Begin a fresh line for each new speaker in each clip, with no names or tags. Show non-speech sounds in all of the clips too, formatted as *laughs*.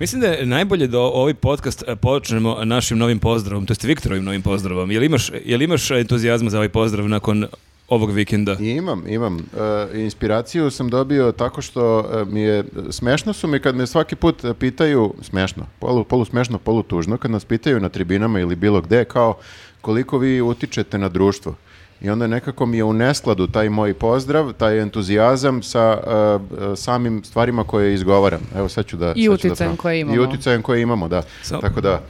Mislim da je najbolje da ovaj podcast e, počnemo našim novim pozdravom, to jest Viktorovim novim pozdravom. Jel imaš, jel imaš entuzijazma za ovaj pozdrav nakon ovog vikenda?
I Imam, imam. E, inspiraciju sam dobio tako što e, mi je, smešno su mi kad me svaki put e, pitaju, smešno, polu, polu smešno, polu tužno, kad nas pitaju na tribinama ili bilo gde, kao koliko vi utičete na društvo. I onda nekako mi je u neskladu taj moj pozdrav, taj entuzijazam sa e, e, samim stvarima koje izgovaram. Evo sad ću da...
I
sad ću da
uticajem
probam.
koje imamo.
I uticajem koje imamo, da.
Samo-
Tako da,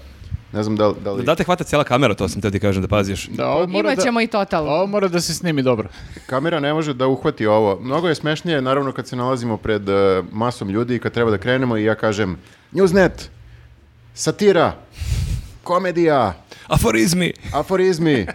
ne znam da, li- da li...
Da te hvata cijela kamera, to sam te ti kažem da paziš.
Da, ovo mora da,
Imaćemo i total.
ovo mora da se snimi dobro.
Kamera ne može da uhvati ovo. Mnogo je smešnije, naravno, kad se nalazimo pred e, masom ljudi i kad treba da krenemo i ja kažem Newsnet, satira, komedija,
Aforizmi!
aforizmi.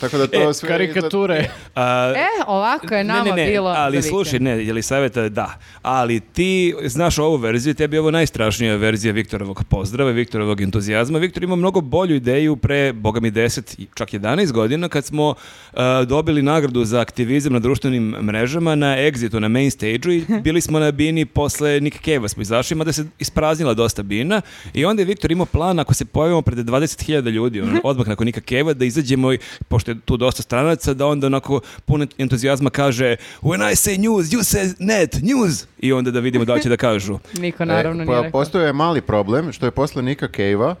Tako da to sve...
Karikature. *laughs*
A,
E, ovako je nama
ne, ne, ne,
bilo
ali
za
slušaj,
vikend.
ne, je li savjeta da, ali ti znaš ovu verziju, tebi je ovo najstrašnija verzija Viktorovog pozdrava, Viktorovog entuzijazma. Viktor ima mnogo bolju ideju pre, boga mi, 10, i čak 11 godina, kad smo uh, dobili nagradu za aktivizam na društvenim mrežama, na Exitu, na main stage-u i bili smo na bini posle Nick Cave-a smo izašli, mada se ispraznila dosta bina i onda je Viktor imao plan ako se pojavimo pred 20.000 ljudi,
Mhm.
ono, odmah nakon Nika Cave-a, da izađemo, i, pošto je tu dosta stranaca, da onda onako pun entuzijazma kaže When I say news, you say net, news! I onda da vidimo da li će da
*laughs*
kažu.
Niko
E,
naravno
pa
nije rekao.
Postoje mali problem, što je posle Nika Cave-a,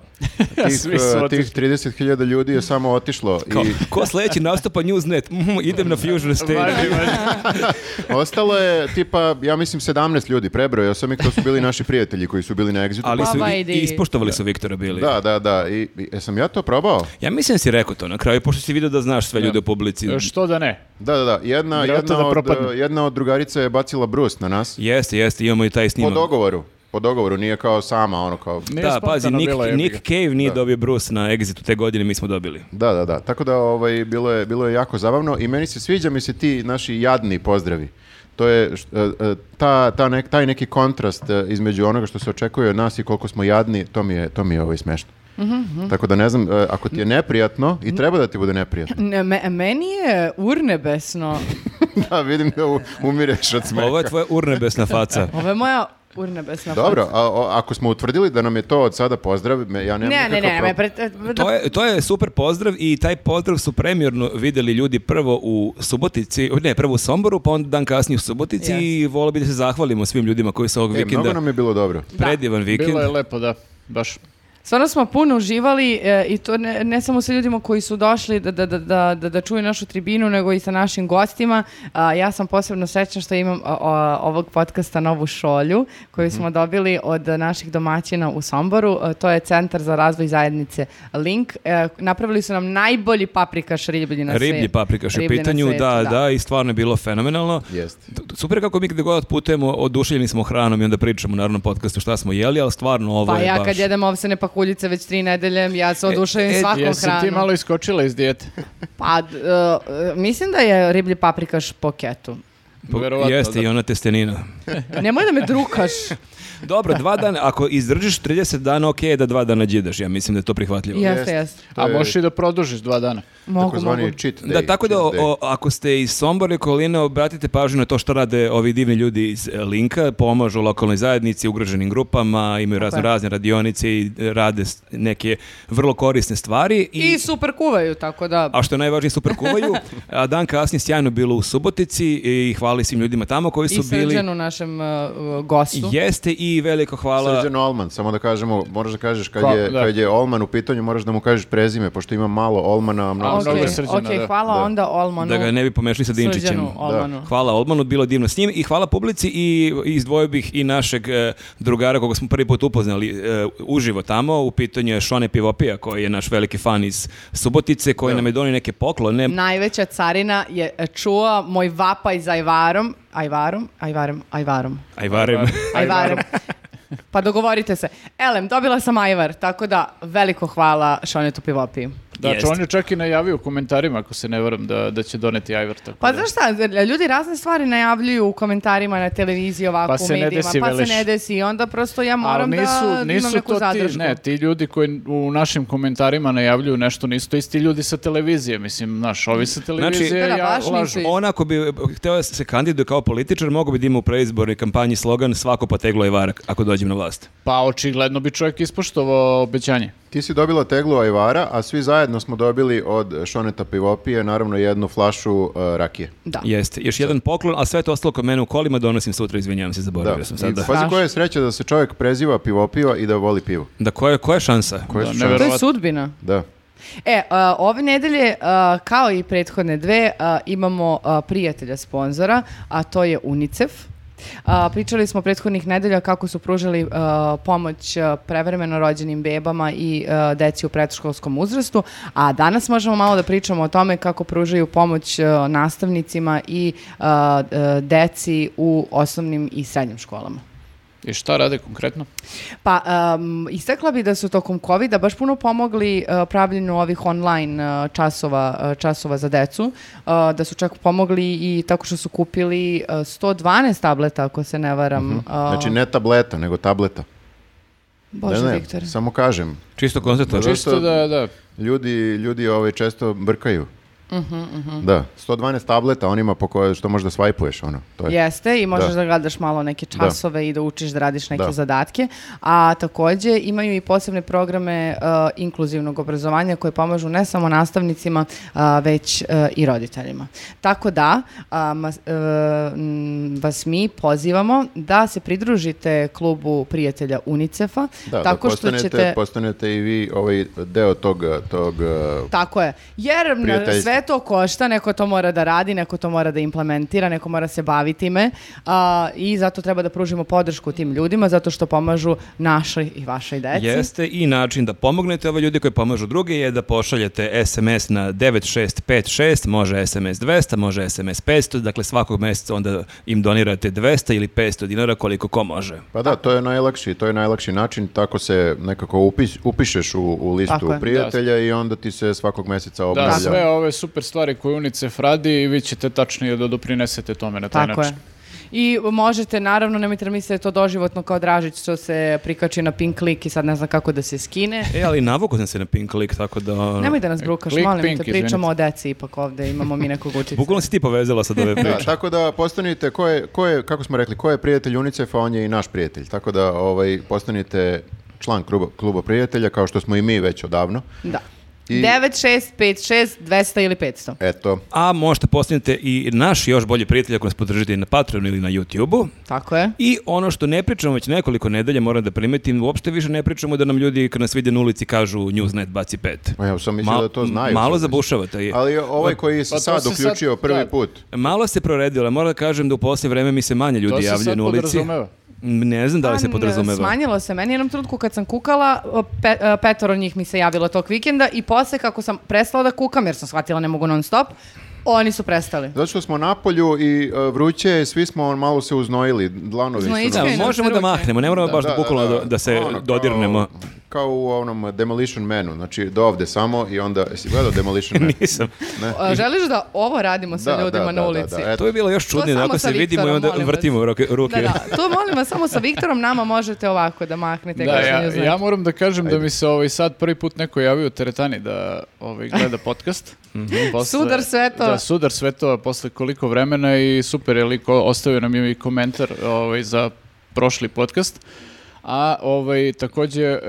tih,
Svi su
e, tih
otišli.
30.000 ljudi je samo otišlo
Kao,
i
ko sledeći nastupa Newsnet? Mhm, idem na Fusion Stage.
Važi, važi.
*laughs* ostalo je tipa, ja mislim, 17 ljudi, prebrojao sam ih, to su bili naši prijatelji koji su bili na Exitu.
Ali su
Baba
i,
idi.
i ispoštovali su Viktora bili.
Da, da, da. I, i- jesam ja to probao?
Ja mislim da si rekao to na kraju, pošto si vidio da znaš sve ljude u publici.
E, Što da ne?
Da, da, da. Jedna,
Vjerojatno
jedna,
da
od,
propadne.
eh, jedna od drugarica je bacila brus na nas.
Jeste, jeste, imamo i taj
Po
snimak.
dogovoru. Po dogovoru, nije kao sama, ono kao...
Nije
Da,
spontano
pazi, Nick,
bilo, jebi
Nick
ga.
Cave nije dobio Bruce na Exitu te godine, mi smo dobili.
Da, da, da. Tako da ovaj, bilo, je, bilo je jako zabavno i meni se sviđa mi se ti naši jadni pozdravi. To je š- eh, eh, ta, ta nek, taj neki kontrast eh, između onoga što se očekuje od nas i koliko smo jadni, to mi je, to mi je ovaj smešno.
Mhm,
Tako da ne znam, eh, ako ti je neprijatno i treba da ti bude
*laughs*
neprijatno. *laughs*
Ne, me- meni je urnebesno.
da, vidim da u- umireš od
*laughs*
smeha.
Ovo je tvoja urnebesna faca.
Ovo je moja urnebesna
Dobro, a, o- ako smo utvrdili da nam je to od sada pozdrav, me- ja
faca.
nemam
Ne, ne,
nikakav
ne,
problem.
me pre-
To je, to je super pozdrav i taj pozdrav su premjerno vidjeli ljudi prvo u Subotici, ne, prvo u Somboru, pa onda dan kasnije u Subotici
Jeste.
i volio bi da se zahvalimo svim ljudima koji su ovog
E, mnogo
vikenda
nam je bilo dobro.
predivan vikend.
Bilo je lepo, da. Baš.
Stvarno smo puno uživali e, i to ne, ne samo sa ljudima koji su došli da, da, da, da, da- da čuju našu tribinu, nego i sa našim gostima. A, ja sam posebno srećna što imam a, a, ovog podcasta Novu šolju koju
Mhm.
smo dobili od naših domaćina u Somboru. E, to je Centar za razvoj zajednice Link. E, napravili su nam najbolji paprikaš riblji na svijetu.
Riblji paprikaš je u pitanju, da, da, i stvarno je bilo fenomenalno.
Jeste.
T- Super je kako mi gde god putujemo, oduševljeni smo hranom i onda pričamo u narodnom podcastu šta smo jeli, ali stvarno ovo
Pa
je
ja
baš...
kad jedem ovsene pakuljice već tri nedelje, ja se oduševim
e,
svakom
Jesi
hranom.
ti malo iskočila iz dijete?
Pa, d- e, mislim da je riblji paprikaš po ketu.
Po-
Verovatno,
Jeste
da.
i ona testenina.
Nemoj da me drukaš.
Dobro, dva dana, ako izdržiš 30 dana, ok je da dva dana džidaš, ja mislim da je to prihvatljivo.
Jeste, jeste.
To
A
je
možeš i da produžiš dva dana.
Mogu,
takozvani
mogu.
cheat day,
Da, tako da
cheat day.
o- ako ste iz Sombora i okoline, obratite pažnju na to što rade ovi divni ljudi iz e, Linka, pomažu lokalnoj zajednici, ugroženim grupama, imaju razno
je.
razne radionice i e, rade s- neke vrlo korisne stvari.
I super kuvaju, tako da...
a što je najvažnije super kuvaju, a dan kasnije sjajno bilo u Subotici i hvali svim ljudima tamo koji su
I
bili.
srđanu našem uh, gostu.
Jeste i veliko hvala.
Srđan Olman, samo da kažemo, moraš da kažeš kad,
Kako,
je,
da.
kad je Olman u pitanju, moraš da mu kažeš prezime, pošto ima malo Olmana, a mnogo
Ok,
Srđana.
mnogo Srđana,
ok,
da.
hvala
Da.
onda Olmanu.
da ga ne bi pomešali sa Dinčićem.
Srđanu Olmanu.
Hvala Olmanu, bilo je divno s njim i hvala publici i izdvojio bih i našeg e, drugara koga smo prvi put upoznali e, uživo tamo. U pitanju je Šone Pivopija koji je naš veliki fan iz Subotice koji nam je donio neke poklone.
Najveća carina je e, čuo moj vapaj za Ajvarom. Ajvarom? Ajvarem, Ajvarom.
Ajvarem.
Ajvarem. pa dogovorite se. Elem, dobila sam Ajvar, tako da veliko hvala Šonetu Pivopiju.
Da,
Jeste.
on je čak i najavio u komentarima, ako se ne varam, da, da će doneti Ajvar. Tako
Pa
da-
znaš šta, ljudi razne stvari najavljuju u komentarima na televiziji ovako
Pa se
u
ne
medijima,
desi,
pa se
veliš.
ne desi i onda prosto ja moram
Ali nisu,
da
nisu
imam neku
to
zadršku.
ti, ne, ti ljudi koji u našim komentarima najavljuju nešto nisu to isti ljudi sa televizije, mislim, znaš, ovi
Znači-
sa televizije
Da,
da,
ja,
baš nisu
lažu.
isti.
*laughs* On ako bi eh, hteo da se kandiduje kao političar, mogo bi da ima u preizbornoj kampanji slogan svako poteglo je varak ako dođem na vlast.
Pa očigledno bi čovjek ispoštovao obećanje.
Ti si dobila teglu Ajvara, a svi zajedno smo dobili od Šoneta Pivopije, naravno jednu flašu uh, rakije.
Da.
Jeste, još jedan poklon, a sve je to ostalo kod mene u kolima, donosim sutra, izvinjavam se, zaboravio sam
I
sada.
Pazi koja je sreća da se čovjek preziva Pivopiva i da voli pivo.
Da, koja, koja je šansa?
Koje
Da,
su šanse?
To je
Verovatno.
sudbina.
Da.
E, a, ove nedelje, a, kao i prethodne dve, a, imamo a, prijatelja sponzora, a to je UNICEF. A, pričali smo prethodnih nedelja kako su pružali a, pomoć a, prevremeno rođenim bebama i a, deci u predškolskom uzrastu, a danas možemo malo da pričamo o tome kako pružaju pomoć a, nastavnicima i a, e, deci u osnovnim i srednjim školama.
I šta rade konkretno?
Pa, um, istakla bi da su tokom COVID-a baš puno pomogli uh, pravljenju ovih online uh, časova, uh, časova za decu, uh, da su čak pomogli i tako što su kupili uh, 112 tableta, ako se ne varam. uh,
Znači ne tableta, nego tableta.
Bože,
ne, ne,
Viktor.
Samo kažem,
Čisto konstatujem.
Dobro.
Čisto da, da,
ljudi, ljudi ovaj, često brkaju.
Mhm,
Da, 112 tableta onima po koje, što možeš da svajpuješ, ono. To je.
Jeste, i možeš da.
Da.
gledaš malo neke časove i da učiš da radiš neke
Da.
zadatke. A takođe imaju i posebne programe uh, inkluzivnog obrazovanja koje pomažu ne samo nastavnicima, a, već e, i roditeljima. Tako da a, mas- e, m, vas mi pozivamo da se pridružite klubu prijatelja UNICEF-a.
Da,
tako
da
što
postanete,
ćete...
postanete i vi ovaj deo tog, tog uh,
Tako je. Jer na-
Prijateljstvo.
sve to košta, neko to mora da radi, neko to mora da implementira, neko mora se baviti time a, i zato treba da pružimo podršku tim ljudima zato što pomažu našoj i vašoj deci.
Jeste i način da pomognete ove ljudi koji pomažu druge je da pošaljete SMS na 9656, može SMS 200, može SMS 500, dakle svakog meseca onda im donirate 200 ili 500 dinara koliko ko može.
Pa da, to je najlakši, to je najlakši način, tako se nekako upis, upišeš u, u listu
Tako je.
prijatelja i onda ti se svakog meseca
da,
obnavlja.
sve ove super stvari koje UNICEF radi i vi ćete tačnije da doprinesete tome na taj
Tako je.
način.
I možete, naravno, nemojte da mislite da je to doživotno kao Dražić što se prikači na pink klik i sad ne znam kako da se skine.
E, ali navukao sam se na pink lik, tako da... ono,
Nemoj da nas brukaš,
Klik
molim
pink,
te, pričamo o deci ipak ovde, imamo mi nekog učitelja.
Bukvalno si ti povezala sad ove
*laughs* Da,
priče.
tako da postanite, ko je, ko je, kako smo rekli, ko je prijatelj UNICEF-a, on je i naš prijatelj. Tako da ovaj, postanite član kluba, kluba prijatelja, kao što smo i mi već odavno.
Da.
I- E.
9656 200 ili 500.
Eto,
A možete postanete i naš još bolji prijatelj ako nas podržite i na Patreonu ili na YouTubeu.
Tako je.
I ono što ne pričamo već nekoliko nedelja, moram da primetim, uopšte više ne pričamo da nam ljudi kad nas vide na ulici kažu Newsnet baci pet.
Ma ja sam mislio da to znaju.
Malo
sad.
zabušavate.
Ali ovaj koji se
Pa to
sad
se sad-
uključio prvi
da.
put,
Malo se proredilo, moram da kažem da u posljednje vreme mi se manje
To
ljudi
se
javljaju
sad
na ulici.
podrazumeva.
M, Ne znam da li
Pa,
se
n-
podrazumeva.
Smanjilo se. Meni je jednom trenutku kad sam kukala, o, pe, e, petoro njih mi se javilo tog vikenda i posle kako sam prestala da kukam, jer sam shvatila ne mogu non stop, oni su prestali.
zato što smo na polju i e, vruće, je, svi smo on malo se uznojili, dlanovi su
Da,
Znojička
nam-
Čekaj,
možemo da
nas ruke.
mahnemo, ne moramo baš da, bukvalno da, da se
Ono, kao-
dodirnemo. *laughs*
Kao, u onom Demolition Manu, znači do ovde samo i onda, jesi gledao
*laughs*
Demolition Man?
Nisam.
Ne?
A, želiš da ovo radimo sa
Da,
ljudima
da,
na
da,
ulici?
Da, e, da, eto.
To je bilo još čudnije,
samo
da ako
sa
se vidimo i
Viktorom,
onda
molim vas.
vrtimo ruke, ruke.
Da, da, to molim vas samo sa Viktorom, nama možete ovako da mahnete.
Da,
kao što
ja,
ne znam.
ja moram da kažem da mi se ovaj sad prvi put neko javio u teretani da ovaj, gleda
*laughs*
podcast.
Mhm.
Posle-
Sudar svetova.
Da, sudar svetova posle koliko vremena i super je liko, ostavio nam je i komentar ovaj, za prošli podcast. A ovaj, takođe e,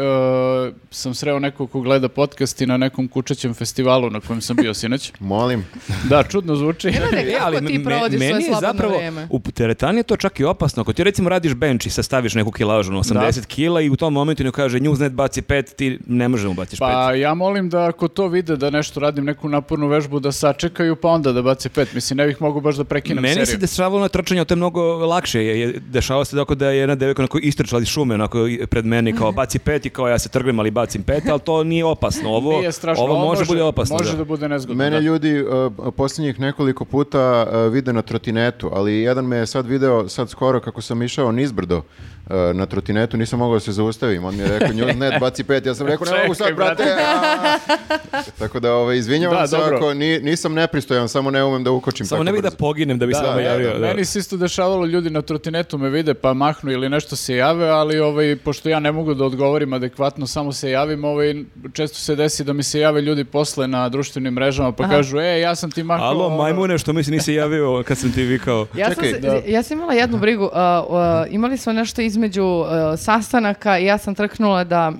sam sreo nekog ko gleda podcast i na nekom kučećem festivalu na kojem sam bio
*laughs*
sinoć.
Molim.
Da, čudno zvuči.
Gledaj kako ti
E, me-
provodiš svoje
meni je
slobodno
zapravo,
vreme.
u teretani je to čak i opasno. Ako ti recimo radiš bench i sastaviš neku kilažu na 80 kila i u tom momentu ne kaže Newsnet baci pet, ti ne može da mu baciš pet.
*laughs* Pa ja molim da ako to vide da nešto radim, neku napornu vežbu, da sačekaju pa onda da baci pet. Mislim, ne bih mogu baš da prekinem
Meni
seriju.
se dešavalo na trčanju, to je mnogo lakše. Je, je, dešavalo se tako da je jedna devojka onako istrčala iz šume, onako i- pred meni kao baci pet i kao ja se trgnem, ali bacim pet, ali to nije opasno. Ovo,
Nije strašno.
Ovo može, bude opasno.
Može
da.
da, bude nezgodno.
Mene
da.
ljudi uh, posljednjih nekoliko e, puta uh, vide na trotinetu, ali jedan me je sad video, sad skoro kako sam išao nizbrdo, e, na trotinetu, nisam mogao da se zaustavim. On mi je rekao, Newsnet, baci pet. Ja sam rekao, ne mogu sad,
Čekaj, brate."
brate. a." Tako da, ovaj, izvinjavam
Da,
se
dobro.
ako ni- nisam nepristojan, samo ne umem da ukočim
Samo
tako
ne bih da
brzo.
poginem da bi se
Da,
vama
da,
javio.
da.
da.
Meni se isto dešavalo ljudi na trotinetu me vide pa mahnu ili nešto se jave, ali ovaj, pošto ja ne mogu da odgovorim adekvatno, samo se javim, ovaj, često se desi da mi se jave ljudi posle na društvenim mrežama pa kažu, e, ja sam ti mahnuo.
Alo,
ono."
majmune, što mi se nisi javio kad sam ti vikao.
Ja,
Čekaj,
sam, se-
da.
ja sam imala jednu brigu. a, a, imali smo nešto između a, sastanaka i ja sam trknula da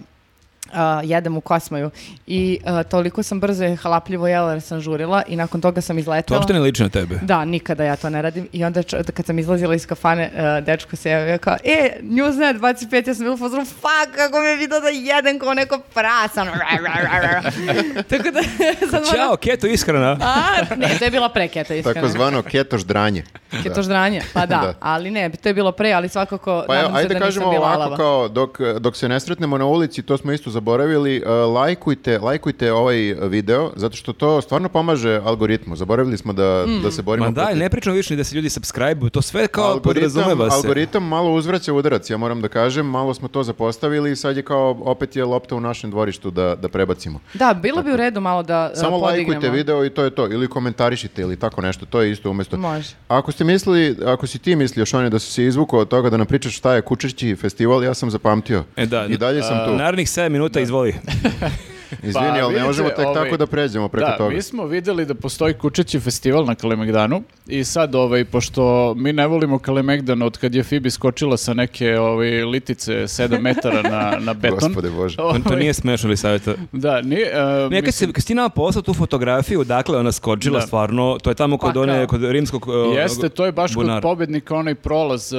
a, jedem u Kosmaju i a, toliko sam brzo i halapljivo jela jer sam žurila i nakon toga sam
To
izletela.
uopšte ne liči na tebe.
Da, nikada ja to ne radim. I onda č- kad sam izlazila iz kafane, uh, dečko se javio kao, e, Newsnet 25, ja sam bila u fazonu, fuck, kako me je vidio da jedem kao neko prasan. *laughs* Tako da, *laughs* sad moram-
Ćao, keto ishrana.
A, ne, to je bila pre keta, iskreno.
Tako zvano keto ždranje. Da.
Ketoždranje, pa da,
*laughs* Da.
ali ne, to je bilo pre, ali svakako
Pa evo,
nadam se
ajde
da
kažemo
nisam bila
ovako
alava.
kao dok, dok se ne sretnemo na ulici, to smo isto zaboravili, e, lajkujte, lajkujte ovaj video, zato što to stvarno pomaže algoritmu. Zaboravili smo da,
Hmm.
da se borimo
Ma daj,
protiv-
ne pričamo više ni da se ljudi subscribe to sve kao podrazumeva se.
algoritam malo uzvraća udarac, ja moram da kažem, malo smo to zapostavili i sad je kao opet je lopta u našem dvorištu da, da prebacimo.
Da, bilo bi u redu malo da uh,
Samo
podignemo.
lajkujte video i to je to, ili komentarišite ili tako nešto, to je isto umjesto.
Može.
Ako ste mislili, ako si ti mislio Šone da si se izvukao od toga da nam pričaš šta je Kučići festival, ja sam zapamtio.
E da,
I dalje sam
a,
tu.
Narednih 7 minuta,
*laughs*
izvoli.
Izvini,
Pa,
ali
vidite,
ne možemo tek
ovaj,
tako da pređemo preko
da,
toga.
mi smo vidjeli da postoji Kučići festival na Kalemegdanu i sad, ovaj, pošto mi ne volimo Kalemegdan od kad je Fibi skočila sa neke ovaj, litice 7 metara na, na beton.
Gospode Bože.
To, to
Ovaj,
nije smešno li savjeta.
Da, nije, e,
Ne, kad,
mislim-
si, kad si ti nama poslao tu fotografiju, dakle ona skočila
Da.
stvarno, to je tamo kod
Pa
one,
kao.
kod rimskog uh,
Jeste, to je baš
bunara.
kod pobednika onaj prolaz, e,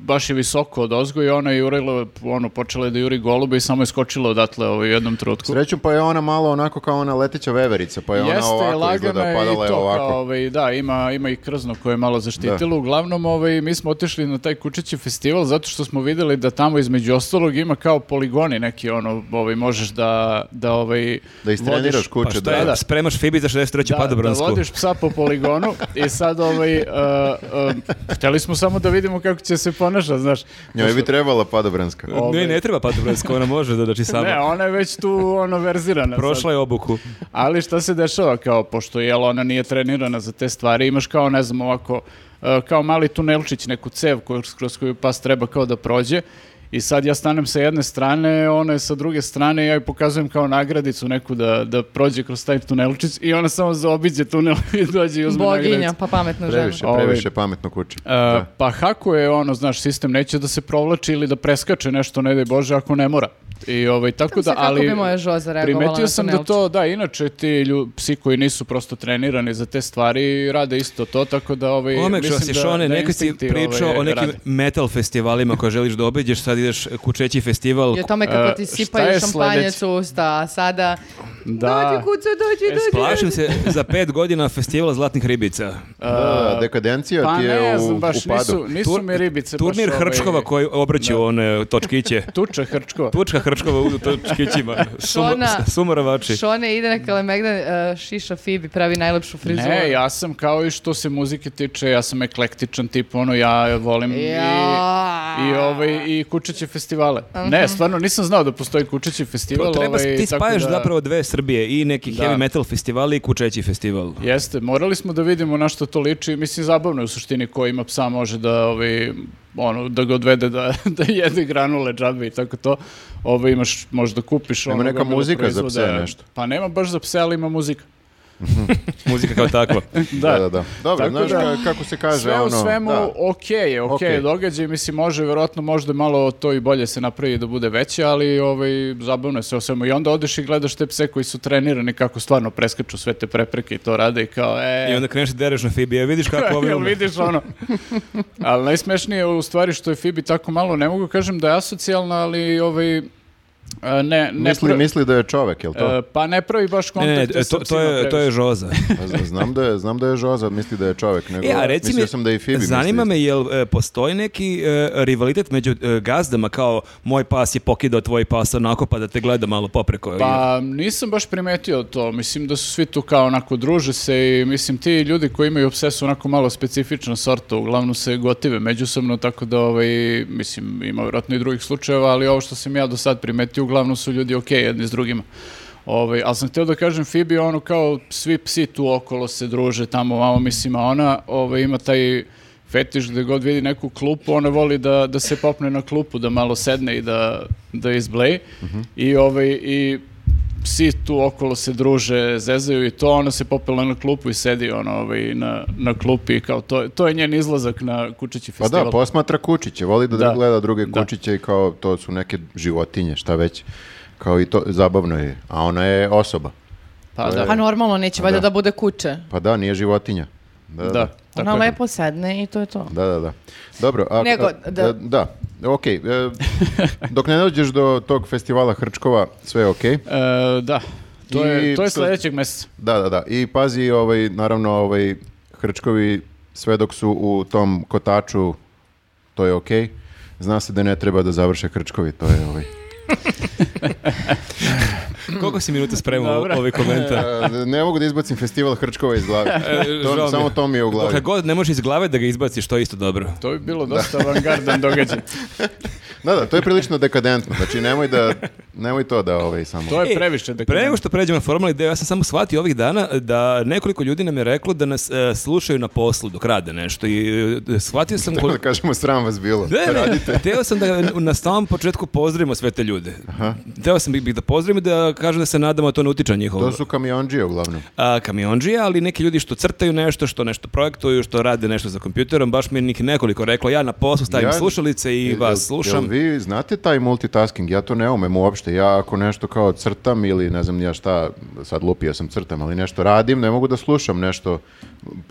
baš je visoko od ozgo i ona je jurila, ono, počela je da juri golube i samo je skočila odatle ovaj, u jednom trutku.
Srećom pa je ona malo onako kao ona leteća veverica, pa je ona
Jeste,
ovako izgleda,
lagana je i
padala je
to
ovako.
kao, ovaj, da, ima, ima i krzno koje je malo zaštitilo. Uglavnom, ovaj, mi smo otišli na taj Kučići festival zato što smo videli da tamo između ostalog ima kao poligoni neki, ono, ovaj, možeš da, da, ovaj,
Da istreniraš
vodiš-
Pa
kuće,
šta
da.
je,
da.
spremaš Fibi za 63.
da, da
padobransku.
vodiš psa po poligonu i sad ovaj, uh, uh, hteli smo samo da vidimo kako će se ponašati, znaš.
Njoj bi trebala padobranska.
Ne,
ovaj-
ne treba padobransku, ona može da dođe sama.
*laughs* Ne, ona je već tu ono verzirana. sad.
Prošla je obuku.
Ali šta se dešava kao, pošto jel ona nije trenirana za te stvari, imaš kao ne znam ovako, e, kao mali tunelčić, neku cev koju, kroz koju pas treba kao da prođe i sad ja stanem sa jedne strane, ona je sa druge strane i ja joj pokazujem kao nagradicu neku da, da prođe kroz taj tunelčić i ona samo zaobiđe tunel *laughs* i dođe i uzme
Boginja,
nagradicu.
pa pametna žena.
Previše,
Ovaj-
previše pametno kući.
E, pa hako je ono, znaš, sistem neće da se provlači ili da preskače nešto, ne daj Bože, ako ne mora. I ovaj, tako da,
Mislim, kako
ali...
bi moja Žoza reagovala
Primetio
na
sam da
tunelčić?
to, da, inače ti lju, psi koji nisu prosto trenirani za te stvari rade isto to, tako da ovaj,
Omek što si Šone, nekad si
instinkti,
pričao
ovaj,
o nekim
rade.
metal festivalima koje želiš da obiđeš, sad ideš kučeći festival.
I o tome kako
E,
ti
šta je
sipaju šampanjec
sledeće?
u usta, a sada
Da.
dođi kucu, dođi, dođi.
Plašim se za pet godina festivala Zlatnih ribica.
Da, dekadencija
Pa
ti je
ne
u,
znam, baš
u padu.
nisu, nisu
Tur-
mi ribice. baš,
Turnir
ovaj,
Hrčkova koji obraćaju one točkiće.
Tuča Hrčkova.
Tučka Hrčkova u točkićima. Sumo-
Šona-
Sumorovači.
Šone ide na Kalemegdan, uh, šiša Fibi, pravi najlepšu frizuru.
Ne, ja sam kao i što se muzike tiče, ja sam eklektičan tip, ono ja volim
Ja.
i i ovaj i kučiće festivale. Ne, stvarno nisam znao da postoji kučići festival.
Treba,
ovaj,
ti
tako
spajaš
da-
zapravo dve Srbije i neki
Da.
heavy metal festival i kučeći festival.
Jeste, morali smo da vidimo na što to liči. Mislim, zabavno je u suštini ko ima psa može da, ovaj, ono, da ga odvede da, *laughs* da jede granule, džabe i tako to. Ovo imaš, možda kupiš.
Nema
ono,
neka
gomilu
muzika za
proizvoda.
pse, nešto?
Pa nema baš za pse, ali ima muzika.
Muzika kao
*laughs*
takva.
Da,
Da, da, da. Dobro,
Tako
znaš
da-
ka- kako se kaže
Sve u
ono...
svemu
da.
okej je, okej je
Okej.
događaj, mislim može verovatno možda malo to i bolje se napravi da bude veće, ali ovaj, zabavno je sve u svemu. I onda odeš i gledaš te pse koji su trenirani kako stvarno preskaču sve te prepreke i to rade i kao e,
I
*laughs*
onda kreneš da dereš na Fibi, a vidiš kako ovaj
Jel
ume.
vidiš
*laughs*
ono? Ali najsmešnije je u stvari što je Fibi tako malo, ne mogu kažem da je asocijalna, ali ovaj, A, ne, ne
Misli,
pra-
misli da je čovek, jel to?
e, pa ne pravi baš
Ne, ne,
kontakt.
to, to, je, to je
*laughs*
Žoza.
Pa z- Znam da je, znam da je Žoza, misli da je čovek, nego
E, a reci
mislio
mi,
sam da je i Fibi
zanima me, jel e, postoji neki e, rivalitet među e, gazdama, kao moj pas je pokidao tvoj pas onako, pa da te gleda malo popreko?
Pa nisam baš primetio to, mislim da su svi tu kao onako druže se i mislim ti ljudi koji imaju obsesu onako malo specifična sorta, uglavnom se gotive međusobno, tako da ovaj, mislim ima vjerojatno i drugih slučajeva, ali ovo što sam ja do sad primetio, uglavnom su ljudi okej jedni s drugima. Ovaj, ali sam htio da kažem Fibi, ono kao svi psi tu okolo se druže tamo, vamo mislim, a ona ovaj, ima taj fetiš gde god vidi neku klupu, ona voli da, da se popne na klupu, da malo sedne i da, da izbleji.
Mhm.
I, ovaj, I psi tu okolo se druže, zezaju i to, ona se popela na klupu i sedi ono, ovaj, na, na klupi. Kao to, je- to je njen izlazak na Kučići
Pa
festival.
da, posmatra kučiće, voli da,
Da.
gleda druge
Da.
kučiće i kao to su neke životinje, šta već. Kao i to, zabavno je, a ona je osoba.
Pa
e,
da.
Pa normalno, neće valjda
Da.
da bude kuće.
Pa da, nije životinja. Da, da.
Da,
Ona
tako je.
lepo sedne i to je to.
Da, da, da. Dobro, a,
Nego,
a-
da-
da... da, okej. e, dok ne dođeš do tog festivala Hrčkova, sve je okej.
E, da. To je,
I
to je
to-
sledećeg meseca.
Da, da, da. I pazi, ovaj, naravno, ovaj, Hrčkovi, sve dok su u tom kotaču, to je okej. Zna se da ne treba da završe Hrčkovi, to je
*laughs*
ovaj...
Koliko si minuta spremao
Dobro.
ovaj
*laughs*
komentar?
E, ne mogu da izbacim festival Hrčkova iz glave. To-
E, žao mi je.
samo to mi je u
Dokle
glavi.
god ne možeš iz glave da ga izbaciš, to je isto dobro.
To bi bilo dosta avangardan
*laughs*
događaj.
Da, da, to je prilično dekadentno. Znači, nemoj da, nemoj to da ovaj samo...
To je
E,
previše da
Pre nego što pređemo na formalni deo, ja sam samo shvatio ovih dana da nekoliko ljudi nam je reklo da nas e, slušaju na poslu dok rade nešto i e, shvatio sam
Tako *laughs* da
koliko...
kažemo, sram vas bilo.
Ne, ne, teo sam da na samom početku pozdravimo sve te ljude. Teo sam bih bih da pozdravim i da kažem da se nadamo da to ne utiče njihovo.
To su kamionđije uglavnom.
a, kamionđije, ali neki ljudi što crtaju nešto, što nešto projektuju, što rade nešto za kompjuterom, baš mi je njih nekoliko reklo, ja na poslu stavim
Ja-
slušalice i
Jel-
vas
jel
slušam.
vi znate taj multitasking? Ja to ne umem uopšte. Ja ako nešto kao crtam ili ne znam ni ja šta, sad lupio sam crtam, ali nešto radim, ne mogu da slušam nešto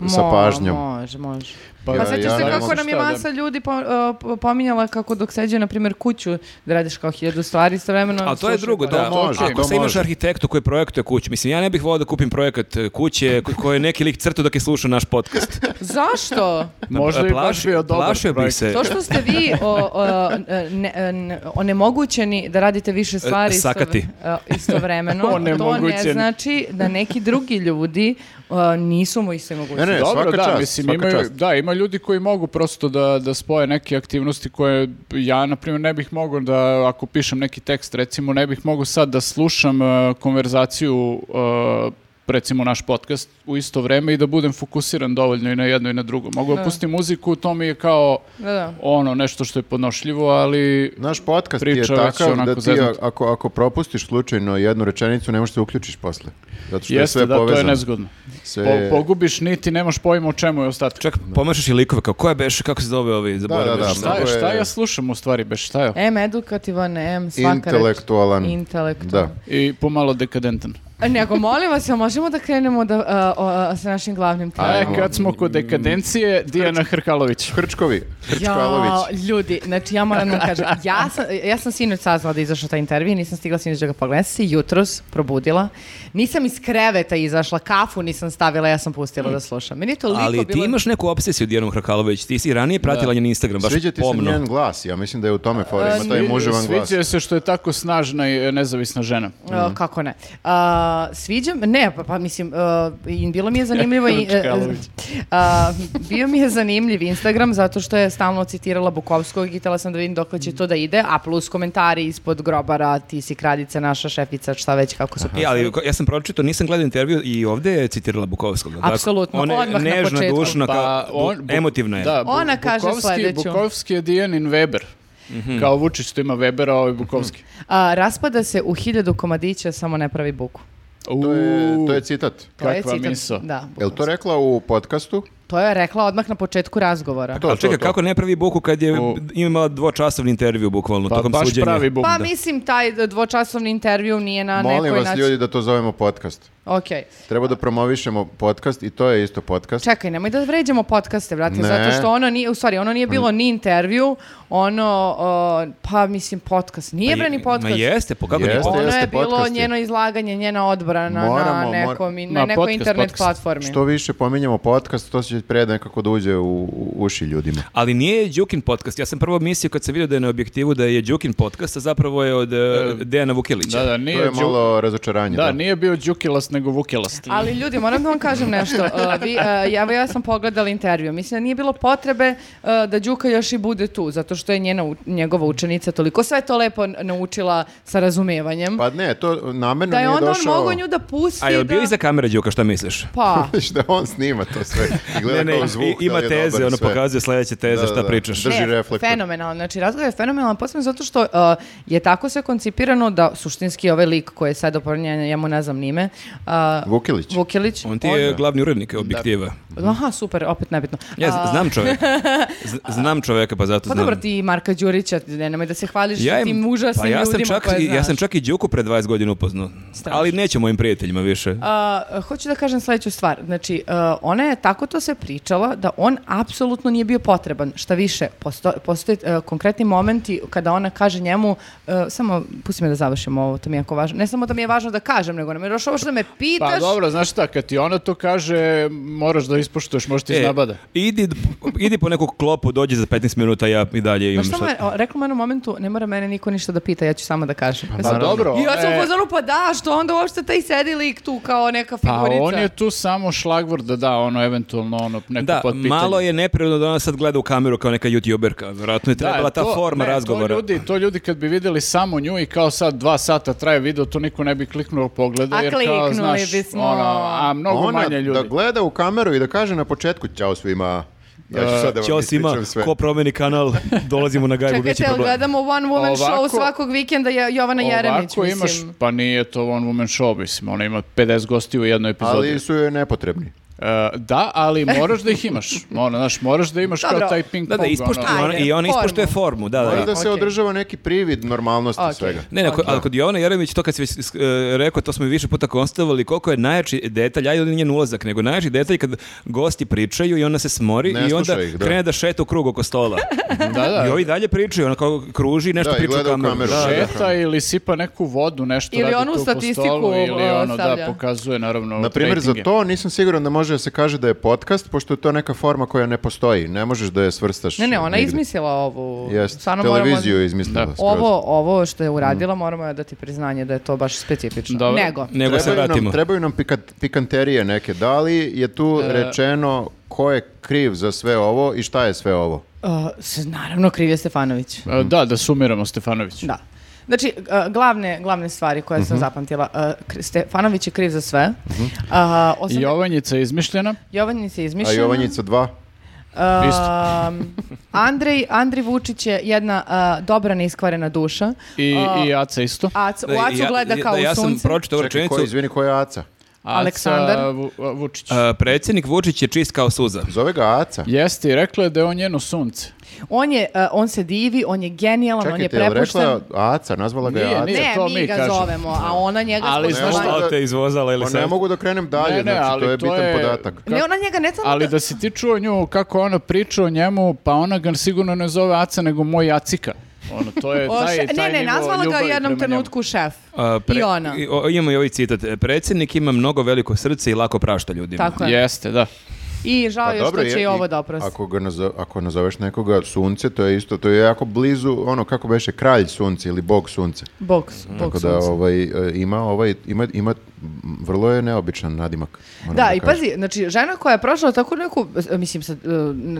sa
Mo-
pažnjom.
Može, može.
Pa,
Pa
Ja-
sećaš
ja
se
ne
kako
mogu.
nam je
Šta da-
masa ljudi po- uh, po- pominjala kako dok seđe, na primjer, kuću, da radiš kao hiljadu stvari istovremeno.
A to je
slušaju
drugo,
podcast.
da.
može,
Ako
to
se imaš
može.
arhitektu koji projektuje kuću, mislim, ja ne bih volao da kupim projekat e, kuće ko- koji je neki lik crtao dok je slušao naš
*laughs*
podcast. *laughs*
Zašto?
Možda i baš
Plaši-
bio dobar
plašio bih
projekt.
se.
To što ste vi o, o, ne- ne- onemogućeni da radite više stvari isto-
sakati.
e, istovremeno, to ne
Onemogućeni.
znači da neki drugi ljudi e, nisu mu iste mogućnosti.
Ne, ne,
Dobro,
svaka
da,
čast,
mislim,
svaka
imaju,
čast.
da, ima ljudi koji mogu prosto da, da spoje neke aktivnosti koje ja, na primjer, ne bih mogao da, ako pišem neki tekst, recimo, ne bih mogao sad da slušam e, konverzaciju, e, recimo, naš podcast u isto vreme i da budem fokusiran dovoljno i na jedno i na drugo. Mogu da pustim muziku, to mi je kao
Da, da.
ono, nešto što je podnošljivo, ali...
Naš podcast
Priča
je
već
takav
onako
da ti
zeznut.
ako, ako propustiš slučajno jednu rečenicu ne možeš da uključiš posle. Zato što je
Jeste,
sve
da,
povezano.
to je nezgodno.
Sve
Po-
je-
pogubiš niti, nemaš pojma o čemu je ostatak.
Čak pomašaš i likove, kao koja beše, kako se zove ovi, zaboravio
da, da,
sam.
Šta, je-
mnogo je-
šta ja slušam u stvari, beš, šta je?
E.
M edukativan, M svaka reč.
Intelektualan.
Intelektualan. E,
I pomalo dekadentan.
Nego, molim vas, jel možemo da krenemo da, a, o, a, sa našim glavnim temom?
A E, kad smo kod dekadencije, Dijana Hrkalović.
Hrčkovi,
Ja,
Hrčkalović.
ljudi, znači ja moram da vam kažem, ja sam, ja sam sinoć saznala da je izašao taj intervju i nisam stigla sinoć da ga pogledam. Ja sam se jutros probudila, nisam iz kreveta izašla, kafu nisam stavila, ja sam pustila da slušam. Meni je toliko
Ali ti
bilo...
imaš neku obsesiju Dijanom Hrkalović, ti si i ranije pratila njen Instagram, baš
Sviđa ti se
pomno.
njen glas, ja mislim da je u tome fora,
E,
ima Pa taj
Svi-
muževan glas.
Sviđa se što je tako snažna i e, nezavisna žena.
Mhm.
O, kako ne. A, sviđam, ne, pa, pa mislim, a, i bilo mi je
*laughs*
zanimljivo. i, e,
Čekalović.
a, bio mi je zanimljiv Instagram zato što je stalno citirala Bukovskog i htjela sam da vidim dokle
Mhm.
će to da ide, a plus komentari ispod grobara, ti si kraljica, naša šefica, šta već, kako su
E, ali ko- ja sam pročitao, nisam gledao intervju i ovdje je citirala Bukovskog. jel tako?
Apsolutno,
Ona je
odmah na
nežna,
početku.
dušna,
Pa,
kao,
on-
bu-
bu-
emotivna je.
Da, bu-
Ona kaže
Bukovski-
sledeću.
Bukovski je Dijanin Weber.
Mhm.
Kao Vučić što ima Webera, a ovo je Bukovski.
A, raspada se u hiljadu komadića, samo ne pravi buku.
To je, to je citat.
To je
Kakva
citat-
miso.
Da, buku.
Jel to rekla u podcastu?
To je rekla odmah na početku razgovora.
To,
Ali čekaj,
to, to.
kako ne pravi buku kad je
O.
imala dvočasovni intervju bukvalno
Pa
tokom
baš
suđenja?
pravi Bog.
Pa
da.
mislim, taj dvočasovni intervju nije na
Molim
nekoj
vas
način...
ljudi da to zovemo podcast.
Okej.
Treba da promovišemo podcast i to je isto podcast.
Čekaj, nemoj da vređamo podcaste, brate,
Ne. Mm.
zato što ono nije, u stvari, ono nije bilo ni intervju, ono, o, pa mislim, podcast. Nije bre ni
Ma
podcast.
jeste, po kako
Pa Jeste,
nije podcast?
Ono je
jeste,
bilo
podcast je.
njeno izlaganje, njena odbrana
Moramo,
na
mora-
nekom, i-
Ma,
na nekoj
podcast,
internet
podcast.
platformi.
Što više pominjemo podcast, to će pre nekako da uđe u, u uši ljudima.
Ali nije Đukin podcast. Ja sam prvo mislio kad sam vidio da je na objektivu da je Đukin podcast, a zapravo je od e, Dejana Vukilića.
Da, da,
to
nije,
je
Đu-
malo razočaranje.
da, nije bio Đukilast, nego Vukilast.
Ali ljudi, moram da vam kažem
*laughs*
nešto. Uh, vi, uh, ja, ja sam pogledala intervju. Mislim da nije bilo potrebe uh, da Đuka još i bude tu, zato što je njena, u- njegova učenica toliko sve to lepo n- naučila sa razumevanjem.
Pa ne, to namerno
da je
nije
onda
došao...
on mogao
*laughs*
nju da pusti.
A je
da...
bio iza kamere Đuka, šta misliš?
Pa,
da on snima to sve. I gleda
Ne, ne,
kao zvuk,
i- ima
da li je
teze,
dobar,
ono
sve.
pokazuje sledeće teze,
Da,
šta
da, da.
pričaš.
Drži
Ne,
reflektor.
Fenomenalan, znači razgovor je fenomenalan, posebno zato što uh, je tako sve koncipirano da suštinski ovaj lik koji je sad opornjen, ja mu ne znam nime, uh,
Vukilić.
Vukilić.
On ti je glavni urednik objektiva.
on- Aha, super, opet nebitno.
Ja z-
A,
znam čoveka.
*laughs*
Z- znam čoveka, pa zato
Pa
znam.
dobro, ti i Marka Đurića, ne, nemoj da se hvališ
im-
tim užasnim
pa ja sam
ljudima
čak,
koje
i-
znaš.
Ja sam čak i Đuku pre 20 godina upoznao. Ali neće mojim prijateljima više.
A, hoću da kažem sledeću stvar. Znači, a, ona je tako to se pričala da on apsolutno nije bio potreban. Šta više, posto, postoje a, konkretni momenti kada ona kaže njemu, a, samo pusti me da završim ovo, to mi je jako važno. Ne samo da mi je važno da kažem, nego nam je došlo ovo što me pitaš.
Pa dobro, znaš šta, kad ti ona to kaže, moraš da ispoštuješ, možeš ti
E,
iznabada.
idi, idi po nekog klopu, dođi za 15 minuta, ja i dalje imam
Znaš Pa šta mu je, o, rekla mu je u jednom momentu, ne mora mene niko ništa da pita, ja ću samo da kažem.
Pa dobro,
I ja sam
e,
u fazonu, pa da, što onda uopšte taj sedi lik tu kao neka
pa
figurica.
on je tu samo šlagvor da da ono eventualno ono neko
Da,
potpitanje.
malo je neprirodno da ona sad gleda u kameru kao neka youtuberka. Vjerojatno je
Da,
trebala ta
to-
forma
ne,
razgovora.
To ljudi, to ljudi kad bi vidjeli samo nju i kao sad dva sata traje video, to niko ne bi kliknuo pogleda.
A
jer kao,
kliknuli
znaš,
bismo.
ono, a mnogo
Ona
manje ljudi.
da gleda u kameru i da kaže na početku Ćao svima. Ja ću sad da vam
Ćao svima,
ispričam sve.
ko promeni
*laughs*
kanal, dolazimo na gajbu, bit će
Čekajte, ali
problem.
gledamo one woman show
Ovako-
svakog vikenda Jo- Jovana Jeremić,
Ovako
mislim.
imaš, pa nije to one woman show, mislim, ona ima 50 gosti u jednoj epizodi.
Ali su joj nepotrebni.
E, da, ali moraš da ih imaš. Ono, znaš, moraš da imaš
Dobro.
kao taj ping
Da,
pong.
da, ispoštuje,
ono.
ona-
Ajde,
i ona ispoštuje
formu.
formu, da, da.
Mora
da.
da se
Okej.
održava neki privid normalnosti
Okej.
svega.
Ne, ne, ko- ali kod Jovana Jeremić, to kad si već eh, rekao, to smo i više puta konstatovali, koliko je najjači detalj, ajde nije njen ulazak, nego najjači detalj kad gosti pričaju i ona se smori
Ne
i onda
sluša ih, da.
krene da šeta u krug oko
*laughs*
stola.
Da, da.
I ovi dalje pričaju, ona kao kruži i nešto
Da, i
priča u
gleda u
kameru.
kameru.
Da, da.
Šeta ili sipa neku vodu, nešto
Ili
radi
onu
tu po
statistiku,
stolu, ili
o,
ono, da,
stavlja.
pokazuje
Ono
naravno
Na primjer, za
ratinge.
to nisam siguran da može da se kaže da je podcast, pošto je to neka forma koja ne postoji. Ne možeš da je svrstaš.
Ne, ne, ona je
nigde.
izmislila ovu.
Jest,
Stvarno moramo-
televiziju je Mm. izmislila.
Da.
skroz.
Ovo, ovo što je uradila, moramo joj dati priznanje da je to baš specifično.
Dobro.
Nego,
Nego se
Trebaju
vratimo.
nam, trebaju nam pika- pikanterije neke. Da li je tu
E-
rečeno ko je kriv za sve ovo i šta je sve ovo?
uh, s- naravno, kriv je Stefanović.
E, Da, da sumiramo Stefanović.
Da. Znači, uh, glavne, glavne stvari koje
Mhm.
sam zapamtila. uh, Kri- Stefanović je kriv za sve. Uh, osam...
Jovanjica je izmišljena.
Jovanjica je
A
izmišljena.
Jovanjica 2?
Um,
Isto.
*laughs* Andrej, Andrej Vučić je jedna uh, dobra neiskvarena duša.
I, i Aca isto.
Ac,
Da,
u Acu
ja-
gleda
ja-
kao
da, ja
u sunce.
sam pročitao
Čekaj,
rečenicu.
ko, izvini, ko je Aca?
Aca
Aleksandar.
Vu- a, Vučić.
a, Uh, predsjednik Vučić je čist kao suza. Uh,
Zove ga Aca.
Jeste, i rekla je da je on njeno sunce.
On je, uh, on se divi, on je genijalan, on je
Čekajte, je li
prepušten.
rekla Aca? Nazvala ga je
Nije,
Aca?
nije.
Ne,
to
mi,
mi
ga
kažemo.
zovemo, a ona njega
Ali
spoznala.
znaš šta?
Šta te izvozala ili
Pa ne
sad?
mogu da krenem dalje,
Ne, ne,
znači
ali
to je
to
bitan
je-
podatak.
Ne, ona njega ne samo
Ali
da...
da si ti čuo nju kako ona priča o njemu, pa ona ga sigurno ne zove Aca, nego moj Acika. Ono, to je
O,
taj,
še-
taj
ne, ne,
nivo
nazvala ga u
ljubavi
jednom
prema njemu.
trenutku šef.
A, pre-
I ona.
o- imamo i ovaj citat. Predsjednik ima mnogo veliko srce i lako prašta ljudima.
Tako je.
Jeste, da.
I žao je što će
Pa je-
i ovo da oprosti.
Ako, ga nazo- ako nazoveš nekoga sunce, to je isto, to je jako blizu, ono kako beše, kralj sunce ili bog sunce.
Boks,
Tako
boks.
da ovaj, e, ima, ovaj, ima, ima, m, vrlo je neobičan nadimak. moram
Da, i
kažem.
pazi, znači, žena koja je prošla tako neku, e, mislim sad, e,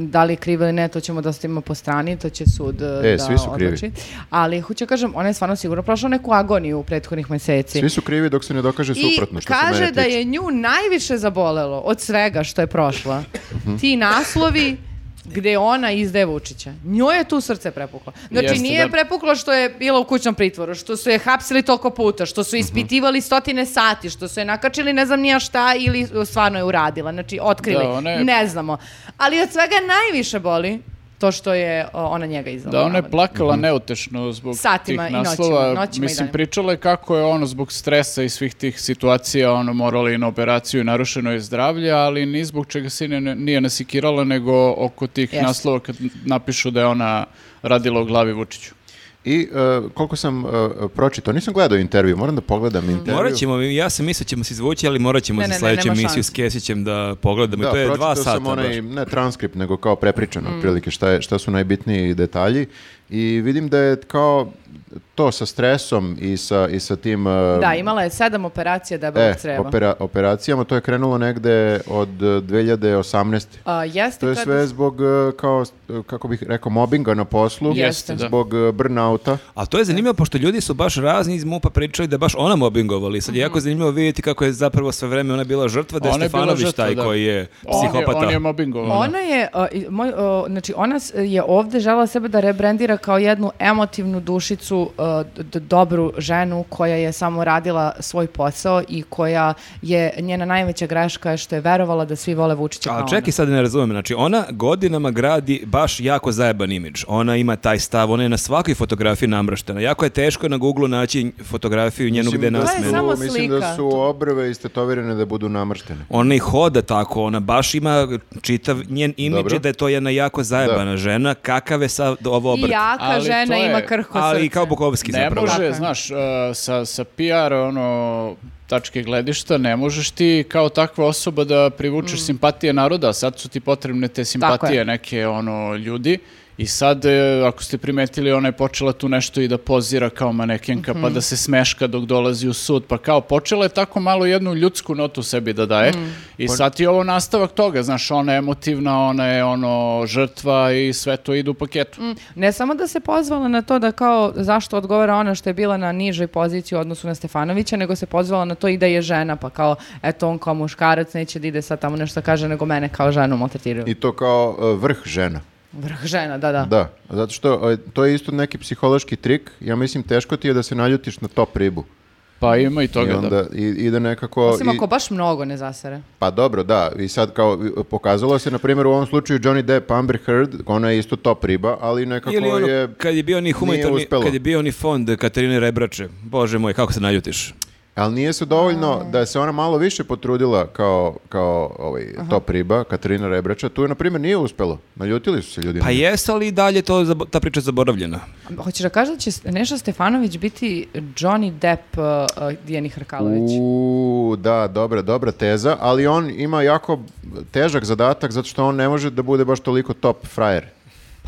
da li je kriva ili ne, to ćemo da stavimo po strani, to će sud e,
E,
da
svi su krivi.
odluči. Ali, hoću kažem, ona je stvarno sigurno prošla neku agoniju u prethodnih meseci.
Svi su krivi dok se ne dokaže
I
suprotno, što se
kaže
mene
da
tiče.
je nju najviše zabolelo od svega što je prošla.
Mhm.
Ti naslovi gde ona izdaje Vučića. Njoj je tu srce prepuklo. Znači
Jeste,
nije
da.
prepuklo što je bila u kućnom pritvoru, što su je hapsili toliko puta, što
Mhm.
su ispitivali stotine sati, što su je nakačili ne znam nija šta ili stvarno je uradila. Znači otkrili.
Da, ona je-
Ne znamo. Ali od svega najviše boli to što je o, ona njega izvala.
Da, ona je
navodno.
plakala neutešno zbog
Mhm. Satima i
tih
noćima,
naslova.
noćima i
Mislim,
danima.
pričala je kako je ono zbog stresa i svih tih situacija ono morala i na operaciju i narušeno je zdravlje, ali ni zbog čega se ne- nije nasikirala nego oko tih
Jeste.
naslova kad napišu da je ona radila o glavi Vučiću.
I e, koliko sam e, pročitao, nisam gledao intervju, moram da pogledam intervju.
Morat ćemo, ja sam mislio ćemo se izvući, ali morat ćemo
Ne,
za
ne, ne,
sledeću
nema
emisiju
šanse.
s Kesićem da pogledamo. I
Da,
to je dva
pročitao
sata.
sam onaj,
baš.
ne transkript, nego kao prepričano,
Mm.
otprilike šta, je, šta su najbitniji detalji. I vidim da je kao to sa stresom i sa, i sa tim... e,
Da, imala je sedam operacija debelog
e,
creva.
opera- operacijama, to je krenulo negde od e, 2018.
A, jeste
To je
kad-
sve zbog, e, kao, e, kako bih rekao, mobinga na poslu,
Jeste, da.
zbog e, burnouta.
A to je zanimljivo, pošto ljudi su baš razni iz MUPA pričali da baš ona mobingovali. Sad je
Mhm.
jako zanimljivo vidjeti kako je zapravo sve vreme ona bila žrtva, da je
Ona je bila
Stefanović
žrtva,
taj
da.
koji je
On je-
psihopata.
On je
Ono.
mobingovan.
Ona je, a, i- moj, o, znači ona s- je ovde žela sebe da rebrendira kao jednu emotivnu dušicu, a, d- d- dobru ženu koja je samo radila svoj posao i koja je, njena najveća greška je što je verovala da svi vole Vučića kao
A čekaj sad ne razumem, znači ona godinama gradi baš jako zajeban imidž. Ona ima taj stav, ona je na svakoj fotografiji namraštena. Jako je teško na Googleu naći fotografiju njenu
Mislim
gde
da
nas
To je
su-
samo
Mislim
slika.
da su obrve istetovirane da budu namrštene.
Ona i hoda tako, ona baš ima čitav njen imidž
Dobro.
je da je to jedna jako zajebana žena. Kakav je sad ovo
ona. I
obrt?
jaka
Ali to
žena
je-
ima krhko
Ali i
srce.
kao Bukovski
Ne
zapravo.
može,
Tako je.
znaš, uh, sa, sa PR ono, tačke gledišta ne možeš ti kao takva osoba da
Mm.
privučeš simpatije naroda, sad su ti potrebne te simpatije neke ono ljudi i sad e, ako ste primetili ona je počela tu nešto i da pozira kao manekenka
Mhm.
pa da se smeška dok dolazi u sud pa kao počela je tako malo jednu ljudsku notu sebi da daje
Mm.
i sad je ovo nastavak toga, znaš, ona je emotivna, ona je ono žrtva i sve to ide u paketu.
Ne samo da se pozvala na to da kao zašto odgovara ona što je bila na nižoj poziciji u odnosu na Stefanovića, nego se pozvala na to i da je žena, pa kao, eto on kao muškarac neće da ide sad tamo nešto da kaže, nego mene kao ženu maltretiraju.
I to kao e, vrh žena.
Vrh žena, da, da.
Da, zato što e, to je isto neki psihološki trik. Ja mislim, teško ti je da se naljutiš na top ribu.
Pa ima i toga
I,
da.
onda, i, i da nekako...
Osim
i-
ako baš mnogo ne zasere.
Pa dobro, da. I sad kao i- pokazalo se, na primjer, u ovom slučaju Johnny Depp, Amber Heard, ona je isto top riba, ali nekako
Ili ono,
je...
kad je bio ni
nije
humanitarni,
uspelo.
kad je bio ni fond Katarine Rebrače. Bože moj, kako se naljutiš?
Ali nije se dovoljno da se ona malo više potrudila kao, kao ovaj, top riba, Katarina Rebrača. Tu, je, na primjer, nije uspelo. Naljutili su se ljudi.
Pa jesu, ali i dalje to, zabo- ta priča zaboravljena.
Hoćeš da kažeš da će Neša Stefanović biti Johnny Depp uh, uh, Dijani Hrkalović?
U, da, dobra, dobra teza, ali on ima jako težak zadatak zato što on ne može da bude baš toliko top frajer.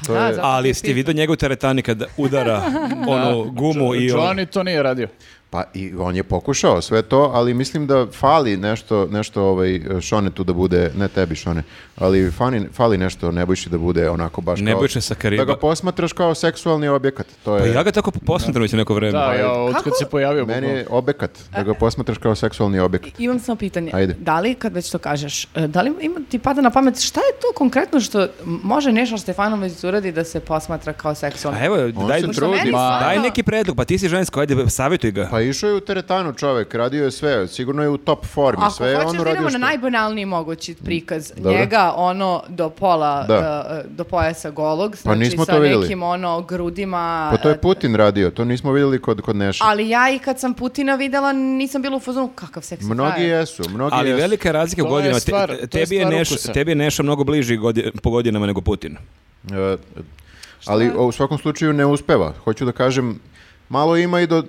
Pa da, zato
Ali
ti
ste vidio njegov teretani kada
*laughs*
udara onu gumu i ono-
Johnny to nije radio.
Pa i on je pokušao sve to, ali mislim da fali nešto, nešto ovaj, Šone tu da bude, ne tebi Šone, ali fali, fali nešto Nebojši da bude onako baš kao...
Nebojša sa Kariba.
Da ga posmatraš kao seksualni objekat. To
Pa
je,
ja ga tako posmatram već neko vreme. Pa
Da, ja, od kad se pojavio
meni
bukvalno.
je objekat, da ga posmatraš kao seksualni objekat.
Imam samo pitanje.
Ajde.
Da li, kad već to kažeš, e, da li ima, ti pada na pamet šta je to konkretno što m- može Neša Stefanović uradi da se posmatra kao seksualno?
A pa evo,
On
daj,
se
Što meni
trudi.
Ma,
stvarno-
daj neki predlog, pa ti si žensko, ajde, savjetuj ga.
Pa išao je u teretanu čovek, radio je sve, sigurno je u top formi,
Ako
sve je on
hoćeš da
uradio
idemo na
što-
najbanalniji mogući prikaz,
Dobro.
njega ono do pola,
Da. Pa
e, do pojasa golog, znači
nismo
sa
to videli.
nekim ono grudima,
Pa to
e,
je Putin radio, to nismo vidjeli kod, kod Neša.
Ali ja i kad sam Putina videla nisam bila u fazonu kakav seksi
Mnogi
frajer.
jesu, mnogi
Ali
jesu.
velika je razlika u
To je
godinama. Te-
stvar-
te-
to je
tebi, je
stvar
neš,
ukusa.
tebi je Neša mnogo bliži godi- po godinama nego Putin.
E, ali o, u svakom slučaju ne uspeva. Hoću da kažem, malo ima i do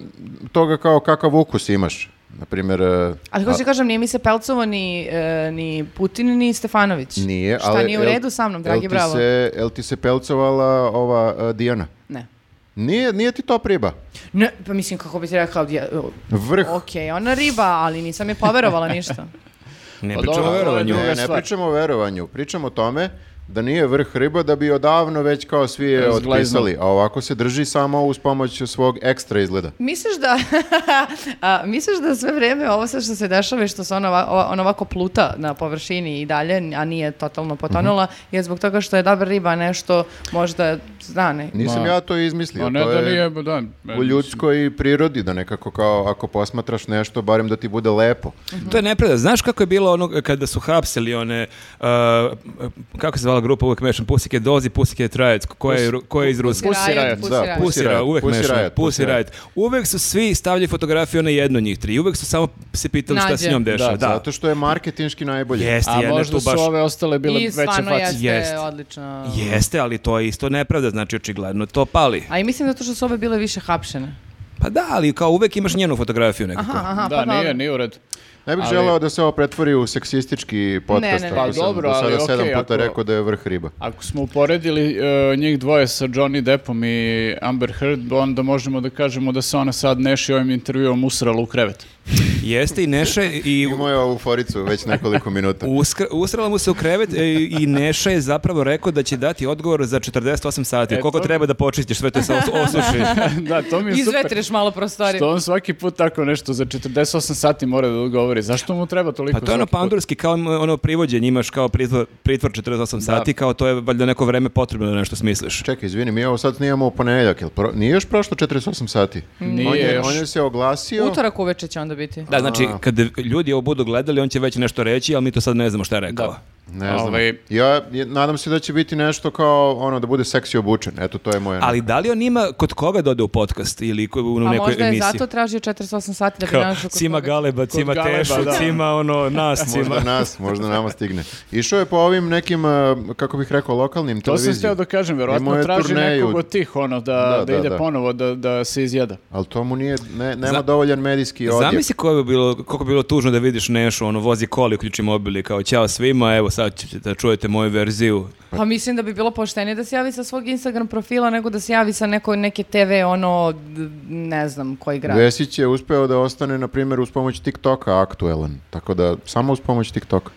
toga kao kakav ukus imaš. Naprimjer, e,
Ali hoću ti kažem, nije mi se Pelcovo ni, e, ni Putin, ni Stefanović.
nije,
Šta
ali...
nije u
jel-
redu sa mnom, dragi
jel ti
bravo?
Se, jel ti se pelcovala ova e, Dijana?
Ne.
Nije, nije ti to priba.
Ne, pa mislim, kako bi ti rekao, ja, o,
Vrh.
ok, ona riba, ali nisam je poverovala
*laughs*
ništa.
Ne
Pa
pričamo
dobro,
o
ovo je
verovanju.
druga
Ne, ne
stvar.
pričamo o verovanju, pričamo o tome da nije vrh riba, da bi odavno već kao svi je
Zglezno.
otpisali, a ovako se drži samo uz pomoć svog ekstra izgleda.
misliš da, *laughs* a, misliš da sve vreme ovo sve što se dešava i što se ona, ova- ova- ona ovako pluta na površini i dalje, a nije totalno
Mhm.
potonula, je zbog toga što je dobra riba nešto možda zna ne.
Nisam
Ma-
ja to izmislio.
A ne
to
da
je-
nije, ba da.
u ljudskoj prirodi, da nekako kao ako posmatraš nešto, barem da ti bude lepo.
To je nepravda. Znaš kako je bilo ono kada su hapsili one, uh, kako se zvala mala grupa uvek mešam. Pusike dozi, pusike trajac. Ko je,
Pus-
ko je iz Ruske?
Pussy Riot,
Pussy
da,
Riot.
Pussy Riot, uvek
Pussy
mešam.
Riot,
Pussy
Pussy Riot.
Riot. Uvek su svi stavljali fotografiju na jednu od njih tri. Uvek su samo se pitali šta
Nađe.
s njom dešava.
Da,
Da,
Zato što je marketinški najbolje.
Jeste,
A
jedna je
možda
tu
su
baš...
ove ostale bile
I
veće
stvarno
face.
jeste
Jest.
odlično.
Jeste, ali to je isto nepravda, znači očigledno to pali.
A i mislim zato što su ove bile više hapšene.
Pa da, ali kao uvek imaš njenu fotografiju nekako.
Aha, aha,
Da,
pa dobro.
nije, nije u redu.
Ne bih
Ali-
želeo da se ovo pretvori u seksistički podcast.
ne,
ako
ne.
Pa
sam
dobro,
do sada
ali
sedam
okej,
puta
ako-
rekao da je vrh riba.
Ako smo uporedili e, njih dvoje sa Johnny Deppom i Amber Heard, onda možemo da kažemo da se ona sad neši ovim intervjuom usrala u krevet. *laughs*
Jeste i Neša je- i
Imao je ovu foricu već
*laughs*
nekoliko minuta.
uskr- usrala mu se u krevet e, i Neša je zapravo rekao da će dati odgovor za 48 sati.
E,
Koliko
to-
treba da počistiš, sve to se os- osuši.
da, to mi je super.
Izvetriš malo prostorije.
Što on svaki put tako nešto za 48 sati mora da odgovori. Zašto mu treba toliko?
Pa to je ono
svaki put?
pandurski, kao ono privođenje, imaš kao pritvor, pritvor 48 sati, kao to je valjda neko vreme potrebno da nešto smisliš.
Čekaj, izvini, mi ovo sad snimamo u ponedjeljak, jel pro- nije još prošlo 48 sati?
Nije
on je,
još.
On je se oglasio,
Utorak uveče će onda biti.
Da, znači, kad ljudi ovo budu gledali, on će već nešto reći, ali mi to sad ne znamo šta je rekao.
Da.
ne znam,
Ovaj-
ja je- nadam se da će biti nešto kao ono da bude seksi obučen, eto to je moja.
Ali da li on ima kod koga da ode u podcast ili ko- u
A
nekoj
Pa možda je
emisiji?
zato tražio 48 sati da bi
Kao,
našao kod
cima
koga.
Galeba, cima
Galeba,
Tešu,
da.
cima ono nas, cima.
Možda nas, možda nama stigne. Išao je po ovim nekim, eh, kako bih rekao, lokalnim
To sam
televizijama.
htio da kažem,
Imao
verovatno
je
traži
turneju.
nekog od tih ono da,
Da,
da,
da,
ide
da.
ponovo da, da se izjeda.
Ali to mu nije, ne, nema
Za-
dovoljan medijski odjek.
Zamisli ko bi bilo, kako bi bilo tužno da vidiš Nešu, ono, vozi koli, uključi mobil i kao, ćao svima, evo sad ćete da čujete moju verziju.
Pa mislim da bi bilo poštenije da se javi sa svog Instagram profila nego da se javi sa neko, neke TV ono, d- ne znam koji grad.
Vesić je uspeo da ostane, na primjer, uz pomoć TikToka aktuelan. Tako da, samo uz pomoć TikToka.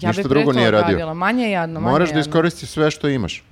ja
Ništa
bi pre
drugo
to
nije radio.
radila. Manje je jadno, manje
Moraš
je
da
jadno.
iskoristiš sve što imaš.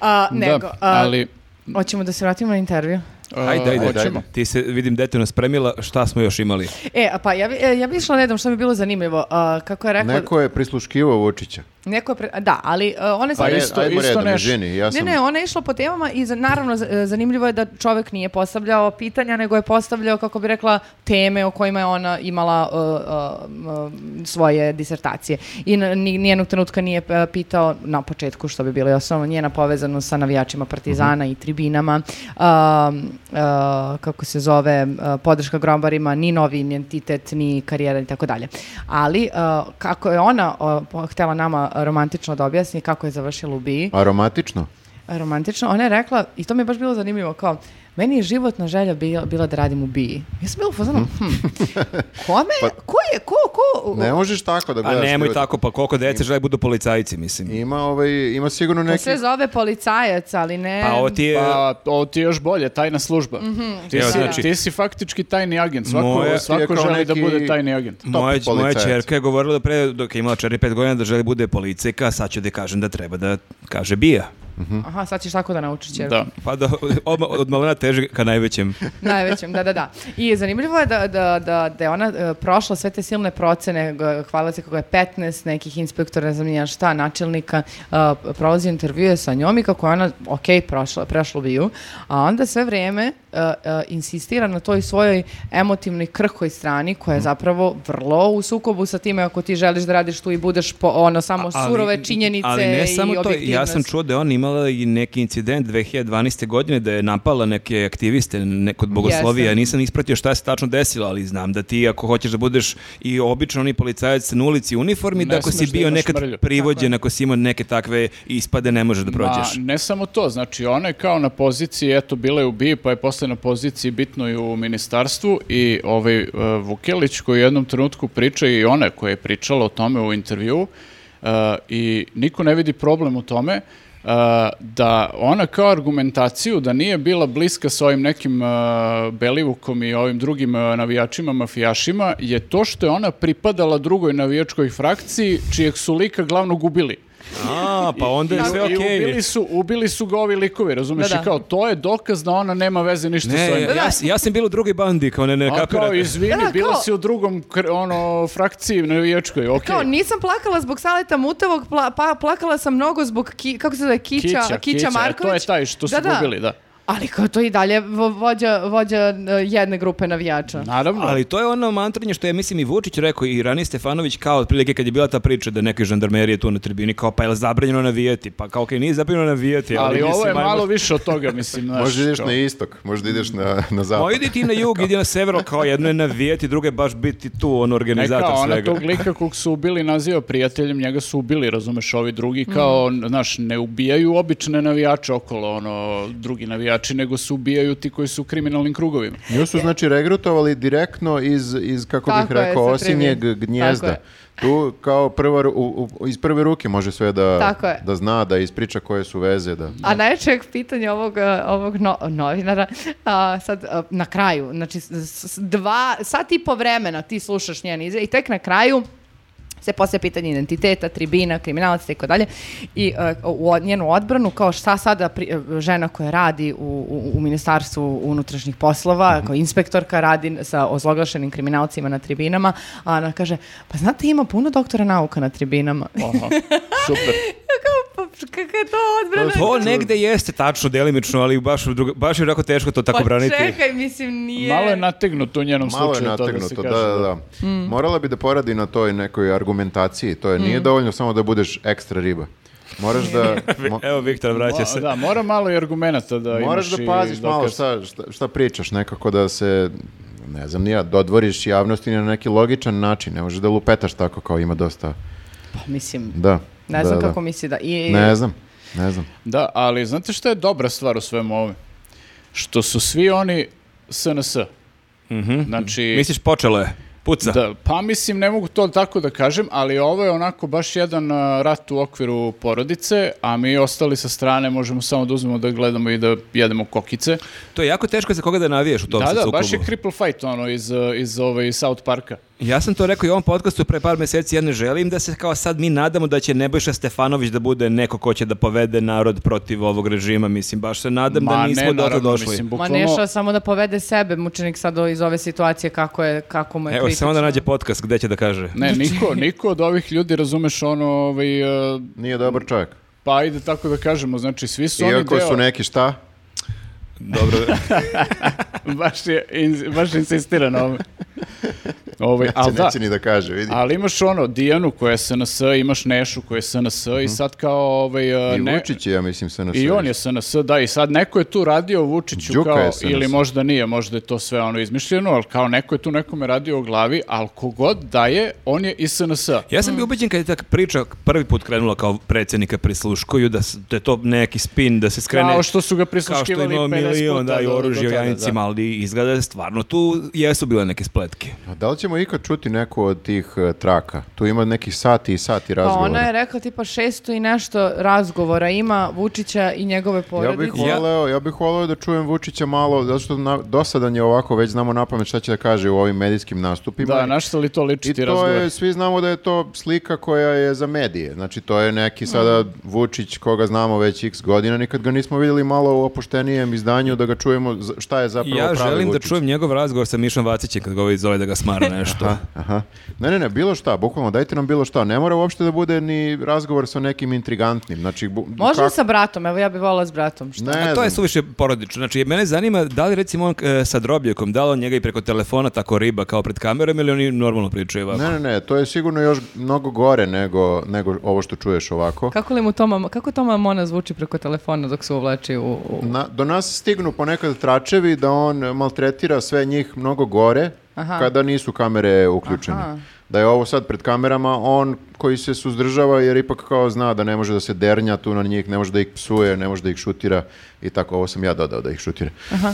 A, nego,
da,
a,
ali...
hoćemo da se vratimo na intervju.
Ajde, ajde,
ajde.
hoćemo. Ti se, vidim, detaljno spremila, šta smo još imali?
E, a pa ja bi, e, ja bi išla redom što mi je bilo zanimljivo. A, kako je rekao...
Neko je prisluškivao Vučića.
neko je pre- da, ali uh, one
Pa
Ajde,
isto-
ajmo
isto
redom,
neš-
izvini, ja
Ne,
sam...
ne, ona je išla po temama i za- naravno z- e, zanimljivo je da čovek nije postavljao pitanja, nego je postavljao, kako bi rekla, teme o kojima je ona imala e, e, m, svoje disertacije. I n- ni- nijednog trenutka nije e, pitao na početku što bi bilo osnovno njena povezano sa navijačima
Mhm.
Partizana i tribinama, um, e, kako se zove, e, podrška grombarima, ni novi identitet, ni karijera i tako dalje. Ali e, kako je ona e, po- htela nama romantično da objasni kako je završila u BI,
Aromatično?
romantično, ona je rekla, i to mi je baš bilo zanimljivo, kao, meni je životna želja bila, bila da radim u BI. Ja sam bila u
Mhm.
fazonu, hm, kome, ko je, ko, ko,
Pa Ne možeš tako da
A
gledaš.
nemoj
ljude.
tako, pa koliko dece žele da budu policajci, mislim.
Ima, ovaj, ima sigurno
to
neki...
se zove policajac, ali ne,
Pa ovo ti je...
Pa, ovo ti je još bolje, tajna služba.
Mhm,
ti,
Evo,
si,
znači-
ti si faktički tajni agent. Svako,
Moje-
Ti
svako
je kao
želi da
neki-
bude tajni agent.
Moja,
top
moja
policajac.
čerka je govorila da pre, dok je imala 4-5 godina da želi bude policajka, sad ću da kažem da treba da kaže bija.
aha, sad ćeš tako da naučiš ćerku.
Da.
Pa da, *laughs* od, od malena teže ka najvećem.
Najvećem, da, da, da. I zanimljivo je da, da, da, da je ona e, prošla sve te silne procene, g- hvala se kako je 15 nekih inspektora, ne znam ni ja šta, načelnika, e, prolazi intervjue sa njom i kako je ona, ok, prošla, prešla bio, a onda sve vrijeme e, e, insistira na toj svojoj emotivnoj krhkoj strani koja je
Mhm.
zapravo vrlo u sukobu sa time ako ti želiš da radiš tu i budeš po, ono samo surove činjenice
ali ne
i
samo to, ja
objektivnost.
sam čuo da je on imala i neki incident 2012. godine da je napala neke aktiviste ne, kod Bogoslovija.
Jeste.
Nisam ispratio šta se tačno desilo, ali znam da ti ako hoćeš da budeš i običan oni policajac na ulici u uniformi,
Ne
da ako si
smeš da
bio
imaš
nekad
mrlju.
privođen, ako si imao neke takve ispade, ne možeš da prođeš.
Ma, ne samo to, znači ona je kao na poziciji, eto, bila je u BI, pa je posle na poziciji bitno i u ministarstvu i ovaj e, Vukelić koji u jednom trenutku priča i ona koja je pričala o tome u intervju i niko ne vidi problem u tome e, da ona kao argumentaciju da nije bila bliska s ovim nekim e, Belivukom i ovim drugim e, navijačima, mafijašima, je to što je ona pripadala drugoj navijačkoj frakciji čijeg su lika glavno gubili.
A, pa onda je
I-
sve okej.
i ubili, su, ubili su ga ovi likovi, razumeš?
Da, da.
I kao, to je dokaz da ona nema veze ništa s
Ne,
ovim.
ja, ja sam bio u drugoj bandi, kao ne, ne
A kao,
kapirate.
izvini,
Da, da,
bila
kao-
si u drugom kr- ono, frakciji navijačkoj, okej.
Kao, nisam plakala zbog Saleta Mutavog, pla- pa plakala sam mnogo zbog, ki- kako se zove, Kića, Kića,
e,
Marković.
To je taj što su
Da, da.
gubili, da.
Ali kao to i dalje vo- vođa, vođa e, jedne grupe navijača.
Naravno.
Ali to je ono mantranje što je, mislim, i Vučić rekao i Rani Stefanović kao otprilike kad je bila ta priča da neke žandarmerije tu na tribini kao pa je li zabranjeno navijati, pa kao okej, nije zabranjeno navijati.
ali ovo
mislim,
je
ajmo-
malo više od toga,
*laughs*
mislim. znaš,
Možda ideš
kao-
na istok, možda ideš na, na zapad.
Ma idi ti na jug, idi na sever, ali kao jedno je navijati, drugo je baš biti tu, on
E,
organizator
kao, ona
svega.
tog lika kog su ubili naziva prijateljem, njega su ubili, razumeš, ovi
Mm.
drugi kao, znaš, ne ubijaju obične navijače okolo, ono, drugi navijači, nego su ubijaju ti koji su u kriminalnim
*laughs*
krugovima.
Nju su znači regrutovali direktno iz, iz kako
Tako
bih
je,
rekao,
sa tribine.
osinjeg gnjezda.
Tako
Tu kao prva, ru- u- u- iz prve ruke može sve da,
Tako je.
da zna, da ispriča koje su veze. Da.
A najveće pitanje ovog, e, ovog no- novinara, a, sad a, na kraju, znači s- s- dva, sat i po vremena ti slušaš njen izjave i tek na kraju se poslije pitanje identiteta, tribina, kriminalaca i tako dalje. I e, u od- njenu odbranu, kao šta sada pri- e, žena koja radi u, u, u ministarstvu unutrašnjih poslova, kao inspektorka radi sa ozloglašenim kriminalcima na tribinama, a ona kaže, pa znate ima puno doktora nauka na tribinama. *laughs*
Aha, super.
kao, pa, kakva je to odbrana?
To negde jeste tačno, delimično, ali baš, druga- baš je jako teško to tako braniti.
Pa čekaj, mislim, nije...
Malo je nategnuto u njenom
Malo je
slučaju. to da se
nategnuto, da,
kaže,
da, da.
Mm.
Morala bi da poradi na toj nekoj argumentaciji. To je, nije dovoljno samo da budeš ekstra riba. Moraš
*laughs*
da... mo-
Evo, Viktor, vraća se.
Mo- Da, mora malo i argumenta da
Moraš
imaš
da
i
paziš malo
dokaz.
šta, šta, šta pričaš, nekako da se, ne znam, nija, dodvoriš javnosti na neki logičan način. Ne možeš da lupetaš tako kao ima dosta.
Pa, mislim,
Da.
ne znam
da, da.
kako misli da... I,
Ne znam, ne znam.
Da, ali znate šta je dobra stvar u svemu ovome? Što su svi oni SNS. Znači,
Mhm. Misliš, počelo je. Puca.
Da, pa mislim, ne mogu to tako da kažem, ali ovo je onako baš jedan a, rat u okviru porodice, a mi ostali sa strane možemo samo da uzmemo da gledamo i da jedemo kokice.
To je jako teško za koga da naviješ u tom
da,
sad
da,
sukobu.
baš je cripple fight ono iz, a, iz ovaj, South Parka.
Ja sam to rekao i u ovom podcastu pre par meseci, ja ne želim da se kao sad mi nadamo da će Nebojša Stefanović da bude neko ko će da povede narod protiv ovog režima, mislim, baš se nadam da nismo do toga
naravno,
došli.
Mislim,
Ma
bukvalno,
Neša samo da povede sebe mučenik sad o- iz ove situacije kako, je, kako mu je
Evo,
kritično.
samo da nađe podcast gde će da kaže.
Ne, niko, niko od ovih ljudi, razumeš, ono, ovaj, a,
Nije dobar čovjek.
pa ajde tako da kažemo, znači svi su oni
Iako
deo...
su neki šta,
Dobro,
*laughs* baš, je, in- baš insistira na ovome. Ovaj,
se
ali
*laughs*
da,
Znači, neće ni da kaže, vidi.
Ali imaš ono, Dijanu koja je SNS, imaš Nešu koja je SNS i sad kao ovaj... uh,
Mhm. I
ne-
Vučić je, ja mislim, se na
I on je SNS, da, i sad neko je tu radio Vučiću
Đuka
kao,
je SNS.
ili možda nije, možda je to sve ono izmišljeno, ali kao neko je tu nekome radio u glavi, ali kogod da je, on je iz SNS.
ja sam bio ubeđen kad je ta priča prvi put krenula kao predsjednika prisluškuju, da, s- da je to neki spin, da se skrene...
Kao što su ga
kao što
prisluškivali
imao
50
milion,
puta
da, i
do- do
oružje u
tada, da.
jajnicima, ali izgleda da je stvarno tu jesu bile neke spletke.
A da li ćemo ikad čuti neku od tih eh, traka? Tu ima nekih sati i sati
Pa
razgovora.
ona je rekla tipa 600 i nešto razgovora ima Vučića i njegove
Ja
porodice.
bih voleo, ja bih voleo da čujem Vučića malo, zato što na, dosadan je ovako, već znamo na pamet šta će da kaže u ovim medijskim nastupima.
Da, na što li to liči
I
ti
to
razgovor?
je, svi znamo da je to slika koja je za medije. Znači, to je neki sada Vučić koga znamo već x godina, nikad ga nismo vidjeli malo u opuštenijem izdanju da ga čujemo za- šta je zapravo
ja
pravi
želim da
Vučić.
čujem njegov razgovor sa Mišom Vacićem kad ga ovaj zove da ga
*laughs*
smara nešto.
Aha. Ne, ne, ne, bilo šta, bukvalno dajte nam bilo šta. Ne mora uopšte da bude ni razgovor sa nekim intrigantnim. Znači, bu-
Možda
kak-
sa bratom, evo ja bih volila s bratom.
Ne
A to je
znam.
suviše porodično. Znači, mene zanima da li recimo on e, sa Drobljakom, da li on njega i preko telefona tako riba kao pred kamerom ili oni normalno pričaju ovako?
Ne, ne, ne, to je sigurno još mnogo gore nego, nego ovo što čuješ ovako.
Kako li mu Toma, kako Toma Mona zvuči preko telefona dok se uvlači u... u-
Na, do nas stignu ponekad tračevi da on maltretira sve njih mnogo gore
Aha.
kada nisu kamere uključene.
Aha.
Da je ovo sad pred kamerama on koji se suzdržava jer ipak kao zna da ne može da se dernja tu na njih, ne može da ih psuje, ne može da ih šutira i tako. Ovo sam ja dodao da ih šutira.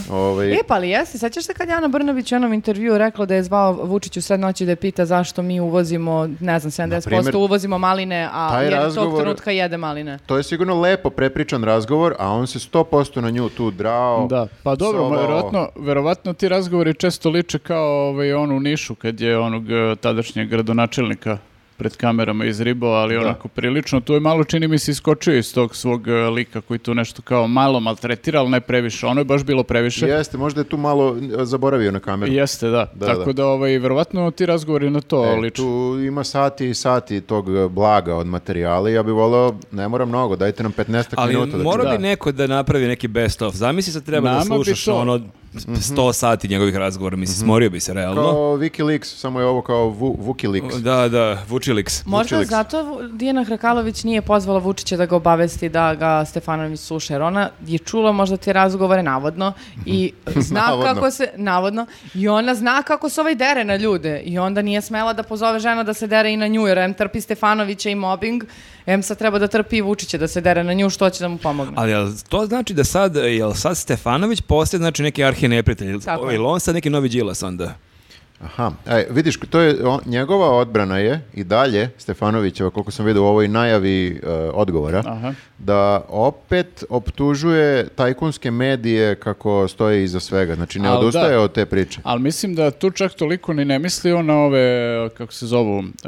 Ovaj,
E, pa ali jesi, sećaš se kad je Ana Brnabić u jednom intervju rekla da je zvao Vučić u sred noći da je pita zašto mi uvozimo, ne znam, 70%
Naprimer,
uvozimo maline, a
taj
jedan tog
razgovor-
trenutka jede maline.
To je sigurno lepo prepričan razgovor, a on se 100% na nju tu drao.
Da, pa dobro,
psovao.
verovatno, verovatno ti razgovori često liče kao ovaj, on u Nišu, kad je onog eh, tadašnjeg e, gradonačelnika pred kamerama izribao, ali onako prilično. Tu je malo, čini mi se, iskočio iz tog svog e, lika koji tu nešto kao malo maltretira, ali ne previše. Ono je baš bilo previše.
Jeste, možda je tu malo e, zaboravio na kameru.
Jeste, da.
Da, da.
Tako da, ovaj, verovatno ti razgovori na to
E,
e,
tu ima sati i sati tog e, blaga od materijala i ja bih volao, ne mora mnogo, dajte nam 15
Ali
minuta. da
mora
čujemo.
bi neko da napravi neki best of. Zamisli sad treba da
Nama bi
slušaš
to-
ono 100 sati njegovih razgovora, mislim, smorio bi se realno.
Mhm. Kao Wikileaks, samo je ovo kao Vu, Vukileaks.
Da, da, Vučiliks.
Možda
Vučiliks.
zato Vu- Dijana Hrkalović nije pozvala Vučića da ga obavesti da ga Stefanović sluša, jer ona je čula možda te razgovore navodno
*laughs*
i zna
Navodno.
kako se, navodno, i ona zna kako se ovaj dere na ljude i onda nije smela da pozove žena da se dere i na nju, jer em trpi Stefanovića i mobbing, em sad treba da trpi i Vučića da se dere na nju, što će da mu pomogne.
Ali jel to znači da sad, jel sad Stefanović postaje znači neki arhineprijatelj?
Tako je.
Jel on sad neki novi Đilas onda?
Aha, e, vidiš, to je, on- njegova odbrana je i dalje, Stefanovićeva, koliko sam vidio u ovoj najavi e, odgovora,
Aha.
da opet optužuje tajkunske medije kako stoje iza svega. Znači, ne
Al da.
odustaje od te priče.
Ali mislim da tu čak toliko ni ne mislio na ove, kako se zovu, e,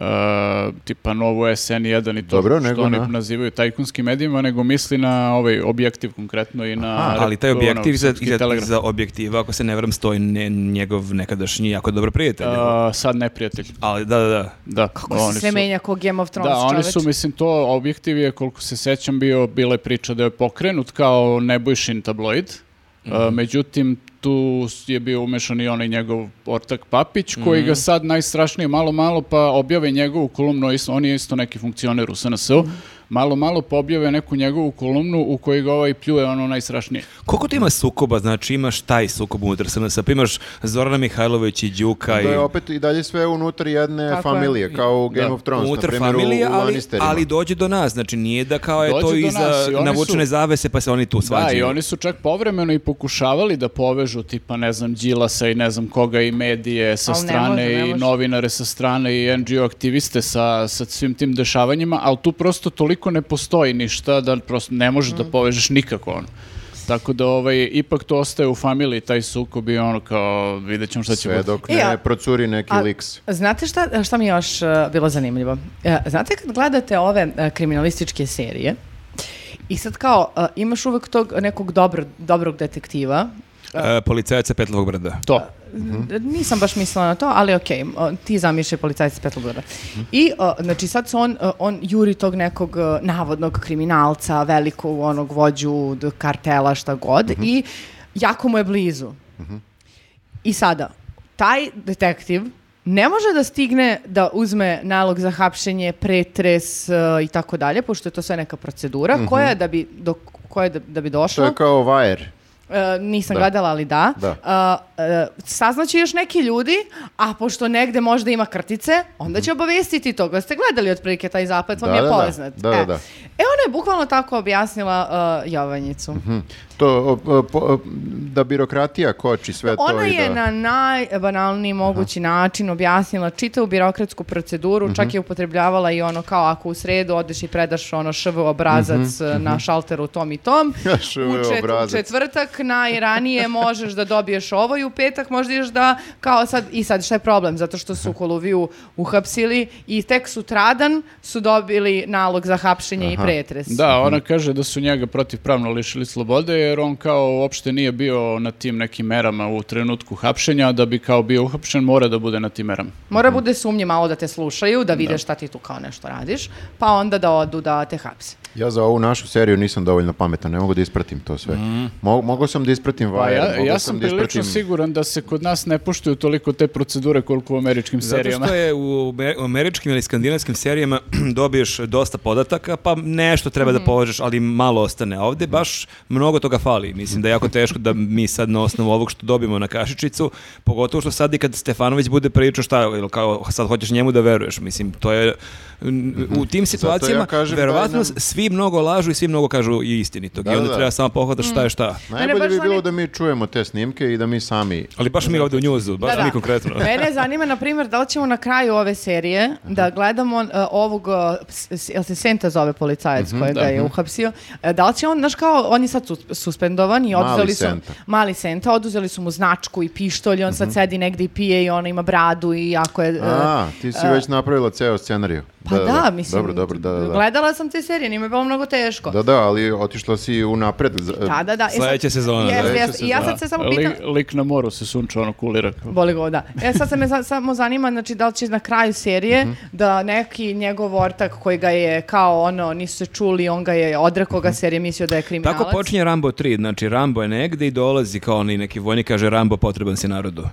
tipa novu SN1 i to
Dobro,
što
nego
oni
na-
nazivaju tajkunskim medijima, nego misli na ovaj objektiv konkretno i na...
A, ali taj
ono,
objektiv za,
Srpski
iza,
telegraf.
iza objektiva, ako se ne vram, stoji ne, njegov nekadašnji jako dobro prijatelj.
E, sad neprijatelj.
Ali da, da, da.
Da,
Kako se sve menja ko Game of Thrones
Da, oni su,
čoveče.
mislim, to objektiv je, koliko se sećam, bio, bila je priča da je pokrenut kao nebojšin tabloid. E, međutim, tu je bio umešan i onaj njegov ortak Papić, koji ga sad najstrašnije malo malo pa objave njegovu kolumnu, is- on je isto neki funkcioner u SNS-u, malo malo pa objave neku njegovu kolumnu u kojoj ga ovaj pljuje ono najstrašnije.
Koliko tu ima sukoba, znači imaš taj sukob unutar SNS, pa imaš Zorana Mihajlović i Đuka i...
To je opet i dalje sve unutar jedne
Tako je.
familije, kao u Game
Da.
of Thrones, na
unutar
primjer, u,
familije,
u
ali,
Lannisterima.
ali dođe do nas, znači nije da kao je
Dođe
to
do
iza
nas i oni
navučene
su-
zavese pa se oni tu svađaju.
Da, i oni su čak povremeno i pokušavali da povežu tipa, ne znam, Đilasa i ne znam koga i medije sa
Al ne
strane
može, ne
i
može.
novinare sa strane i NGO aktiviste sa, sa svim tim dešavanjima, ali tu prosto toliko ne postoji ništa da prosto ne možeš
Mm.
da povežeš nikako ono. Tako da ovaj, ipak to ostaje u familiji, taj sukob i ono kao vidjet ćemo šta će
Sve
biti.
dok
E,
ne
a-
procuri neki
A,
liks.
Znate šta, šta mi je još e, bilo zanimljivo? E, znate kad gledate ove e, kriminalističke serije i sad kao e, imaš uvek tog nekog dobro, dobrog detektiva,
E, policajac sa Petlovog brda.
To.
D- Mhm. nisam baš mislila na to, ali okej, m, o, ti zamišljaj policajca Petlogora. I, o, znači, sad se on, o, on juri tog nekog o, navodnog kriminalca, velikog onog vođu, d- kartela, šta god, i jako mu je blizu. I sada, taj detektiv ne može da stigne da uzme nalog za hapšenje, pretres e, i tako dalje, pošto je to sve neka procedura, koja da bi, do koje da, da bi
To
došla.
je kao vajer.
E, nisam
Da.
gledala, ali da.
Da.
E, e, saznaće još neki ljudi, a pošto negde možda ima krtice, onda će obavestiti to. Da ste gledali otprilike taj zapad, vam
Mhm. Da,
je
da, da.
poznat.
Da, da,
e.
da.
E, ona je bukvalno tako objasnila e, Jovanjicu.
Hm. To, o, o, po- o, da birokratija koči sve to.
Ona
i
je
da...
na najbanalniji mogući način objasnila čitavu birokratsku proceduru,
Mhm.
čak je upotrebljavala i ono kao ako u sredu odeš i predaš ono šv obrazac e, na šalteru tom i
*laughs*
tom,
Mhm. ŠV
u, čet- u
obrazac.
četvrtak
*laughs*
najranije možeš da dobiješ ovo i u petak možda ideš da kao sad, i sad šta je problem, zato što su Koluviju uhapsili i tek sutradan su dobili nalog za hapšenje i pretres.
Da, ona kaže da su njega protivpravno lišili slobode jer on kao uopšte nije bio na tim nekim merama u trenutku hapšenja, a da bi kao bio uhapšen mora da bude na tim merama.
Mora
Mhm.
bude sumnje malo da te slušaju, da vide šta ti tu kao nešto radiš, pa onda da odu da te hapse.
Ja za ovu našu seriju nisam dovoljno pametan, ne mogu da ispratim to sve. Mo- mogao sam da ispratim
Hm. Pa
vajer,
ja,
mogao sam
ja sam
da
prilično
ispratim...
siguran da se kod nas ne poštuju toliko te procedure koliko u američkim
Zato
serijama.
što je u amer- u američkim ili skandinavskim serijama *clears throat* dobiješ dosta podataka, pa nešto treba
Mhm.
da povežeš, ali malo ostane. A Ovde baš mnogo toga fali. Mislim da je jako teško da mi sad na osnovu ovog što dobijemo na kašičicu, pogotovo što sad i kad Stefanović bude pričao šta, ili kao sad hoćeš njemu da veruješ. Mislim, to je n- u tim situacijama
Mhm. kažem da je
verovatno
nam-
svi mnogo lažu i svi mnogo kažu i istinitog.
Da,
I
da,
onda
da.
treba samo pohvataš šta je šta.
Ne,
Najbolje
ne,
bi
baš
bilo
oni-
da mi čujemo te snimke i da mi sami...
Ali baš mi ovde u njuzu, baš
Da, da.
mi
*laughs*
konkretno.
Mene zanima, na primjer, da li ćemo na kraju ove serije da gledamo e, ovog, e, s- s- jel se Senta zove policajac
Mhm,
kojega je uhapsio. E, Da li će on, znaš kao, on je sad sus- suspendovan i
Mali
oduzeli su...
Senta. Mhm.
Mali Senta. oduzeli su mu značku i pištolj i on sad sedi negdje i pije i on ima bradu i jako je... e,
A, ti si već napravila ceo scenariju.
pa da, mislim,
Dobro, dobro, da, da, da.
gledala sam te serije, nije mi bilo mnogo teško.
Da, da, ali otišla si u napred.
Da, da, da. E, sad-
Sljedeća sezona, da.
Jeste,
Sljedeća
jeste. I ja sad se samo pitam...
Lik, lik na moru se sunča, ono kulira. kao.
Boli ga, da. E sad se me za- samo zanima, znači da li će na kraju
Mhm.
serije da neki njegov ortak koji ga je kao ono, nisu se čuli, on ga je odrekao
Mhm.
ga serije, mislio da je kriminalac.
Tako počinje Rambo 3, znači Rambo je negde i dolazi kao oni neki vojnik, kaže Rambo potreban si narodu.
Mhm.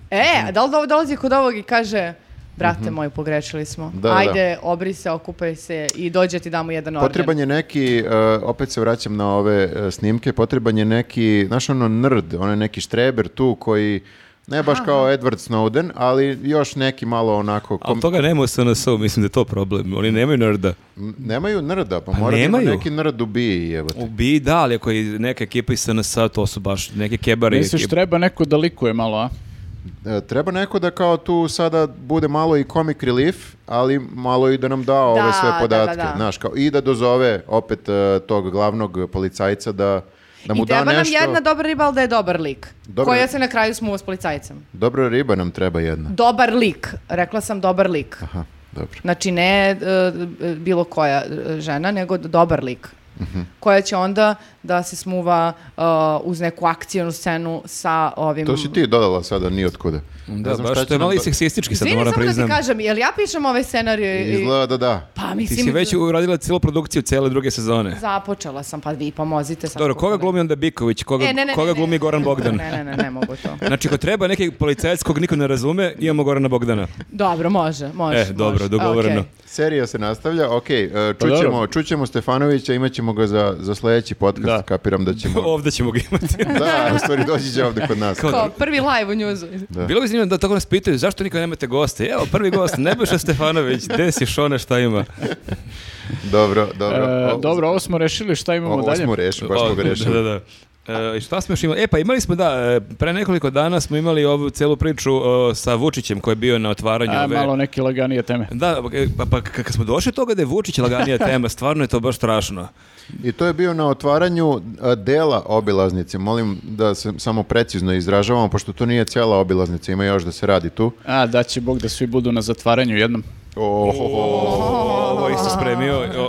E, da li do- dolazi kod ovog i kaže, brate moj, pogrešili smo.
Da, da.
Ajde, obri se, okupaj se i dođe ti damo jedan orden.
Potreban je neki, e, opet se vraćam na ove e, snimke, potreban je neki, znaš ono nerd, onaj neki štreber tu koji, ne baš kao Edward Snowden, ali još neki malo onako...
Ali
kom-
toga nema u SNS-u, mislim da je to problem. Oni nemaju nerda.
M- Nemaju nerda, pa,
Pa
mora da ima
nemaju.
neki nerd u BI, evo
U BI da, ali ako je neka ekipa iz SNS-a, to su baš neke kebare.
Misliš,
ekipe.
treba neko da likuje malo, a?
E, Treba neko da kao tu sada bude malo i comic relief, ali malo i da nam da ove
Da,
sve
da,
podatke.
da, da.
Znaš, kao, I da dozove opet e, tog glavnog policajca da, da mu
I
da
treba nam
nešto.
jedna dobra riba, ali da je dobar lik.
Dobar-
Koja se na kraju smuva s policajcem.
Dobra riba nam treba jedna.
Dobar lik. Rekla sam dobar lik.
Aha, dobro.
Znači ne e, e, bilo koja e, žena, nego d- dobar lik.
Mhm.
Koja će onda da se smuva e, uz neku akcijnu scenu sa ovim...
To si ti dodala sada, ni od kuda.
Da, baš to je malo i seksistički, sad
Izvini,
moram
samo
priznam.
da ti kažem, jel ja pišem ovaj scenarij? i-
Izgleda da da.
Pa
Ti
mislim...
si već uradila cijelu produkciju cele druge sezone.
Započela sam, pa vi pomozite sad.
Dobro, koga
kako-
glumi onda Biković, koga,
E, ne, ne,
koga
ne, ne.
glumi Goran Bogdan?
Ne, ne, ne, ne mogu to.
Znači, ako treba neki policajac kog niko ne razume, imamo Gorana Bogdana.
Dobro, može, može.
E, dobro,
može.
dogovoreno.
Okej.
Serija se nastavlja, ok, e,
Pa
čućemo,
dobro.
čućemo Stefanovića, imat ćemo ga za, za sledeći podcast,
Da.
kapiram da
*laughs*
ćemo...
Ovdje ćemo ga imati.
da, u stvari doći će ovde kod nas.
Kao-
Kao prvi live u njuzu.
Da.
Bilo bi zanimljivo da tako nas pitaju, zašto nikad nemate goste? Evo, prvi
*laughs*
gost, Nebojša Stefanović, gde si Šone, šta ima?
Dobro, dobro.
E,
O-
dobro, ovo smo rešili, šta imamo
Ovo
dalje?
smo rešili, baš smo
O,
ga rešili.
Da, da. E, i šta smo još imali? E, pa imali smo, da, e, pre nekoliko dana smo imali ovu celu priču o, sa Vučićem koji je bio na otvaranju
A,
ove...
malo neke laganije teme.
Da, e, pa, pa k- kad smo došli do toga da je Vučić laganija tema, stvarno je to baš strašno.
I to je bio na otvaranju a, dela obilaznice. Molim da se samo precizno izražavamo, pošto to nije cijela obilaznica, ima još da se radi tu.
A, da će Bog da svi budu na zatvaranju jednom.
Ovo isto spremio. O,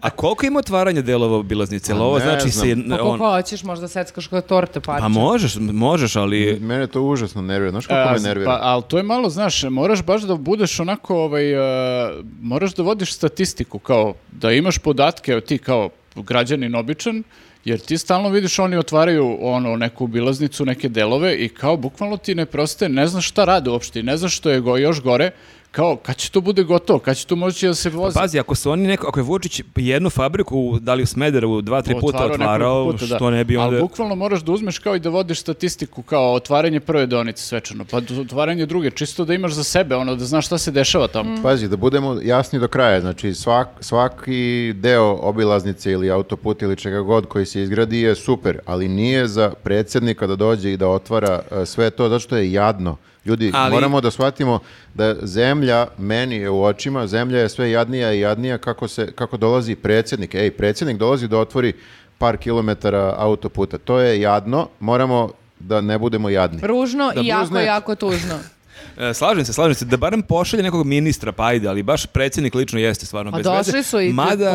A koliko ima otvaranja delova obilaznice? Jel Ovo
ne
znači
znam.
se...
Pa
on-
koliko hoćeš, možda seckaš kod torte parče.
Pa možeš, možeš, ali...
Mene to užasno nervira. Znaš
A,
kako me
z-
nervira?
Pa, ali to je malo, znaš, moraš baš da budeš onako, ovaj, e, moraš da vodiš statistiku, kao da imaš podatke, evo ti kao građanin običan, jer ti stalno vidiš oni otvaraju ono neku bilaznicu, neke delove i kao bukvalno ti ne proste, ne znaš šta rade uopšte, i ne znaš što je go, još gore, kao kad će to bude gotovo, kad će to moći da se vozi.
Pazi, ako su oni neko, ako je Vučić jednu fabriku, da li u Smederevu, dva, tri puta
Otvarao
otvarao,
nekoliko puta, da.
što ne bi onda...
Ali bukvalno moraš da uzmeš kao i da vodiš statistiku kao otvaranje prve deonice svečano, pa d- otvaranje druge, čisto da imaš za sebe, ono da znaš šta se dešava tamo.
Pazi, da budemo jasni do kraja, znači svak, svaki deo obilaznice ili autoputa ili čega god koji se izgradi je super, ali nije za predsjednika da dođe i da otvara e, sve to, zato što je jadno. Ljudi,
Ali-
moramo da shvatimo da zemlja, meni je u očima, zemlja je sve jadnija i jadnija kako, se, kako dolazi predsjednik. Ej, predsjednik dolazi da otvori par kilometara autoputa. To je jadno, moramo da ne budemo jadni.
Ružno
Da
i jako,
bluzne-
jako tužno.
E, Slažem se, slažem se, da barem pošalje nekog ministra, pa ajde, ali baš predsjednik lično jeste stvarno
Pa
bez veze.
došli su i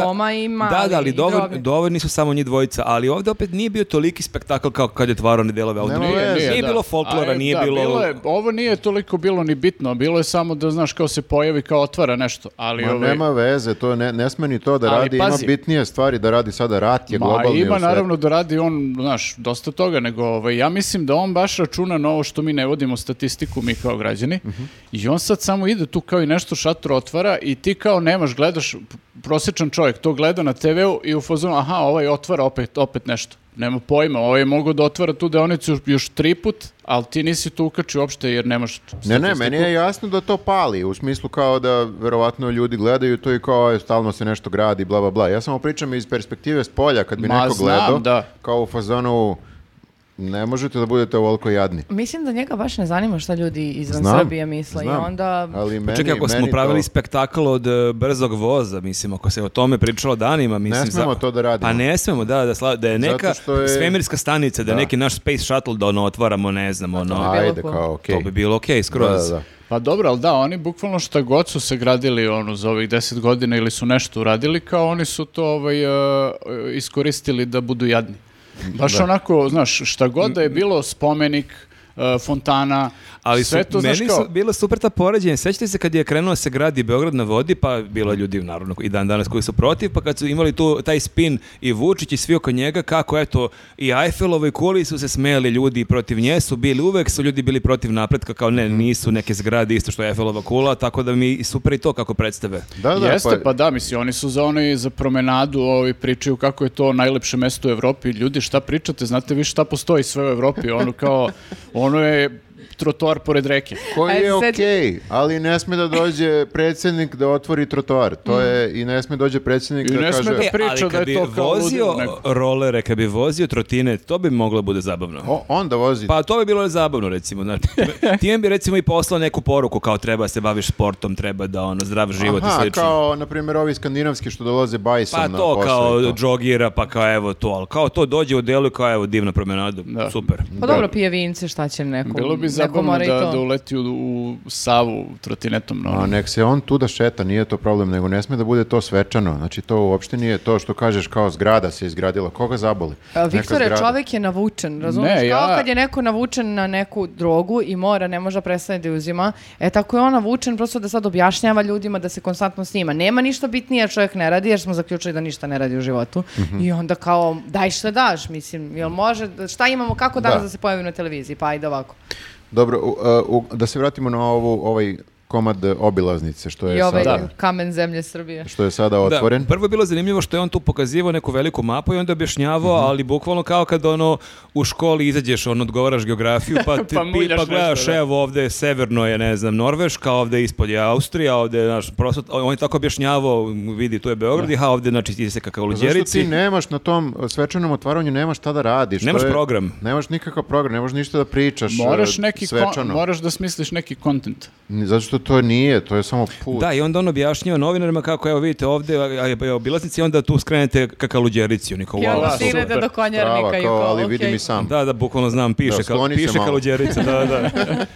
Toma i Mali
Da, da, ali
i
dovoljni,
Drobin.
dovoljni su samo njih dvojica, ali ovdje opet nije bio toliki spektakl kao kad je otvarao one delove auta.
Nema veze.
nije
da.
bilo folklora,
A, e,
nije
da,
bilo...
je- ovo nije toliko bilo ni bitno, bilo je samo da znaš kao se pojavi kao otvara nešto, ali
Ma
ovaj-
nema veze, to ne, ne sme ni to da
Ali
radi,
pazi.
ima bitnije stvari da radi sada rat je
Ma,
globalni u
ima
svetu.
naravno da radi on, znaš, dosta toga, nego ovaj, ja mislim da on baš računa na ovo što mi ne vodimo statistiku, mi kao građani, i on sad samo ide tu kao i nešto šatro otvara i ti kao nemaš, gledaš, p- prosječan čovjek to gleda na TV-u i u fazonu, aha, ovaj otvara opet, opet nešto. Nema pojma, ovaj je mogao da otvara tu deonicu još, još tri put, ali ti nisi to ukačio uopšte jer nemaš statistiku.
Ne, ne, meni je jasno da to pali, u smislu kao da verovatno ljudi gledaju to i kao "Aj, stalno se nešto gradi, bla, bla, bla. Ja samo pričam iz perspektive s polja, kad bi
Ma,
neko
znam,
gledao,
da.
kao u fazonu ne možete da budete ovoliko jadni.
Mislim da njega baš ne zanima šta ljudi izvan
Znam,
Srbije misle
znam,
i onda...
Ali meni,
Čekaj, ako smo
meni to-
pravili spektakl od e, brzog voza, mislim, ako se o tome pričalo danima, mislim...
Ne smemo to da radimo.
A ne smemo, da, da, sla- da je
Zato
neka
što je-
svemirska stanica, da, je
Da.
neki naš space shuttle da ono otvaramo, ne znam, ono...
to bi
Ajde,
bilo
kao, okej.
To bi bilo okej, skroz.
Da, da, da.
Pa dobro, ali da, oni bukvalno šta god su se gradili ono, za ovih deset godina ili su nešto uradili, kao oni su to ovaj, e, iskoristili da budu jadni. Baš onako, znaš, šta god da je bilo spomenik, e, fontana,
Ali su,
sve to,
meni
znaš kao...
su bilo super ta poređenja. Sećate se kad je krenuo se gradi Beograd na vodi, pa bilo je ljudi naravno i dan danas koji su protiv, pa kad su imali tu taj spin i Vučić i svi oko njega, kako eto i Eiffelovoj kuli su se smeli ljudi i protiv nje su bili, uvek su ljudi bili protiv napretka, kao ne,
Mhm.
nisu neke zgrade isto što je Eiffelova kula, tako da mi i super i to kako predstave.
Da, da,
Jeste, pa, da, mislim, oni su za onaj za promenadu, ovi pričaju kako je to najlepše mesto u Evropi. Ljudi, šta pričate? Znate vi šta postoji sve u Evropi? Ono kao, ono je trotoar pored reke.
Koji
Ajde,
je
sad-
okej, ali ne sme da dođe predsjednik da otvori trotoar. To je, i ne sme dođe predsjednik
I
da
ne sme
kaže...
da- priča
E, ali kad
je
bi
to kao
vozio
ludilo neko.
rolere, kad bi vozio trotine, to bi moglo bude zabavno.
O, onda vozi.
Pa to bi bilo zabavno recimo,
*laughs*
znači time bi recimo i poslao neku poruku kao treba da se baviš sportom, treba da ono zdrav život i
Aha,
slično.
kao, na primjer, ovi skandinavski što dolaze bajsom
pa
na
to
posao
kao
i to.
džogira, pa kao evo to, ali kao to dođe u delu i kao evo divna promenada,
Da.
super.
Pa dobro, pije vince, šta će neko?
Bilo bi
neko
zabavno
mora i
da,
to.
da uleti u, u Savu trotinetom. No.
A nek se on tu da šeta, nije to problem, nego ne sme da bude to svečano. Znači, to uopšte nije to što kažeš kao zgrada se izgradila. Koga zaboli?
A,
Neka
E, Viktore,
zgrada.
čovek je navučen, razumiješ?
Ne,
Kao
ja-
kad je neko navučen na neku drogu i mora, ne može da prestane da je uzima, e tako je on navučen prosto da sad objašnjava ljudima da se konstantno snima. Nema ništa bitnije, jer čovjek ne radi, jer smo zaključili da ništa ne radi u životu. I onda kao, daj šta daš, mislim, jel može, šta imamo, kako danas
Da.
da, se pojavimo na televiziji, pa ajde ovako.
Dobro, u- a, u- da se vratimo na ovu, ovaj komad e, obilaznice što je,
I ovaj
sada,
kamen zemlje Srbije.
što je sada otvoren.
Da, prvo je bilo zanimljivo što je on tu pokazivao neku veliku mapu i onda objašnjavao,
Mhm.
ali bukvalno kao kad ono u školi izađeš, on odgovaraš geografiju,
*laughs*
pa ti
Pa
ti-
muljaš
pa gledaš,
nešto, da.
evo ovde je severno je, ne znam, Norveška, ovde ispod je Austrija, ovde je, znaš, prosto, on je tako objašnjavao, vidi, tu je Beograd, i ha, ovde, znači, ti se kakav u
Pa Zašto ti
Luđerici.
nemaš na tom e, svečanom otvaranju, nemaš šta da radiš? To
Nemaš
je-
program.
Nemaš nikakav program, ne možeš ništa da pričaš
Moraš,
e,
neki kon-
svečano.
moraš da smisliš neki kontent.
Ni- Zato što to nije, to je samo put.
Da, i onda on objašnjava novinarima kako, evo vidite ovde, a- a- a- obilaznici, i onda tu skrenete kakav Luđerici, oni kao, wow,
Jel,
Wow,
super.
stignete
super.
do
Prava,
konjarnika i
kao,
kao,
ali
okej.
vidim i sam.
Da, da, bukvalno znam, piše,
Da,
kao,
skloni se
piše
malo.
Kaluđerica, da,
*laughs*
da.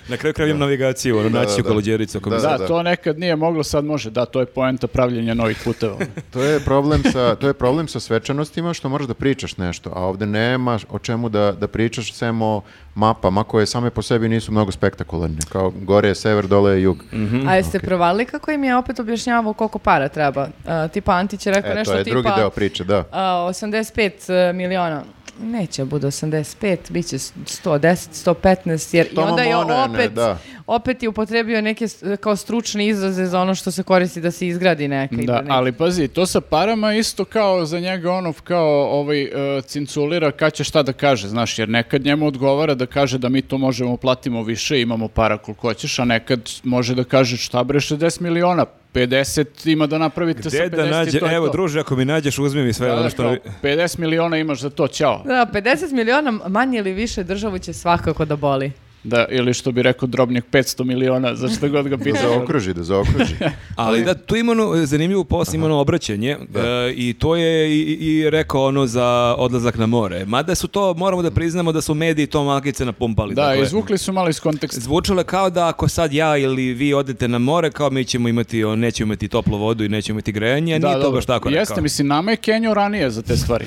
Na kraju kraja imam navigaciju, ono, naći ću
da.
Kaluđericu ako mi
Da,
Da,
da.
to nekad nije moglo, sad može. Da, to je poenta pravljenja novih
*laughs*
puteva.
To je problem sa to je problem sa svečanostima što moraš da pričaš nešto, a ovde nema o čemu da da pričaš sem o mapama koje same po sebi nisu mnogo spektakularne, kao gore je sever, dole je jug.
Mhm.
A jeste provalili kako im je opet objašnjavao koliko para treba? A, tipa Antić je rekao
E,
nešto
to je
tipa
drugi deo priče,
*laughs*
da.
a, 85 e, miliona. Neće bude 85, bit će 110, 115, jer i
Toma
onda je
Mona, ne,
opet,
da.
opet je upotrebio neke s- kao stručne izraze za ono što se koristi da se izgradi neka. ili
da,
neka.
ali pazi, to sa parama isto kao za njega ono kao ovaj e, cinculira kad će šta da kaže, znaš, jer nekad njemu odgovara da kaže da mi to možemo platimo više, imamo para koliko hoćeš, a nekad može da kaže šta bre 60 miliona, 50 ima da napravite sa
Gde
50
da
i
nađe,
to je
evo
to.
druže, ako mi nađeš, uzmi mi sve
Da, da,
ono što...
kao, 50 miliona imaš za to, ćao.
Da, 50 miliona manje ili više državu će svakako da boli.
Da, ili što bi rekao drobnjak 500 miliona, za
*laughs*
što god ga
Da
pitaš.
zaokruži, da zaokruži.
Ali da, tu ima ono e, zanimljivu posle, ima ono obraćanje e, i to je i, i- i rekao ono za odlazak na more. Mada su to, moramo da priznamo da su mediji to magice napumpali.
Da,
dakle,
izvukli su malo iz konteksta.
Zvučalo je kao da ako sad ja ili vi odete na more, kao mi ćemo imati, o, nećemo imati toplu vodu i nećemo imati grejanje, a nije to
dobro.
baš tako
Jeste,
rekao.
mislim, nama je Kenjo ranije za te
*laughs*
stvari.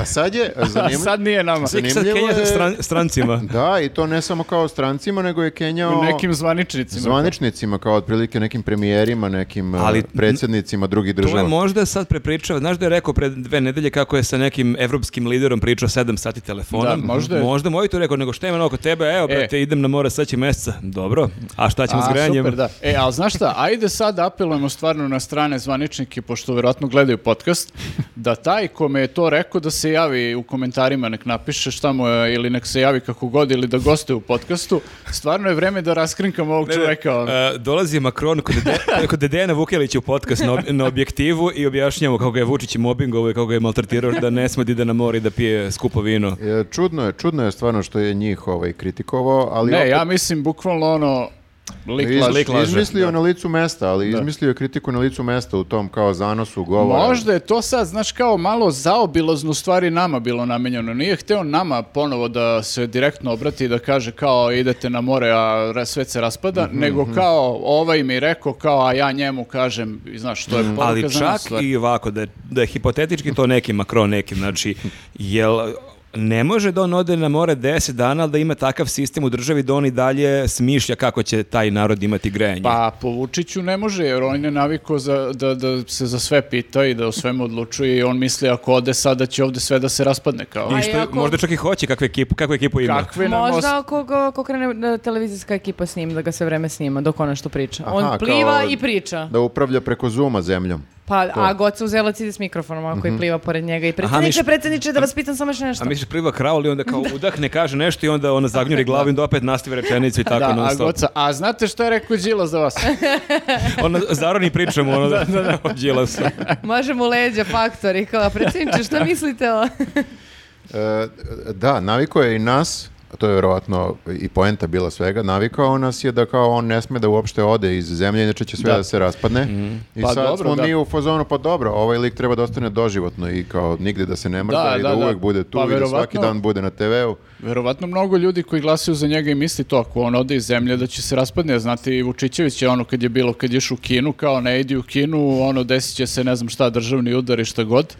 A sad je
A
zanimljivo.
sad nije nama.
Tek sad
zanimljivo
Kenja sa
je-
stran- *laughs* strancima.
Da, i to ne samo kao strancima, nego je Kenjao
Nekim zvaničnicima.
zvaničnicima, kao otprilike nekim premijerima, nekim
Ali-
Ali, predsjednicima drugih
To je
država.
možda sad prepričao, znaš da je rekao pred dve nedelje kako je sa nekim evropskim liderom pričao sedam sati telefonom.
Da, možda je. E.
Možda mu je to rekao, nego šta ima ono oko tebe, evo brate, idem na more sad će meseca. Dobro, a šta ćemo s
A,
grejanjem?
super, da. E, ali znaš šta, ajde sad apelujemo stvarno na strane zvaničnike, pošto verovatno gledaju podcast, da taj kome je to rekao da se javi u komentarima, nek napiše šta mu je, ili nek se javi kako god, ili da gostuje u podcastu. Stvarno je vreme da raskrinkam ovog čoveka. ono.
E, dolazi Makron kod,
*laughs*
Dede, kod Dedejana Vukelića u podcast na, ob- na objektivu i objašnjava kako ga je Vučić mobbingovo i kako ga je maltretirao da ne smodi da na mori da pije skupo vino.
E, Čudno je, čudno je stvarno što je njih ovaj, kritikovao, ali
Ne,
opet
ja mislim bukvalno ono, lik
iz-
laže.
izmislio na licu mesta, ali izmislio je kritiku na licu mesta u tom kao zanosu govora.
Možda je to sad, znaš, kao malo zaobilazno u stvari nama bilo namenjeno. Nije hteo nama ponovo da se direktno obrati i da kaže kao idete na more, a ra- sve se raspada,
Mhm,
nego kao ovaj mi rekao kao, a ja njemu kažem, i znaš, to je
Mhm.
poruka
Ali
za
čak
nas stvar.
i ovako, da je, da je hipotetički to neki Makron nekim, znači, jel ne može da on ode na more 10 dana, ali da ima takav sistem u državi da on i dalje smišlja kako će taj narod imati grejanje.
Pa po Vučiću ne može, jer on je navikao za, da, da se za sve pita i da o svemu odlučuje i on misli ako ode sada će ovde sve da se raspadne kao.
I
A
što,
i ako-
možda čak i hoće kakvu ekipu, kakvu ekipu ima.
Kakve nam
Možda
osta-
ako ga- ako krene e, televizijska ekipa s njim, da ga sve vreme snima dok on nešto priča.
Aha,
on pliva
kao-
i priča.
Da upravlja preko Zuma zemljom.
Pa, a Goca uzela ide s mikrofonom ako
Mhm.
i pliva pored njega. I
misliš-
predsjedniče, predsjedniče, da vas pitam samo još nešto.
A misliš pliva kraul i onda kao udahne, kaže nešto i onda ona *laughs* zagnjuri glavu i onda opet nastavi rečenicu i tako
Da,
non
a
stop.
goca, a znate šta je rekao Đilas za
*laughs*
vas?
Ona zaroni pričamo, ono *laughs* da, da, da.
*laughs* Možemo leđa faktori. Kao, predsjedniče, šta mislite o...
E, da, navikao je i nas, a to je verovatno i poenta bila svega, navikao nas je da kao on ne sme da uopšte ode iz zemlje, inače će sve da,
Da.
se raspadne. I
Pa
sad
dobro,
smo
da.
mi u fazonu, pa dobro, ovaj lik treba da ostane doživotno i kao nigde da se ne mrda
Da,
i da,
da, da.
uvek bude tu
Pa
i da svaki
verovatno-
dan bude na TV-u.
Verovatno mnogo ljudi koji glasaju za njega i misli to, ako on ode iz zemlje da će se raspadne, znate i Vučićević je ono kad je bilo, kad ješ u Kinu, kao ne idi u Kinu, ono desit će se ne znam šta, državni udar i šta god.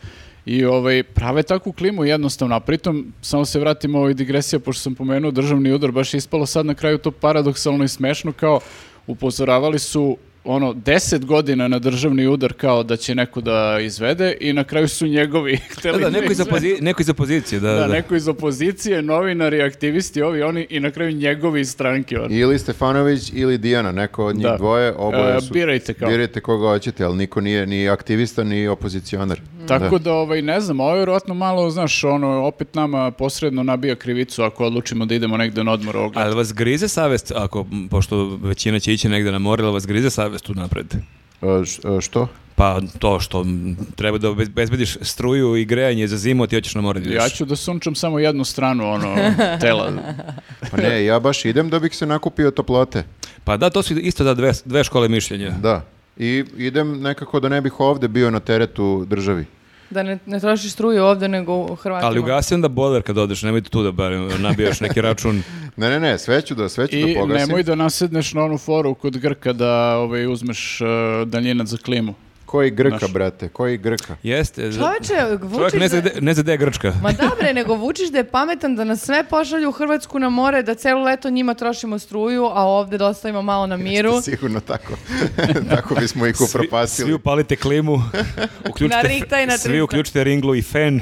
I ovaj, prave takvu klimu jednostavno, a pritom, samo se vratimo ovoj digresija, pošto sam pomenuo državni udar, baš je ispalo sad na kraju to paradoksalno i smešno, kao upozoravali su ono, deset godina na državni udar kao da će neko da izvede i na kraju su njegovi
*laughs*
*laughs*
Da,
hteli
da, neko iz,
izvedu.
opozi- neko iz opozicije, da, da.
Da, neko iz opozicije, novinari, aktivisti, ovi, oni i na kraju njegovi iz stranke. ono.
Ili Stefanović ili Dijana, neko od njih
Da.
dvoje, oboje
E,
su.
birajte kao.
Birajte koga hoćete, ali niko nije ni aktivista ni opozicionar.
Tako da, ovaj, ne znam, ovo je vjerojatno malo, znaš, ono, opet nama posredno nabija krivicu ako odlučimo da idemo negde na odmor ovog.
Ali vas grize savest, ako, m, pošto većina će ići negde na more, ali vas grize savest u napred?
E, š- e, što?
Pa to što m, treba da obez- obezbediš struju i grejanje za zimu, a ti hoćeš na more da ideš.
Ja ću da sunčam samo jednu stranu, ono, tela.
Pa ne, ja baš idem da bih se nakupio toplote.
Pa da, to su isto da dve, dve škole mišljenja.
Da. I idem nekako da ne bih ovde bio na teretu državi.
Da ne, ne trošiš struju ovdje nego u Hrvatima.
Ali ugasi onda boiler kad odeš, nemoj tu da bar e, nabijaš neki
*laughs*
račun.
Ne, ne, ne, sve ću da, sve ću
I
da pogasim.
nemoj da nasedneš na onu foru kod Grka da ovaj, uzmeš uh, daljinac za klimu.
Koji grka, brate, koji grka.
Jeste. za-
Čoveče,
Čovjek ne
Vučić...
zna
da-
gde- ne zna gde je Grčka.
Ma da bre, nego Vučić da je pametan da nas sve pošalju u Hrvatsku na more, da celo leto njima trošimo struju, a ovdje da ostavimo malo na miru.
*laughs* Sigurno tako. tako bismo ih upropastili.
Svi upalite
*laughs*
klimu, uključite,
Na Rihta i na
svi
Trista.
uključite ringlu i fen.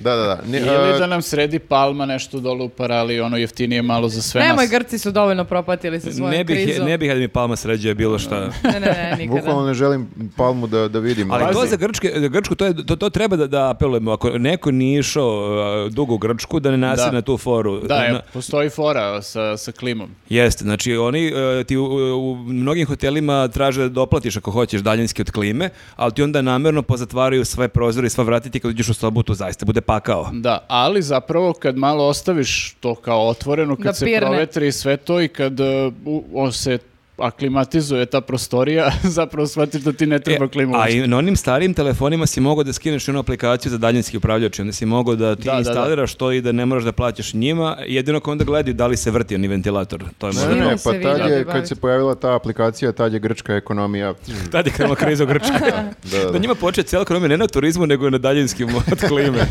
Da, da, da. Ni-
Ili
e,
da nam sredi palma nešto dole u parali, ono jeftinije malo za sve
Nemoj,
nas.
Grci su dovoljno propatili sa svojom
Ne bih,
krizom.
ne bih da mi Palma sređuje bilo šta.
Ne,
*laughs*
ne, ne, nikada.
Bukvalno ne želim palmu da, da vidim.
Ali to
Pazi.
za Grčke, za Grčku, to, je, to, to treba da, da apelujemo. Ako neko nije išao uh, dugo u Grčku, da ne nasje
Da.
na tu foru.
Da, evo,
Na-
postoji fora sa, sa klimom.
Jeste, znači oni e, ti u, u mnogim hotelima traže da doplatiš ako hoćeš daljinski od klime, ali ti onda namerno pozatvaraju sve prozore i sva vratiti kad uđeš u sobu, to zaista bude pakao.
Da, ali zapravo kad malo ostaviš to kao otvoreno, kad
Da
se
pirne.
provetri sve to i kad uh, u- on se aklimatizuje ta prostorija, *laughs* zapravo shvatiš da ti ne treba
E,
klimu.
a
uopšte.
i na onim starijim telefonima si mogao da skineš onu aplikaciju za daljinski upravljač, i onda si mogao da ti
Da, da, da.
instaliraš to i da ne moraš da plaćaš njima, jedino ako onda gledaju da li se vrti oni ventilator. To je
Ne,
možda-
ne, ne,
Snimam se
pa
video
tad
da
je,
bavite.
kad se pojavila ta aplikacija, tad je grčka ekonomija.
Tad je krenula kriza u Grčkoj.
*laughs* Da, da,
Da
da.
njima počeo cijela ekonomija ne na turizmu, nego na daljinskim *laughs* od
*laughs*
klime.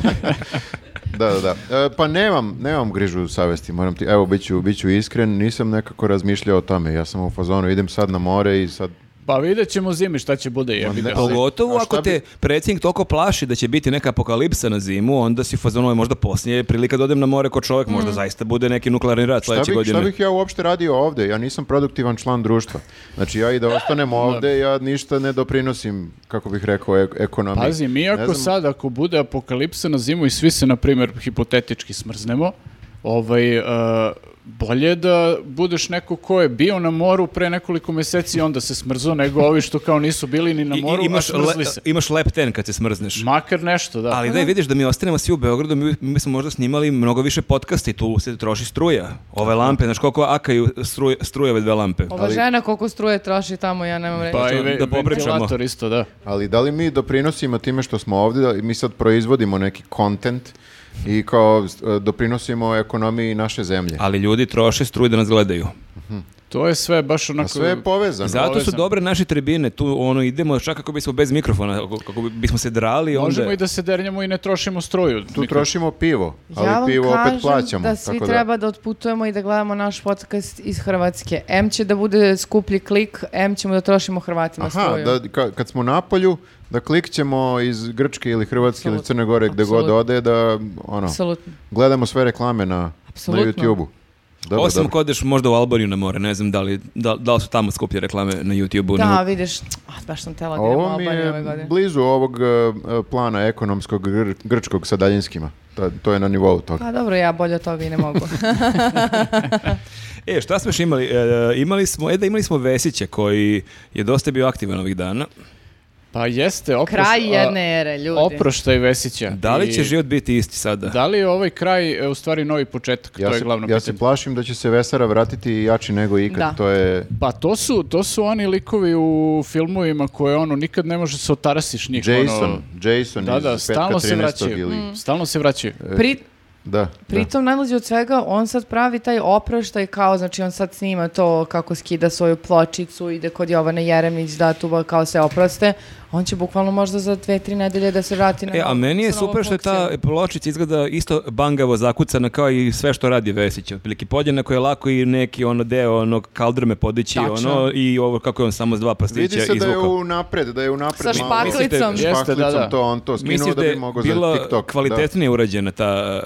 Da, da, da. E, pa nemam, nemam grižu savesti, moram ti, evo, bit ću, bit ću iskren, nisam nekako razmišljao o tome, ja sam u fazonu, idem sad na more i sad
Pa vidjet ćemo zimi šta će bude jebi
ne,
ga.
pa-
ali-
Pogotovo
a šta
ako te predsjednik toliko plaši da će biti neka apokalipsa na zimu, onda si fazon "Ovo je možda poslije prilika da odem na more ko čovjek,
Mm.
možda zaista bude neki nuklearni rat
Šta
sledeće
bih, šta
godine.
bih ja uopšte radio ovde? Ja nisam produktivan član društva. Znači ja i da
*laughs*
ostanem ovde, ja ništa ne doprinosim, kako bih rekao, ek- ekonomiji.
Pazi, mi
Ne
ako
znam,
sad, ako bude apokalipsa na zimu i svi se, na primjer, hipotetički smrznemo, ovaj, e, bolje da budeš neko ko je bio na moru pre nekoliko mjeseci i onda se smrzao, nego ovi što kao nisu bili ni na
I- i-
moru, a
imaš,
smrzli
le-
se.
imaš lep ten kad se smrzneš.
Makar nešto, da.
Ali da vidiš da mi ostanemo svi u Beogradu, mi, mi smo možda snimali mnogo više podcasta i tu se troši struja. Ove lampe, znaš koliko akaju struj, struje ove dve lampe.
Ova žena koliko struje troši tamo, ja nemam reći.
pa
to
i ve-
da popričamo.
ventilator isto, da.
Ali da li mi doprinosimo time što smo ovde, da mi sad proizvodimo neki kontent i kao e, doprinosimo ekonomiji naše zemlje?
Ali ljudi troše struju da nas gledaju.
To je sve baš onako...
A sve je povezano.
Zato su
povezano.
dobre naše tribine, tu ono idemo čak kako bismo bez mikrofona, kako- kako bi- bismo se drali,
Možemo
onda...
i da se dernjamo i ne trošimo struju.
Tu trošimo pivo, ali
ja vam
pivo
kažem
opet plaćamo.
da svi
tako
treba da otputujemo i da gledamo naš podcast iz Hrvatske. M će da bude skuplji klik, M ćemo da trošimo Hrvatima
Aha,
struju.
da, ka- kad smo na polju, da klikćemo iz Grčke ili Hrvatske ili
Apsolutno.
Crne Gore gde god
Apsolutno.
ode da ono,
Apsolutno.
gledamo sve reklame na, na
Apsolutno.
YouTube-u. Dobro,
Osim
dobro.
ako odeš možda u Albaniju na more, ne znam da li, da, da li su tamo skuplje reklame na YouTube-u.
Da,
na-
vidiš, a, baš sam tela da idem u
Ovo mi
Albaniju ove
je
godine.
blizu ovog e, plana ekonomskog gr- grčkog sa daljinskima. Ta- to je na nivou toga.
Pa dobro, ja bolje od toga i ne
*laughs*
mogu.
E, šta smo još imali? E, imali smo, e da imali smo Vesića koji je dosta bio aktivan ovih dana.
Pa jeste, oproš...
Kraj
a-
jedne ere, ljudi.
Oproštaj Vesića.
Da li će
I-
život biti isti sada?
Da li je ovaj kraj e, u stvari novi početak?
Ja,
to je
se,
glavno
ja
pitanje.
se plašim da će se Vesara vratiti jači nego ikad.
Da.
To je
Pa to su, to su oni likovi u filmovima koje ono nikad ne može se otarasiš njih. ono,
Jason, Jason
da,
iz
da,
petka
stalno se
13.
vraćaju.
ili...
Stalno se vraćaju.
Mm. Pri,
Da, da.
pritom, najlađe od svega, on sad pravi taj oproštaj kao, znači on sad snima to kako skida svoju pločicu, ide kod Jovana Jeremić, da tu ba- kao se oproste. On će bukvalno možda za dve, tri nedelje da se vrati na
E, a meni je
sa novom
super što je ta E,
funkcijom.
pločica izgleda isto bangavo zakucana kao i sve što radi Vesić. Otprilike podjednako je lako i neki ono deo onog kaldrme podići
Tačno.
ono i ovo kako je on samo s dva
Vidi
pastića
se da je
izvukao.
u napred, da je u napred.
Sa
malo-
špaklicom.
Jeste,
da, da.
to on to skinuo
Misliš da
da bi
je
mogao za
bila
TikTok. da.
kvalitetnije urađena ta...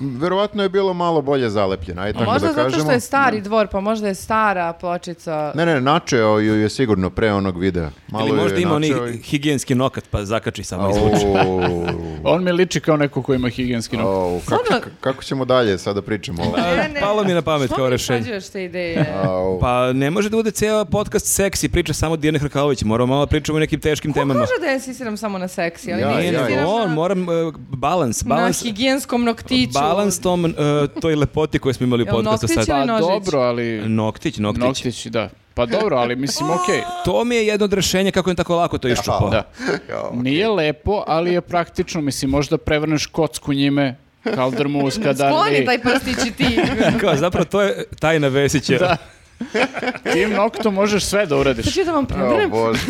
Verovatno je bilo malo bolje zalepljena, aj tako
Možda
da kažemo.
zato što je stari dvor, pa možda je stara pločica.
Ne, ne, načeo ju je sigurno pre onog videa. Malo
ili
ju
možda
je
ima oni
načeo i-
higijenski nokat pa zakači samo izvuče.
Au,
On mi liči kao neko ko ima higijenski nokat.
au, kako,
Stvarno-
k- kako ćemo dalje sada pričamo? o-
Ne, ne,
Palo mi je na pamet
što
kao
mi
rešenje.
usađuješ te ideje?
Au.
Pa ne može da bude ceo podcast seksi, priča samo Dijana Hrkalović, moramo malo pričamo o nekim teškim temama.
Kaže da ja insistiram samo na seksi, ali
Ja,
ne
Nije,
ja,
nego
insistiram
on,
na-
moram, e, balans,
na
balans,
higijenskom noktiću.
balans tom, e, toj lepoti koju smo imali u
Jel
podcastu
noktić
sad.
ili
Pa
nožić.
dobro, ali...
Noktić, noktić.
Noktić, da. Pa dobro, ali mislim, okej.
To mi je jedno od rešenja kako je tako lako to iščupao.
Da. Nije lepo, ali je praktično, mislim, možda prevrneš kocku njime, kaldrmu
Skloni
uskadarli.
taj prstić i
*laughs*
ti.
Kao, zapravo to je tajna Vesića.
Da.
pa-
Tim noktom možeš sve da uradiš.
Sad ću da vam
Au,
prebrnem.
Bože.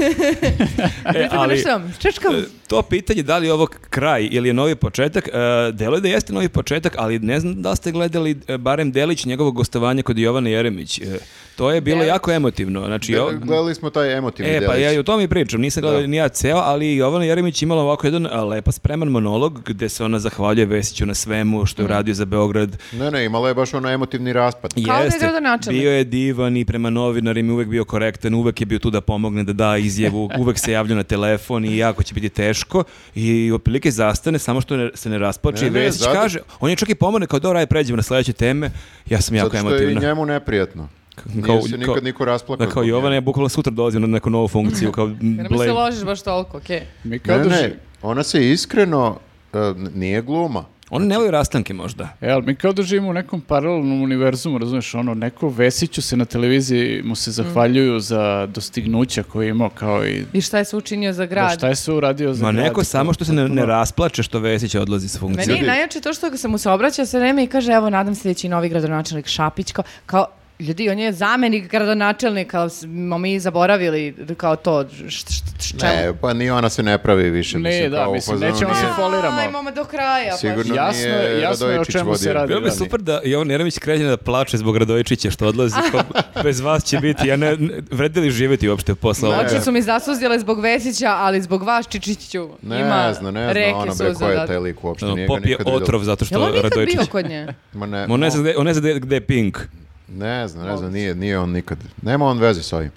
E, ali,
Češkam.
e, to pitanje da li je ovo kraj ili je novi početak, e, deluje da jeste novi početak, ali ne znam da li ste gledali e, barem delić njegovog gostovanja kod Jovana Jeremić. E, to je bilo
Delić.
jako emotivno. Znači, *laughs* jo-
Gledali smo taj emotivni
E, pa
delić.
ja i o tome i pričam, nisam gledao ni ja ceo, ali Jovana Jeremić imala ovako jedan a, lepo spreman monolog gde se ona zahvaljuje Vesiću na svemu što je uradio za Beograd.
Ne, ne, imala je baš onaj emotivni raspad.
Kao da je gradonačelnik.
bio je divan i prema novinarima uvek bio korektan, uvek je bio tu da pomogne, da da
*laughs*
izjavu, uvek se javlja na telefon i jako će biti teško i otprilike zastane, samo što ne- se ne raspoče
Ne,
i
ne,
Vesić
zato-
kaže, on je čak i pomogne kao dobro, aj pređemo na sledeće teme, ja sam jako
Zato što je i
emotivna.
njemu neprijatno. Nije se nikad niko rasplakao.
Da kao
zbog nje.
Jovana, ja bukvalno sutra dolazim na neku novu funkciju,
*laughs*
kao
Ne mi se
blej.
ložiš baš toliko, okej.
Mi kao
Ne,
da
ne,
ži-
ona se iskreno, e, n- nije gluma.
Oni ne voli rastanke možda.
E, ali mi kao da živimo u nekom paralelnom univerzumu, razumeš, ono, neko Vesiću se na televiziji mu se zahvaljuju za dostignuća koje je imao, kao i
I šta je se učinio za
da,
grad?
šta je sve uradio za
Ma
grad.
neko samo što se ne, ne rasplače što Vesić odlazi s funkcije.
Meni je najjače to što se mu se obraća sve vreme i kaže, evo, nadam se da će i novi gradonačelnik Šapić, kao, kao Ljudi, on je zamenik gradonačelnika, smo mi zaboravili kao to, št, št, št, čemu?
Ne, pa ni ona se ne pravi više.
Ne,
mislim,
da,
kao u
mislim,
fazonu
nećemo se
nije-
foliramo.
Ajmo ma do kraja. baš.
pa Sigurno
Jasno je-
nije
jasno je o
Radojičić
čemu se
vodio.
radi.
Bilo bi
Da, nije.
super da Jovan Jeremić krene da plače zbog Radojičića što odlazi,
*laughs*
ko bez vas će biti, ja ne, ne vredi li živjeti uopšte posle ovoga?
Oči su mi zasuzile zbog Vesića, ali zbog vas Čičiću
Ne
ima
zna, ne zna
reke
ona bre
suza.
ko je
da-
taj lik uopšte.
Ono,
nije ga
Pop je
nikad videla.
otrov zato
Jel
što
on nikad
Radojičić...
bio kod nje?
Ma ne,
Ma On ne zna gde- on ne zna gde- gde je Pink.
Ne znam, ne znam, nije, nije on nikad. Nema on veze s ovim.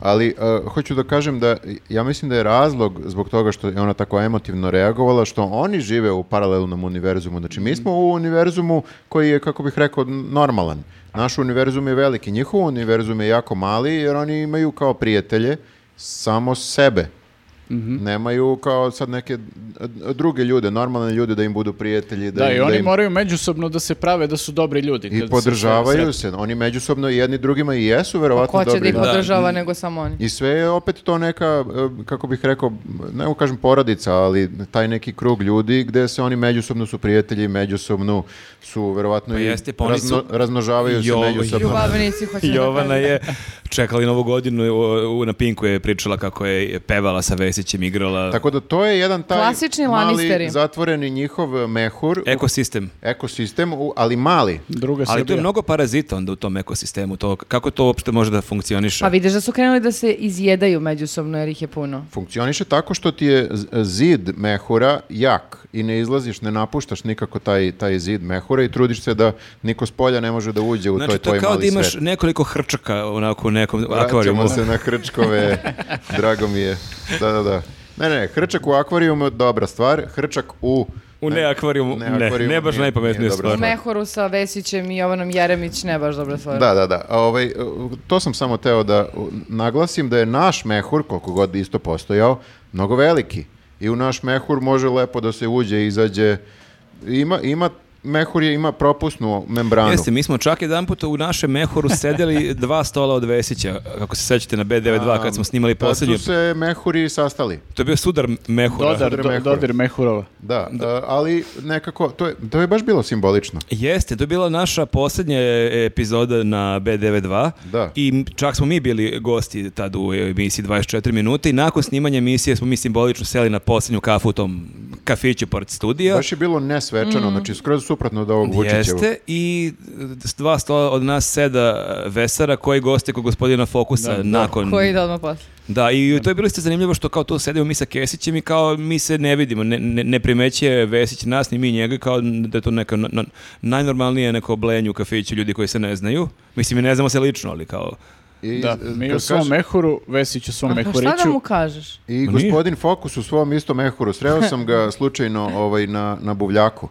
Ali uh, hoću da kažem da ja mislim da je razlog zbog toga što je ona tako emotivno reagovala što oni žive u paralelnom univerzumu. Znači mi
Mhm.
smo u univerzumu koji je, kako bih rekao, n- normalan. Naš univerzum je veliki, njihov univerzum je jako mali jer oni imaju kao prijatelje samo sebe.
Mhm.
Nemaju kao sad neke d- d- druge ljude, normalne ljude da im budu prijatelji. Da,
Da, i
im-
oni
im-
moraju međusobno da se prave da su dobri ljudi. kad
I
se
podržavaju
sretnu.
se. Oni međusobno jedni drugima i jesu
Pa Ko
verovatno
će da
dobri.
ih
ljudi.
podržava nego samo oni?
I sve je opet to neka, e, kako bih rekao, ne mogu kažem porodica, ali taj neki krug ljudi gde se oni međusobno su prijatelji, međusobno su verovatno
Pa
i
jeste, pa oni
razno-
su-
razmnožavaju
Jo,
se međusobno.
Ljubavnici, hoće da
Jovana
kažem.
je čekala i novu godinu, u- u- na Pinku je pričala kako je pevala sa Vesićem, igrala
Tako da to je jedan taj
Klasični
mali
Lannisteri.
zatvoreni njihov mehur,
E- ekosistem.
ekosistem, u- ali mali.
Druga
Ali tu
Srbija.
je mnogo parazita onda u tom ekosistemu, to, kako to uopšte može da funkcioniše?
Pa vidiš da su krenuli da se izjedaju međusobno jer ih je puno.
Funkcioniše tako što ti je z- zid mehura jak i ne izlaziš, ne napuštaš nikako taj, taj zid mehura i trudiš se da niko s polja ne može da uđe u
Znači,
toj
to je
tvoj
kao
mali
da imaš
svet.
nekoliko hrčaka onako *laughs* u nekom ono. akvarijumu.
Vraćamo se na hrčkove,
*laughs*
drago mi je. Da, da, da. Ne, ne, hrčak u akvarijumu je dobra stvar, hrčak u...
U ne akvarijumu, ne, ne,
akvarijumu
baš
nije-
najpametnija
nije dobra
stvar.
U Mehoru sa Vesićem i Jovanom Jeremić ne baš dobra stvar.
Da, da, da. A, Ovaj, e, to sam samo teo da u, naglasim da je naš mehur, koliko god isto postojao, mnogo veliki. I u naš mehur može lepo da se uđe, izađe. Ima, ima mehur je, ima propusnu membranu.
Jeste, mi smo čak jedan puta u našem mehoru
*laughs*
sedeli dva stola od Vesića, kako se sećate na B92 kad smo snimali
Tad Pa su
posljednju.
se mehuri sastali.
To je bio sudar mehura.
Dodar,
Dodir
do-
Mehurova.
dodir Mehurova.
Da, e, ali nekako, to je, to je baš bilo simbolično.
Jeste, to je bila naša posljednja e, epizoda na B92
Da.
i m- čak smo mi bili gosti tad u emisiji 24 minute i nakon snimanja emisije smo mi simbolično seli na posljednju kafu u tom kafiću pored studija.
Baš je bilo nesvečano,
Mm.
znači skroz suprotno od ovog Vučićevog.
Jeste i e, s dva stola od nas seda e, Vesara koji goste kod gospodina Fokusa nakon...
Koji ide odmah posle.
Da, i to je bilo isto zanimljivo što kao tu sedimo mi sa Kesićem i kao mi se ne vidimo, ne, ne, ne primećuje Vesić nas ni mi njega, kao da je to neka na- na- najnormalnije neko blenje u kafiću ljudi koji se ne znaju. Mislim, mi ne znamo se lično, ali kao...
I,
Da,
e,
mi
kad
u svom
kaže-
Mehuru, Vesić u svom
A pa šta da mu
Mehuriću.
kažeš?
I
Ma nije.
gospodin Fokus u svom istom mehuru. Sreo
*laughs*
sam ga slučajno ovaj, na, na buvljaku.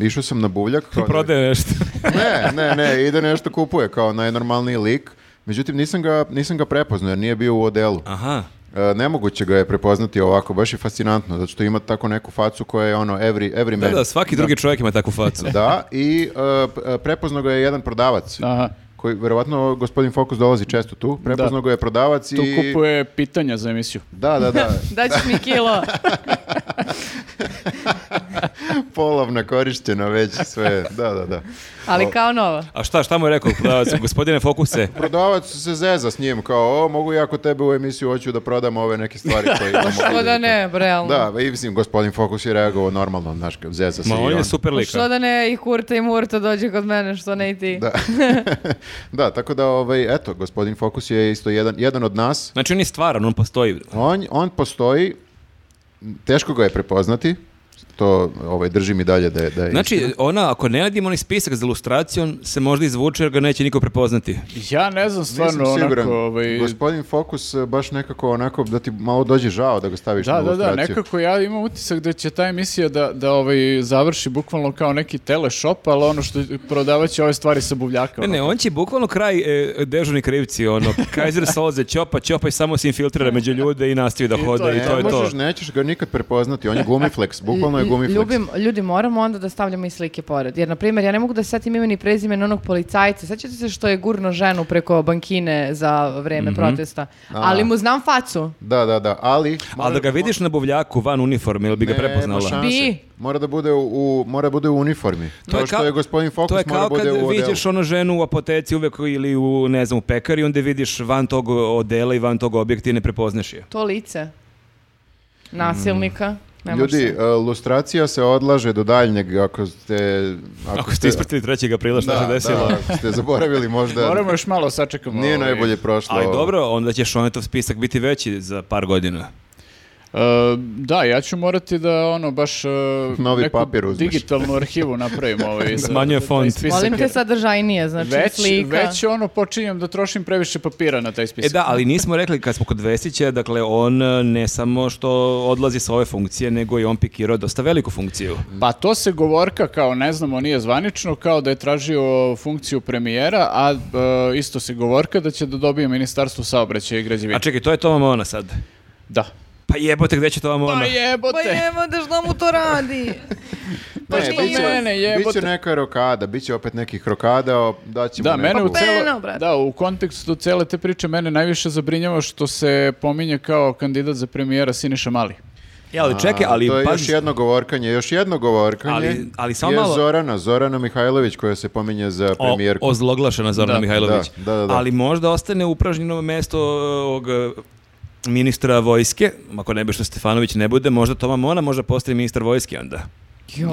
Išao sam na buvljak. kao-
Prodaje nešto.
*laughs* Ne, ne, ne, ide nešto kupuje kao najnormalniji lik. Međutim, nisam ga, nisam ga prepoznao jer nije bio u odelu.
Aha.
E, nemoguće ga je prepoznati ovako, baš je fascinantno, zato što ima tako neku facu koja je ono every, every
Da,
man.
da, svaki drugi čovjek ima takvu facu.
Da, i e, p- e, prepoznao ga je jedan prodavac,
Aha,
koji verovatno gospodin Fokus dolazi često tu, prepoznao ga je prodavac
tu
i...
kupuje pitanja za emisiju.
Da, da,
*laughs*
da,
Daćeš mi
*laughs*
kilo.
polovna korištena već sve, da, da, da.
Ali kao nova.
A šta, šta mu je rekao prodavac? Gospodine Fokuse,
Prodavac se zeza s njim, kao, o, mogu ja kod tebe u emisiju, hoću da prodam ove neke stvari koje imam.
*laughs* Što
ovdje."
da ne, bre, realno. Pa
Da, i mislim, gospodin Fokus je reagovao normalno, znaš, kao, zeza se
ma
i
on je
on.
super lik.
Pa Što da ne i Kurta i Murta dođe kod mene, što ne i ti.
Da. *laughs* da, tako da, ovaj, eto, gospodin Fokus je isto jedan, jedan od nas.
Znači, on je stvaran, on postoji.
On, on postoji, teško ga je prepoznati, to ovaj, držim i dalje da je, da je
Znači, ona, ako ne radimo onaj spisak za ilustraciju, on se možda izvuče jer ga neće niko prepoznati.
Ja ne znam stvarno onako... Ovaj,
Gospodin Fokus e, baš nekako onako da ti malo dođe žao da ga staviš na
da, da, da,
ilustraciju.
nekako ja imam utisak da će ta emisija da, da ovaj, završi bukvalno kao neki teleshop, ali ono što prodavaće ove stvari sa buvljaka.
Ne,
ono.
ne, on će bukvalno kraj e, dežurni krivci,
*laughs*
ono, Kaiser solze, ćopa, ćopa i samo
E.
se infiltrira među ljude i nastavi da
I to
hoda
je
i to je
Ne
to.
možeš, nećeš ga nikad prepoznati, on ono je gumiflex, bukvalno je gumiflex.
ljubim, ljudi, moramo onda da stavljamo i slike pored. Jer, na primjer, ja ne mogu da se setim imen i prezime onog policajca. Sećate se što je gurno ženu preko bankine za vreme
Mhm.
protesta. Ali mu znam facu.
Da, da, da, ali...
Ali da ga vidiš na buvljaku van uniforme, ili bi ga
Nema
prepoznala?
šanse.
Bi.
Mora da bude u, u- mora da bude u uniformi. To,
je
što
kao-
je gospodin Fokus
To je
mora
kao
da bude
kad
u odelu.
vidiš ono ženu u apoteci uvek ili u, ne znam, u pekari, onda je vidiš van tog odela i van tog objekta i ne prepoznaš je.
To lice. Nasilnika. Ne može
Ljudi, e,
se.
lustracija se odlaže do daljnjeg ako ste...
Ako ste ispratili 3. aprila šta
da,
se desilo.
da, ako ste zaboravili možda...
ono. Moramo još malo sačekamo.
Nije
ovaj,
najbolje prošlo.
Ali
ovo.
dobro, onda će Šonetov spisak biti veći za par godina.
E, da, ja ću morati da ono baš e,
*laughs* Novi
neku
papir uzmeš.
digitalnu arhivu napravimo
*laughs*
ovaj za-
Smanjuje
za taj
font.
spisak,
Molim te
jer
sadržajnije, znači
Već,
slika.
već ono počinjem da trošim previše papira na taj
E
spisak.
da, ali nismo rekli kad smo kod Vesića, dakle on e, ne samo što odlazi sa ove funkcije, nego i on pikirao dosta veliku funkciju.
Pa to se govorka kao ne znamo nije zvanično kao da je tražio funkciju premijera, a e, isto se govorka da će da dobije ministarstvo saobraćaja i
A
građevine.
čekaj, to je Toma Mona sad.
Da.
Pa jebote, gde će Toma Mona?
Pa
Pa
jebote.
jemo da što mu to radi.
Pa
Ne,
što
biće-
mene, jebote.
Biće neka rokada, biće opet nekih rokada, o- daćemo
Da, mene u
neku.
Pa celo- peno,
celoj,
brate.
da, u kontekstu cele te priče mene najviše zabrinjava što se pominje kao kandidat za premijera Siniša Mali.
Ja, ali čekaj,
A,
ali
to je
pazi-
još jedno govorkanje, još jedno govorkanje.
Ali- ali samo
je
malo-
Zorana, Zorana Mihajlović koja se pominje za
O-
premijerku.
ozloglašena Zorana
Da,
Mihajlović.
da, da, da.
Ali možda ostane upražnjeno mesto e, ovog e, ministra vojske, ako ne bi što Stefanović ne bude, možda Toma Mona možda postaje ministar vojske onda.
Jo,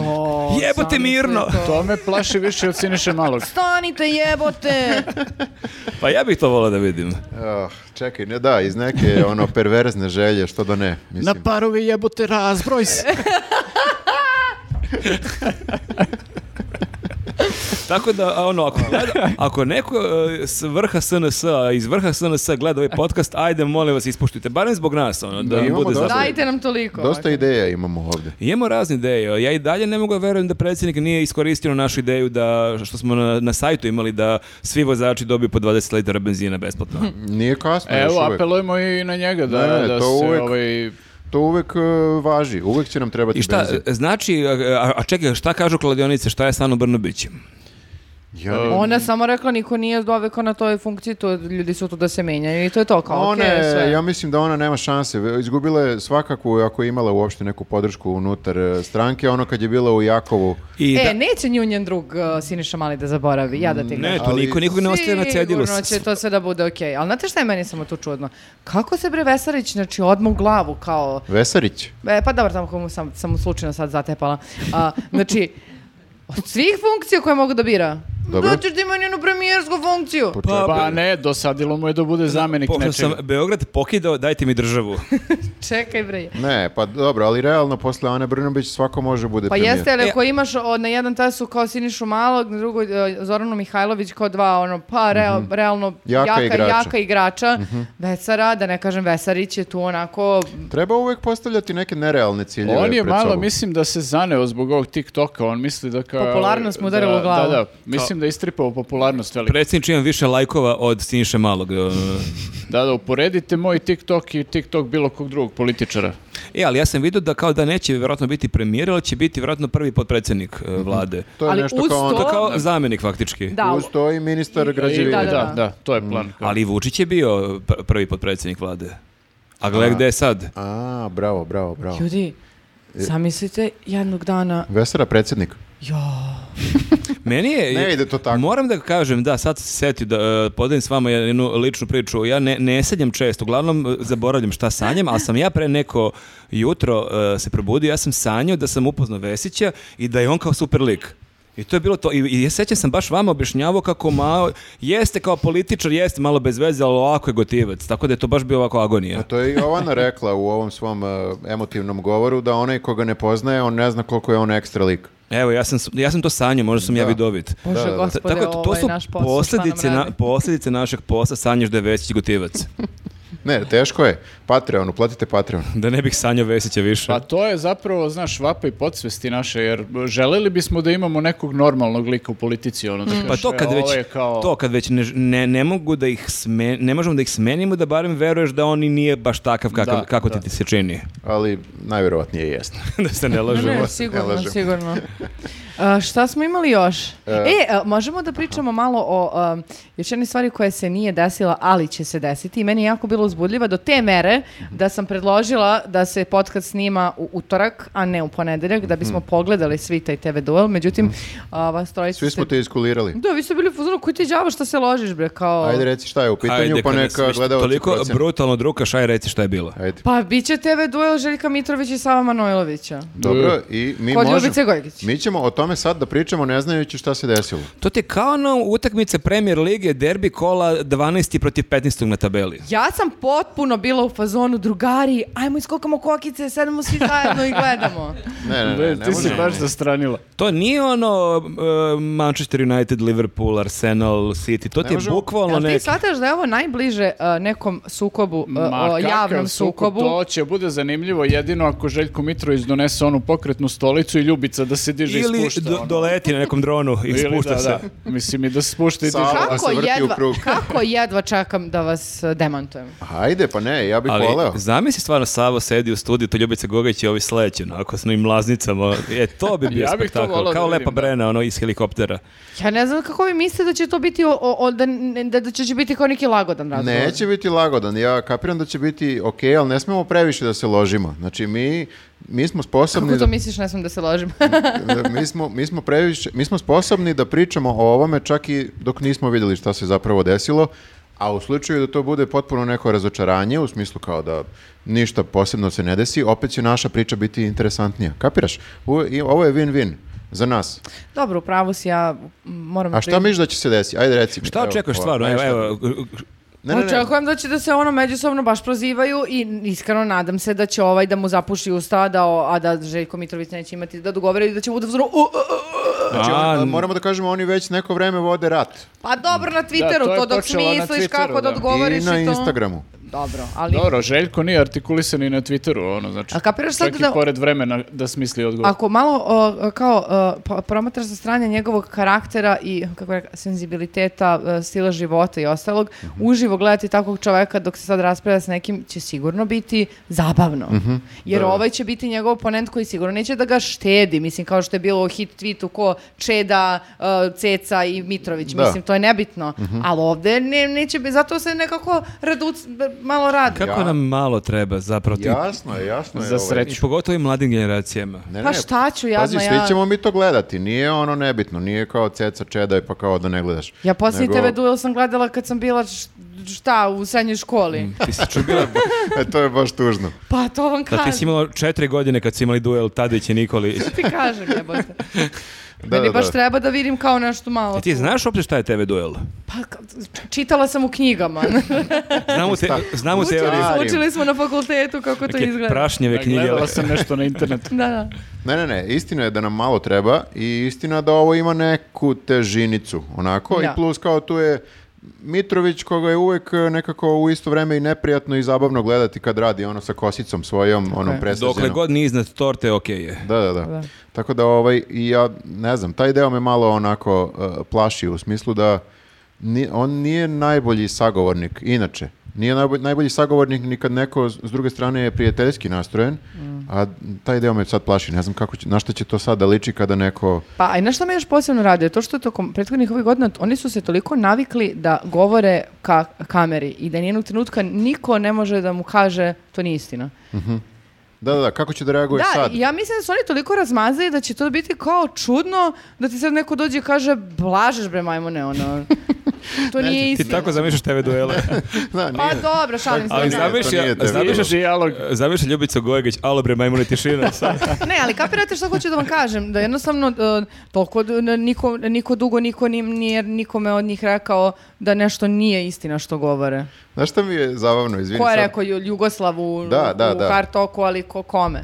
Jebote,
zamisli
mirno.
To me plaši više od Siniše Malog.
Stanite
*laughs*
jebote!
Pa ja bih to volao da vidim.
Ah, čekaj, ne da, iz neke ono perverzne želje, što da ne,
Na
mislim.
parovi jebote razbroj se.
Tako da, a, ono, ako, gleda- ako neko e, s vrha SNS, -a, iz vrha SNS -a gleda ovaj podcast, ajde, molim vas, ispuštite, barem zbog nas, ono, da,
Da,
nam
imamo
bude
dosta-
zabavno.
Dajte nam toliko.
Dosta ideja imamo ovdje.
Imamo razne ideje. Ja i dalje ne mogu da verujem da predsjednik nije iskoristio našu ideju da, što smo na, na sajtu imali, da svi vozači dobiju po 20 litara benzina
*laughs*
besplatno.
Nije kasno još
Evo,
uvek.
apelujemo i na njega da,
Ne, ne,
da se
to uvek-
ovaj,
To uvek e, važi, uvek će nam trebati
I šta,
benzin.
znači, a, a čekaj, šta kažu kladionice, šta je sa Anom Brnabić? eh,
Ja ne-
Ona je samo rekla niko nije doveko na toj funkciji, to ljudi su tu da se menjaju i to je to kao
Ona
okej,
je-
sve.
ja mislim da ona nema šanse. Izgubila je svakako ako je imala uopšte neku podršku unutar e, stranke, ono kad je bila u Jakovu.
I
E,
da-
neće nju njen drug uh, Siniša Mali da zaboravi, ja da ti
ne,
kažem.
to
ali-
niko, nikog ne ostaje na cedilu.
Sigurno
S-
će to sve da bude okej. Ali znate šta je meni samo tu čudno? Kako se bre Vesarić, znači, odmah u glavu kao...
Vesarić.
E, pa dobro, tamo komu sam, sam mu slučajno sad zatepala. A, znači, od svih funkcija koje mogu da bira,
Dobro.
da ćeš da ima njenu premijersku funkciju.
Pa,
pa ne, dosadilo mu je da bude zamenik
Pošto sam
nečega.
Beograd pokidao, dajte mi državu.
Čekaj bre.
Ne, pa dobro, ali realno posle Ane Brnabić svako može bude
Pa
premijer.
jeste, ali
E-
ako imaš o, na jedan tasu kao Sinišu Malog, na drugu e, Zoranu Mihajlović kao dva, ono, pa real- realno
Mhm. Jaka
jaka, jaka igrača,
igrača. Mhm.
Vesara, da ne kažem Vesarić je tu onako,
Treba uvek postavljati neke nerealne ciljeve
On je
pred
malo,
sobom.
mislim da se zaneo zbog ovog TikToka, on misli da kao...
Popularnost mu udarila
da-
u glavu.
Da, da, mislim da je istripao popularnost veliko.
Predsjednič imam više lajkova od Siniše Malog. e.
Da, da, uporedite moj TikTok i TikTok bilo kog drugog političara.
*laughs* E, ali ja sam vidio da kao da neće vjerojatno biti premijer, ali će biti vjerojatno prvi potpredsjednik e, vlade.
To je
ali
nešto
uz
kao ono-
To je
to,
kao zamenik faktički.
da,
Uz to i ministar građevine.
da, da, da.
da, to je plan.
Ali Vučić je bio pr- prvi potpredsjednik vlade. A gle gde je sad?
A, bravo, bravo, bravo.
ljudi, zamislite jednog dana,
Vesera predsjednik.
jo,
Meni je...
Ne ide to tako.
Moram da kažem, da, sad se setio da e, podelim s vama jednu ličnu priču. Ja ne, ne sanjam često, uglavnom e, zaboravljam šta sanjam, ali sam ja pre neko jutro e, se probudio, ja sam sanjao da sam upoznao Vesića i da je on kao super lik. I to je bilo to. I, i ja sećam sam baš vama objašnjavao kako malo, jeste kao političar, jeste malo bez veze, ali ovako je gotivac. Tako da je to baš bio ovako agonija.
A to je i Jovana rekla u ovom svom e, emotivnom govoru da onaj koga ne poznaje, on ne zna koliko je on ekstra lik.
Evo, ja sam, s- ja sam to sanjao, možda sam ja
Da.
vidovit.
bože
da, da.
gospode,
Tako, to
ovo je
su
naš posao, šta nam
posljedice, na,
radi?
posljedice našeg posla, sanjaš da je Vesić gotivac.
Ne, teško je. Patreon, uplatite Patreon.
Da ne bih sanjao Vesića više.
Pa to je zapravo, znaš, vapa i podsvesti naše, jer želeli bismo da imamo nekog normalnog lika u politici, ono da kaže,
Pa to kad
"E,
već,
ovo je kao...
to kad već ne, ne, ne mogu da ih sme- ne možemo da ih smenimo da barem veruješ da on i nije baš takav kakav,
Da,
kako
da.
ti, ti se čini. *laughs*
Ali najverovatnije jeste.
da se ne
Ne,
lažemo.
ne,
ne
sigurno,
lažemo. *laughs*
sigurno. A, šta smo imali još? E, a, možemo da pričamo malo o a, još jednoj stvari koja se nije desila, ali će se desiti. I meni je jako bilo uzbudljiva do te mere da sam predložila da se podcast snima u utorak, a ne u ponedeljak, da bismo
Mhm.
pogledali svi taj TV duel. Međutim, a, vas trojica
Svi smo
ste-
te iskulirali.
Da, vi ste bili u fazonu, koji ti đavo što se ložiš bre, kao...
Ajde reci šta je u pitanju,
Ajde,
pa
kad
neka
nas već
gledalci
Toliko
procene.
brutalno drukaš, aj reci šta je bilo.
Ajde.
Pa bit će TV duel Željka Mitrovića i Sava Manojlovića.
Dobro, i mi
Kod
možemo...
Ljubice Gojgić.
Mi ćemo o tome sad da pričamo ne znajući šta se desilo.
To ti je kao na utakmice Premier lige, derbi kola 12. protiv 15. na tabeli.
Ja sam potpuno bila u fazonu drugari, ajmo iskokamo kokice, sedemo svi zajedno i *laughs* gledamo.
Ne, ne, ne, ne,
Ti si
možemo.
baš zastranila.
To nije ono e, Manchester United, Liverpool, Arsenal, City. To ti je
možemo-
bukvalno
Jel ti
nek...
shvataš da je ovo najbliže uh, nekom sukobu, uh,
Ma,
o javnom
kakav sukob,
sukobu?
To će bude zanimljivo jedino ako Željko Mitrović donese onu pokretnu stolicu i Ljubica da se diže i
Ili
spušta.
do-
ono.
doleti na nekom dronu i
Ili
spušta
da,
se.
da. Mislim i da se spušta i
Sa-
diže.
Da se
Kako
vrti u
jedva,
krug.
*laughs* kako jedva čekam da vas uh, demantujem.
Ajde, pa ne, ja bih
Ali
voleo.
zamisli stvarno Savo sedi u studiju, to Ljubica Gogić i ovi ono, sleće, onako s novim laznicama. E, to
*laughs*
bi bio
Ja bih to
spektakl.
volao da
Kao
vidim,
Lepa
da.
Brena, ono, iz helikoptera.
Ja ne znam kako vi mislite da će to biti, o, o- o- da, ne- da, da će biti kao neki lagodan razgovor.
Neće biti lagodan. Ja kapiram da će biti ok, ali ne smemo previše da se ložimo. Znači, mi, mi smo sposobni...
Kako to
da-
misliš, ne sam da se ložim.
*laughs* da mi smo, mi smo previše, mi smo sposobni da pričamo o ovome čak i dok nismo vidjeli šta se zapravo desilo, a u slučaju da to bude potpuno neko razočaranje, u smislu kao da ništa posebno se ne desi, opet će naša priča biti interesantnija. Kapiraš? Ovo je- ovo je win-win za nas.
*laughs* Dobro, u pravu si ja, m, moram...
A šta
priznati.
misliš da će se desiti? Ajde reci mi.
Šta
Evo,
očekuješ
ovo.
stvarno?
Ajde,
Evo,
šta-
evo,
Ne, ne, ne.
Očekujem da će da se ono međusobno baš prozivaju i iskreno nadam se da će ovaj da mu zapuši usta, da, o- a da Željko Mitrović neće imati da dogovore i da će bude vzor...
Znači, on-
A,
moramo da kažemo, oni već neko vreme vode rat.
Pa dobro na Twitteru,
Da, to
to,
je
dok
počelo na
smisliš
Twitteru,
kako da
da.
odgovoriš
I na
to.
Instagramu.
Dobro, ali...
Dobro, Željko nije artikulisan i na Twitteru, ono, znači,
A kapiraš sad
čak
da-
i pored vremena da smisli odgovor.
Ako malo o, kao o, pa- promatraš sa strane njegovog karaktera i kako je senzibiliteta, e, stila života i ostalog,
Mhm.
uživo gledati takvog čoveka dok se sad raspravlja s nekim će sigurno biti zabavno.
Mhm.
Jer ovaj će biti njegov oponent koji sigurno neće da ga štedi, mislim kao što je bilo u hit tweetu ko Čeda, e, Ceca i Mitrović,
Da. Mhm.
mislim to je nebitno, ali ovde ne, neće biti, zato se nekako raduc, malo radi.
kako nam malo treba zapravo ti-
Jasno je, jasno je.
Za
ovaj.
sreću.
I pogotovo i mladim generacijama.
Ne,
Pa
ne,
šta ću, jadna
Pazi, svi
ja.
ćemo mi to gledati, nije ono nebitno, nije kao ceca čeda i pa kao da ne gledaš.
Ja posljednji
Nego-
TV duel sam gledala kad sam bila š- šta u srednjoj
Mhm.
školi.
Ti si
*laughs*
čubila,
*laughs* E, to je baš tužno.
Pa to vam
da ti si
kažem.
imala četiri godine kad si imali duel Tadić i Nikolić.
ti kažem, jebote.
*laughs*
Da,
Meni
da,
baš
da.
treba da vidim kao nešto malo.
E ti
tu.
znaš uopće šta je TV duel?
Pa, ka- č- čitala sam u
*laughs*
knjigama.
Znamo, te, znamo teoriju.
Učila Stari.
Učili smo na fakultetu kako to
Neke
izgleda.
prašnjeve
Da,
knjige.
Gledala sam nešto na
*laughs*
internetu.
Da, da.
Ne, ne, ne, istina je da nam malo treba i istina da ovo ima neku težinicu, onako,
Da.
i plus kao tu je Mitrović koga je uvek e, nekako u isto vreme i neprijatno i zabavno gledati kad radi ono sa kosicom svojom, onom
je.
presađenom.
Dokle god nije iznad torte, okej je.
Da, da, da,
Da.
Tako da ovaj, i ja ne znam, taj deo me malo onako uh, plaši u smislu da ni, on nije najbolji sagovornik, inače. Nije najbolji, najbolji sagovornik ni kad neko s s druge strane je prijateljski nastrojen,
Mm.
a taj deo me sad plaši. Ne znam kako će, na šta će to sad da liči kada neko...
Pa, a i na što me još posebno raduje? To što je tokom prethodnih ovih godina oni su se toliko navikli da govore ka kameri i da nijednog trenutka niko ne može da mu kaže to nije istina.
Da, da, da, kako će da reaguje
Da,
sad?
ja mislim da su oni toliko razmazali da će to biti kao čudno da ti sad neko dođe i kaže blažeš bre
*laughs*
majmune, ono. To nije
Znači, Ti
istina.
tako zamišljaš TV
*laughs*
duele.
*laughs* Da, nije.
Pa dobro, šalim se.
Ali
da.
zamisli- to nije
zamišlja,
TV
zamišljaš,
Dijalog.
zamišlja Ljubica E, Gojgić, alo bre, majmune tišina.
Ne, ali kapirate šta hoću da vam kažem, da jednostavno e, toliko d- n- niko, niko dugo niko ni- nije nikome od njih rekao da nešto nije istina što govore.
Znaš šta mi je zabavno, izvini
Ko je
sad?
rekao Ju- Jugoslavu
Da, da,
u
da.
kartoku, ali ko kome?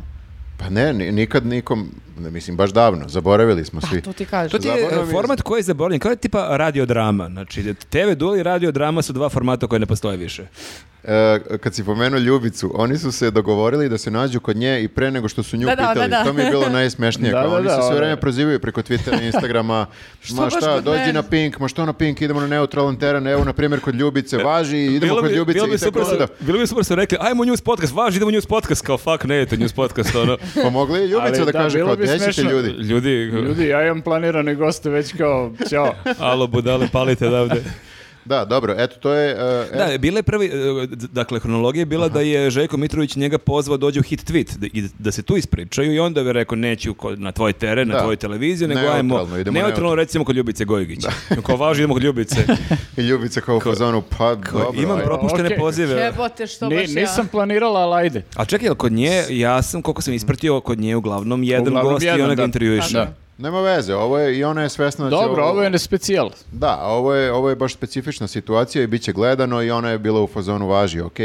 Pa ne, ni- nikad nikom, ne, mislim, baš davno, zaboravili smo svi.
Pa, to ti kažem.
*laughs* To ti je
Zaboravio
e, format koji je zaboravljen, kao je tipa radiodrama. Znači, TV duel i radiodrama su dva formata koje ne postoje više.
e, kad si pomenuo Ljubicu, oni su se dogovorili da se nađu kod nje i pre nego što su nju
Da, da,
pitali.
da, da.
To mi je bilo najsmešnije.
*laughs* Da,
kao
da,
oni
da,
se sve
ono-
vreme prozivaju preko Twittera i
*laughs*
Instagrama. ma
baš
šta,
kod
dođi
mene?
na Pink, ma što na Pink, idemo na neutralan teren, evo na primjer kod Ljubice,
E,
važi, idemo
Bilo
kod
bi,
Ljubice.
bilo bi
i tako
super,
onda.
da. bilo bi super su rekli, ajmo u news podcast, važi, idemo u news podcast, kao fuck, ne idete u news podcast, ono,
Pomogli je Ljubica da,
Ali da,
kaže
bilo
kao,
bi
nećete
smešno.
ljudi.
ljudi,
Ljudi, ja imam planirane goste već kao,
*laughs*
ćao.
alo budale, palite
*laughs*
odavde.
Da, dobro, eto, to je... e, e,
Da, bila je prvi, e, d- dakle, hronologija je bila da je Željko Mitrović njega pozvao dođe u hit tweet da, i da se tu ispričaju i onda bi rekao neću ko- na tvoj teren, na
Da.
tvoju televiziju, nego
Neutralno,
ajmo
idemo
neutralno,
neutralno.
recimo kod Ljubice Gojgić. Kao važi idemo kod Ljubice.
I e, Ljubica kao u fazonu, pa dobro.
Imam
ajde.
propuštene
Okej.
pozive.
Jebote, što
Ni-
baš ja.
nisam planirala, ali ajde.
A čekaj, jel kod nje, ja sam, koliko sam ispratio, kod nje uglavnom jedan
Uglavnom
gost i
jedan,
ona ga
da.
intervjuiše.
Da.
Nema veze, ovo je, i ona je svesna da
Znači,
će
Dobro, ovo je ne specijal.
Da, a ovo je, ovo je baš specifična situacija i bit će gledano i ona je bila u fazonu važi, ok,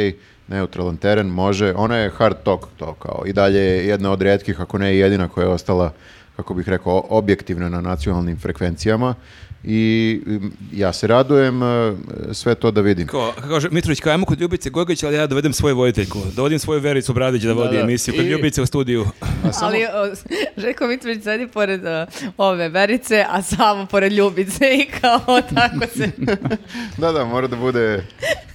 neutralan teren, može, ona je hard talk to kao i dalje je jedna od redkih, ako ne i jedina koja je ostala, kako bih rekao, o- objektivna na nacionalnim frekvencijama i mm, ja se radujem e, sve to da vidim.
Kao, kaže, Mitrović, kao, ajmo kod Ljubice Gojgić, ali ja dovedem svoju vojiteljku. Dovodim svoju Vericu Bradić da vodi
da.
emisiju, kod
I-
Ljubice u studiju. *laughs*
Ali o, *laughs* Željko Mitrović sedi pored o, ove Verice, a Savo pored Ljubice i kao *laughs* tako se...
Da, da, mora da bude,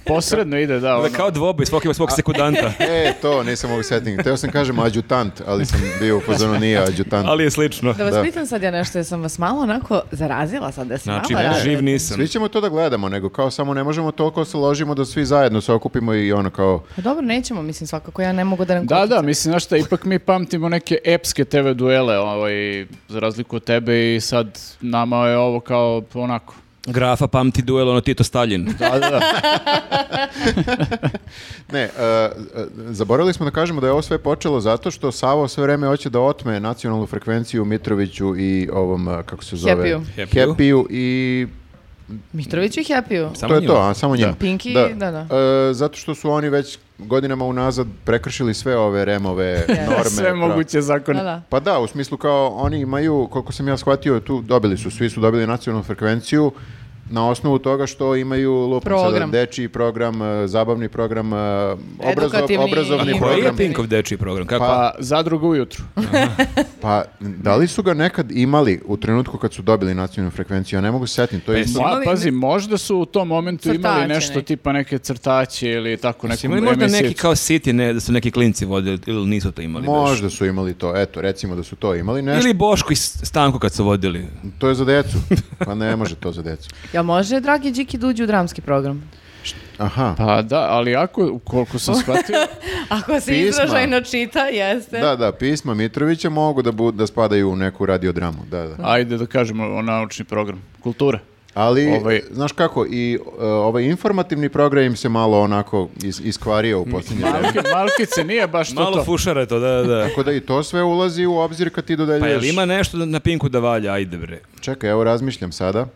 Posredno ide, da.
Da,
Ono.
kao dvoboj, svaki ima svog sekundanta.
e, to, nisam mogu setiti. Teo sam kažem adjutant, ali sam bio u fazonu nije adjutant.
Ali je slično.
Da vas
Da.
pitam sad ja nešto, jer sam vas malo onako zarazila sad da se
Znači,
malo... razvedete.
živ nisam.
Svi ćemo to da gledamo, nego kao samo ne možemo toliko se ložimo da svi zajedno se okupimo i ono kao
Pa dobro, nećemo, mislim, svakako ja ne mogu da nam
Da, da, mislim, znaš šta, ipak mi pamtimo neke epske TV duele, ovaj, za razliku od tebe i sad nama je ovo kao onako.
Grafa pamti duel, ono Tito Stalin.
Da, da, da.
Ne, e, e, zaboravili smo da kažemo da je ovo sve počelo zato što Savo sve vreme hoće da otme nacionalnu frekvenciju Mitroviću i ovom, e, kako se zove?
Happy-u.
Happy-u.
Happy-u i
Mitrović i Happy-u.
Samo
to je
njima.
to, a samo njima.
Pinky, da, da.
E, zato što su oni već godinama unazad prekršili sve ove remove, norme.
*laughs* Sve
pra-
moguće zakone.
Da, da.
Pa da, u smislu kao oni imaju, koliko sam ja shvatio, tu dobili su, svi su dobili nacionalnu frekvenciju na osnovu toga što imaju lupam
Program.
sada dečiji program, e, zabavni program, e, obrazov,
Edukativni
obrazovni
i-
A koji je
program.
Pinkov dečiji program? Kako?
Pa zadruga ujutru.
E,
Pa, da li su ga nekad imali u trenutku kad su dobili nacionalnu frekvenciju? Ja ne mogu se setiti. To je isto...
Ma,
imali
pazi,
ne-
možda su u tom momentu imali
Crtaće
nešto
neke.
tipa neke crtaće ili tako neku
Su Pa imali možda
emisiju.
neki kao City, ne, da su neki klinci vodili, ili nisu to imali baš?
Možda su imali to, eto, recimo da su to imali nešto.
Ili Boško i S- Stanko kad su vodili.
To je za decu. Pa ne može to za decu.
Ja može Dragi Điki da uđe u dramski program?
Aha.
Pa da, ali ako,
*laughs*
koliko sam shvatio,
Ako se
Pisma.
izražajno čita, jeste.
Da, da, pisma Mitrovića mogu da, bu- da spadaju u neku radiodramu. Da, da.
ajde da kažemo o naučni program, kultura.
Ali,
Ovaj-
znaš kako, i e, ovaj informativni program im se malo onako is, iskvario u posljednje vreme.
Malke, malkice nije baš to
Malo
to.
fušara je to, da, da.
Tako da i to sve ulazi u obzir kad ti
Pa
dodeljuješ.
jel ima nešto na Pinku da valja, ajde bre.
Čekaj, evo razmišljam sada.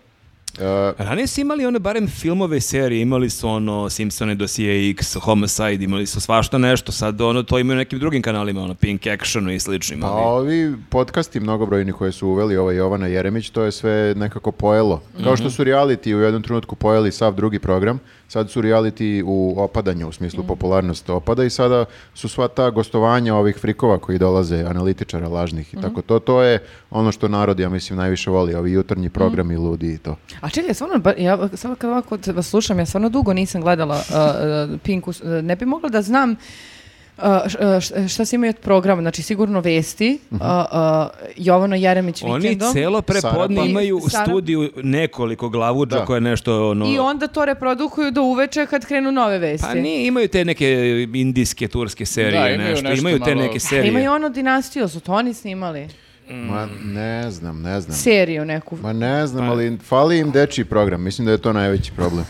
E,
Ranije su imali one barem filmove i serije, imali su ono Simpsone dosije X, Homicide, imali su svašta nešto, sad ono to imaju na nekim drugim kanalima, ono Pink Actionu i sličnim. ono,
Pa
Ali...
ovi podcasti mnogobrojni koje su uveli ova Jovana Jeremić, to je sve nekako pojelo. Kao što su reality u jednom trenutku pojeli sav drugi program, sad su reality u opadanju, u smislu popularnost opada i sada su sva ta gostovanja ovih frikova koji dolaze, analitičara lažnih i tako to. To je ono što narod, ja mislim, najviše voli, ovi jutarnji programi ludi i to.
A čekaj, stvarno, ba- ja samo kad ovako te- vas slušam, ja stvarno dugo nisam gledala uh, uh, Pinku, s- uh, ne bi mogla da znam uh, š- uh, š- šta se imaju od programa, znači sigurno vesti, uh, uh, Jovano Jeremić
Oni
vikendom.
celo prepodne
Sara-
imaju u
Sara-
studiju nekoliko glavuđa
Da.
koje nešto ono...
I onda to reprodukuju do uveče kad krenu nove vesti.
Pa ni, imaju te neke indijske, turske serije,
Da, imaju
nešto.
nešto
Imaju te
malo-
neke
A
serije.
Imaju ono dinastiju, su to oni snimali.
Ma ne znam, ne znam.
Seriju neku.
Ma ne znam, ali fali im dečiji program. Mislim da je to najveći problem.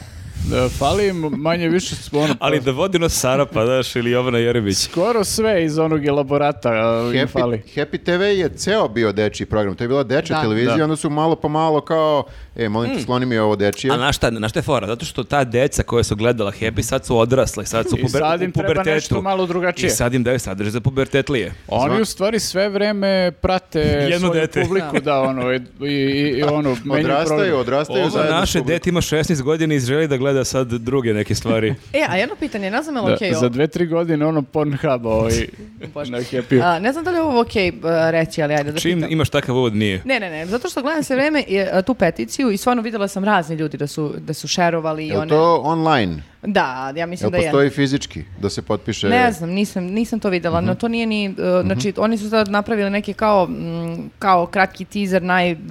Da, E, fali im manje više s- ono,
Ali da vodi nas Sarapa, daš, ili Jovana Jeremić.
skoro sve iz onog elaborata a, im
Happy,
fali.
Happy TV je ceo bio dečiji program, to je bila dečja
Da.
televizija,
Da. Mm.
onda su malo po malo kao, e, molim te, skloni mi ovo dečije.
A znaš šta, znaš šta je fora? Zato što ta deca koja su gledala Happy sad su odrasla i sad su
I
puber,
sad im
u
treba
pubertetu.
nešto malo drugačije.
I sad im daju sadržaj za pubertetlije.
Oni u stvari sve vreme prate
*laughs* Jedno
svoju
dete.
publiku, da, ono, i, i, i ono,
*laughs*
menjaju
odrastaju,
program.
odrastaju
Ovo
zajedno. s
naše
publikom.
dete ima 16 godina i želi da gleda gleda sad druge neke
*laughs*
stvari.
E, a jedno pitanje, ne znam je li
Da,
okej ovo?
za dve, tri godine ono Pornhub ovaj,
*laughs* Bože.
na Happy.
A, ne znam da li je ovo okej b- reći, ali ajde da
Čim
pitam.
imaš takav uvod, nije.
Ne, ne, ne, zato što gledam sve vreme e, a, tu peticiju i stvarno vidjela sam razni ljudi da su, da su šerovali i
Je li
one...
to online?
Da, ja mislim
Jel
da je.
postoji fizički da se potpiše?
Ne znam, nisam, nisam to vidjela,
Mhm.
no to nije ni, e, znači oni su sad napravili neki kao, mm, kao kratki teaser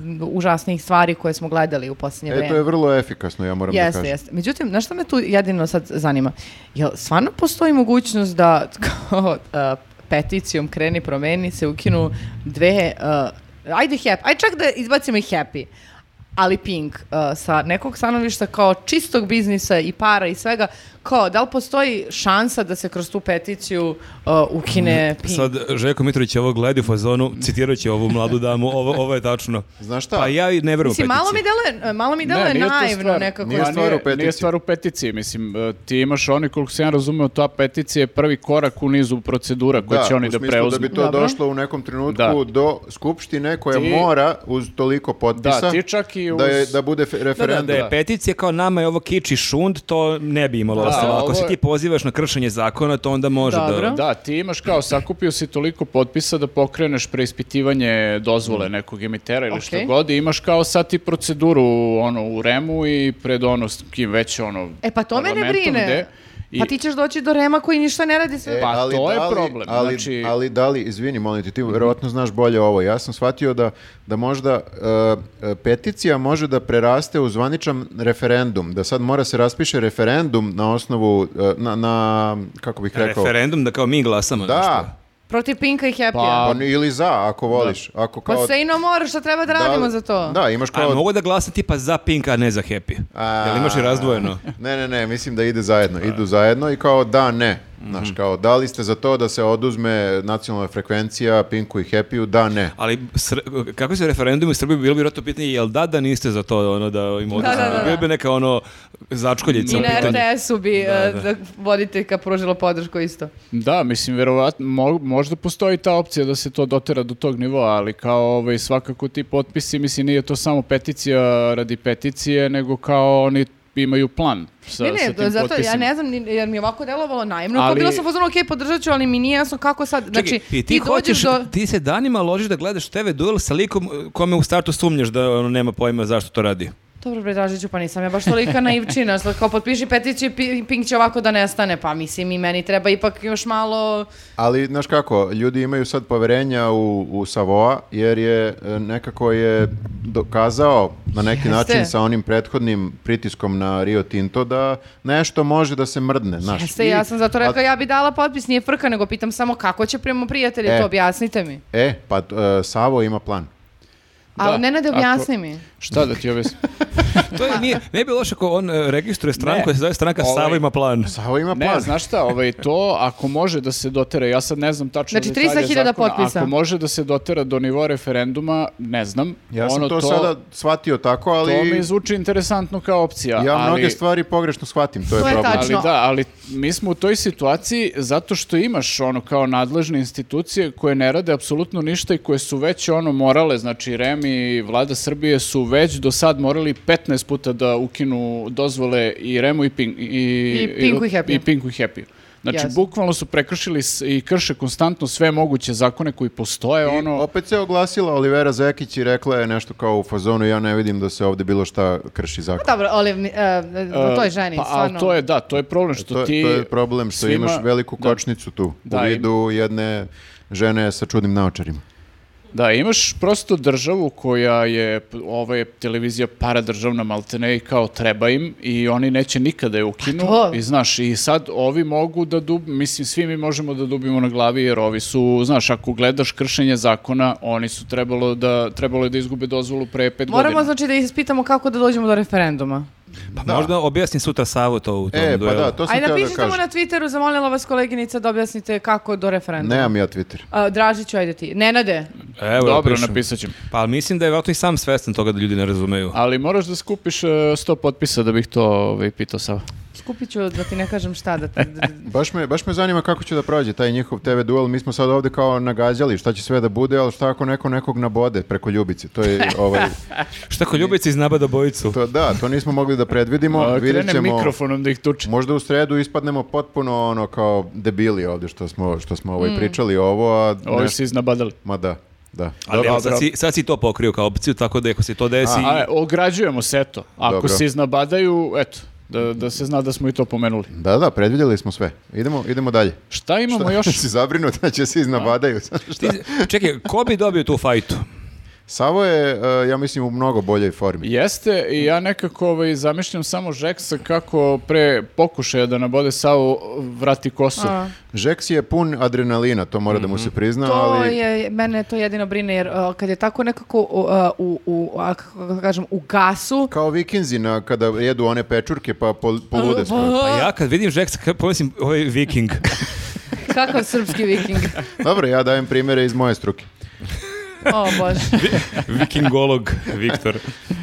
najužasnijih stvari koje smo gledali u posljednje
E,
vreme.
to je vrlo efikasno, ja moram da
Jeste,
kažem.
jeste. Međutim, znaš što me tu jedino sad zanima? Jel stvarno postoji mogućnost da *laughs* kao, a, peticijom kreni promeni se ukinu dve, a, ajde happy, ajde čak da izbacimo i happy, ali pink a, sa nekog stanovišta kao čistog biznisa i para i svega, kao da li postoji šansa da se kroz tu peticiju a, ukine pink?
Sad, Željko Mitrović je ovo gledi u
*laughs*
fazonu, citirajući ovu mladu damu, ovo, ovo je tačno.
Znaš šta?
Pa ja i ne verujem u
Mislim, malo mi
peticiju.
deluje, malo mi
Ne,
deluje
nije to
naivno
stvar-
nekako.
Nije
Pa
stvar u peticiji.
Nije stvar u peticiji, mislim, e, ti imaš oni, koliko se ja razumeo, ta peticija je prvi korak u nizu procedura koje će oni
u
da
smislu
preuzmu.
da bi to
Dobro.
došlo u nekom trenutku
Da.
do skupštine koja
Ti-
mora uz toliko potpisa
Da, ti čak i uz-
da, je, da bude fe- referendum.
Da je peticija kao nama je ovo kiči šund, to ne bi imalo
Da,
osnova. Ako
ovo
se
je-
ti pozivaš na kršenje zakona, to onda može
Dobro.
da...
Da, ti imaš kao, sakupio si toliko potpisa da pokreneš preispitivanje
Mm.
dozvole nekog emitera ili što
Okej.
god i imaš kao sad ti proceduru ono, u REM-u i pred ono s kim već ono...
E pa to mene
parlamentom gde.
brine.
I-
Pa ti ćeš doći do Rema koji ništa ne radi sve.
E,
Pa to je
da li-
problem,
Ali,
znači-
ali da li, izvini, molim te, ti verovatno znaš bolje ovo. Ja sam shvatio da, da možda e, e, peticija može da preraste u zvaničan referendum. Da sad mora se raspiše referendum na osnovu, e, na, na kako bih rekao...
Referendum da kao mi glasamo. znaš šta.
Da,
Protiv Pinka i Happy-a.
Pa,
Pa,
pa ili za, ako voliš. Ako kao,
se i no more, šta treba da
da-
radimo za to?
Da, imaš kao...
A mogu da glasam tipa za Pink, a ne za Happy.
A.
Jel imaš i razdvojeno?
*laughs* Ne, ne, ne, mislim da ide zajedno. Idu zajedno i kao da, ne. Znaš,
Mhm.
kao da li ste za to da se oduzme nacionalna frekvencija Pinku i Happy-u? Da, ne.
Ali sr- kako se referendum u Srbiji bilo bi vjerojatno pitanje jel da da niste za to ono da im oduzmete?
da, da, da.
Bilo bi neka ono začkoljica
I
u
na
pitanju.
RTS-u bi da, da. voditeljka pružila podršku isto.
Da, mislim, verovatno, mo- možda postoji ta opcija da se to dotera do tog nivoa, ali kao ovaj, svakako ti potpisi, mislim, nije to samo peticija radi peticije, nego kao oni imaju plan sa,
ne,
sa
ne,
tim
da- zato ja
potpisima.
ne znam, ni- jer mi je ovako delovalo najmno. Ali...
Ali-
Bilo sam pozorno, ok, podržat ću, ali mi nije jasno kako sad. Znači,
Čekaj, i ti,
ti,
hoćeš,
dođeš do...
ti se danima ložiš da gledaš TV duel sa likom eh, kome u startu sumnjaš da ono, nema pojma zašto to radi.
Dobro, bre, Dražiću, pa nisam ja baš tolika naivčina. Sad kao potpiši peticiju, Pi- Pink će ovako da nestane. Pa mislim, i meni treba ipak još malo...
Ali, znaš kako, ljudi imaju sad poverenja u, u Savoa, jer je e, nekako je dokazao na neki
Jeste.
način sa onim prethodnim pritiskom na Rio Tinto da nešto može da se mrdne, znaš.
Jeste,
I-
ja sam zato
a-
rekao, ja bi dala potpis, nije frka, nego pitam samo kako će prema prijatelji,
E.
to objasnite mi.
E, pa e, Savo ima plan.
Ali
Da,
ne, ne,
ako-
objasni mi.
Šta da ti objasnim?
To je, nije, ne bi loše ako on eh, registruje stranku
Ne.
koja se zove stranka
Ovaj-
Sava ima plan.
Savo ima plan.
Ne, znaš šta, ovaj, to ako može da se dotera, ja sad ne znam tačno
Znači,
detalje
300.000
zakona,
potpisa.
Ako može da se dotera do nivoa referenduma, ne znam.
Ja sam
ono,
to, sada shvatio tako, ali...
To mi zvuči interesantno kao opcija.
Ja
ali,
mnoge stvari pogrešno shvatim, to je
To je
problem.
tačno.
Ali da, ali mi smo u toj situaciji zato što imaš ono kao nadležne institucije koje ne rade apsolutno ništa i koje su već ono morale, znači REM i vlada Srbije su već do sad morali 15 puta da ukinu dozvole i REM-u i, Pink, i,
I Pinku i Happy-u.
i Pinku i Happy-u. Znači,
Jasno.
bukvalno su prekršili s- i krše konstantno sve moguće zakone koji postoje,
I
ono...
Opet se oglasila Olivera Zekić i rekla je nešto kao u fazonu, ja ne vidim da se ovdje bilo šta krši zakon.
Dobro, ali mi- e, e, to je ženi,
Pa, ali
stvarno.
to je, da, to je problem što
To,
ti...
to je problem što
svima-
imaš veliku
Da.
kočnicu tu,
Da,
u
i-
vidu jedne žene sa čudnim naočarima.
Da, imaš prosto državu koja je, p- ova je televizija paradržavna maltene i kao treba im i oni neće nikada je ukinu.
Pa to.
I znaš, i sad ovi mogu da dub, mislim svi mi možemo da dubimo na glavi jer ovi su, znaš, ako gledaš kršenje zakona, oni su trebalo da, trebalo je da izgube dozvolu pre pet
Moramo
godina.
znači da ispitamo kako da dođemo do referenduma.
Pa možda objasni sutra Savu to u tom
E, pa
duelu.
da, to sam
Ajde
htio da
napišite mu
kažem.
na Twitteru, zamolila vas koleginica da objasnite kako do referenduma.
Nemam ja Twitter.
A, Dražiću, ajde ti. Nenade,
Evo,
Dobro,
pišem.
napisat ćemo.
Pa mislim da je vjerojatno i sam svestan toga da ljudi ne razumeju.
Ali moraš da skupiš e, 100 potpisa da bih to ovaj, pitao Sava.
skupit ću da ti ne kažem
*laughs*
šta. Da, ti-
E,
da- da-
Baš me, baš me zanima kako će da prođe taj njihov TV duel. Mi smo sad ovdje kao nagađali šta će sve da bude, ali šta ako neko nekog nabode preko ljubice. To *laughs* je ovaj,
Šta ko ljubica iz nabada bojicu?
to, da, to nismo mogli da predvidimo.
A,
Vidjet
krene
ćemo,
mikrofonom da ih tuče.
možda u sredu ispadnemo potpuno ono kao debili ovdje što smo, što smo ovaj, pričali ovo, a
Ovi
ne-
se iznabadali.
ma da. Da.
Ali evo, sad,
Dobro.
si, sad si to pokrio kao opciju, tako da ako se to desi...
A, e, ograđujemo se, eto. Ako
Dobro.
se iznabadaju, eto, da, da se zna da smo i to pomenuli.
Da, da, predvidjeli smo sve. Idemo, idemo dalje.
Šta imamo
*laughs*
još?
si zabrinut da će se iznabadaju.
Ti- čekaj, ko bi dobio tu fajtu?
Savo je, e, ja mislim, u mnogo boljoj formi.
Jeste, i ja nekako ovaj, zamišljam samo Žeksa kako pre pokušaja da nabode Savu vrati kosu.
A.
Žeks je pun adrenalina, to mora da mu
Mhm.
se prizna,
To
ali...
je, mene to jedino brine, jer a, kad je tako nekako u, a, u, u a, kako da kažem, u gasu,
Kao vikinzi na, kada jedu one pečurke pa pol, polude skoro.
Pa ja kad vidim Žeksa, ka- pomislim, ovaj viking.
kakav srpski viking.
Dobro, ja dajem primjere iz moje struke.
O, bože.
Vikingolog, Viktor.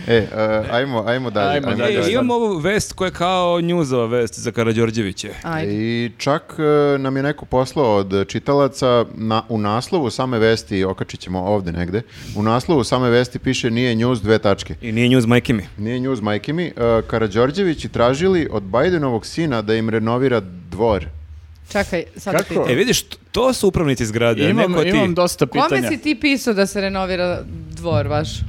E, e, ajmo, ajmo dalje.
Ajmo
ajmo
dalje.
E,
dalje.
imam ovu vest koja je kao njuzova vest za Karadžorđeviće.
Ajde.
I čak e, nam je neko poslao od čitalaca na, u naslovu same vesti, okačit ćemo ovde negde, u naslovu same vesti piše nije news dve tačke.
I nije njuz majke mi.
Nije news, majke mi. E, Karađorđevići tražili od Bajdenovog sina da im renovira dvor. E,
Čekaj, sad
Kako?
pitam.
E, vidiš, to su upravnici zgrade, a
Imam,
neko ti.
imam dosta pitanja.
Kome si ti pisao da se renovira dvor vaš?
E,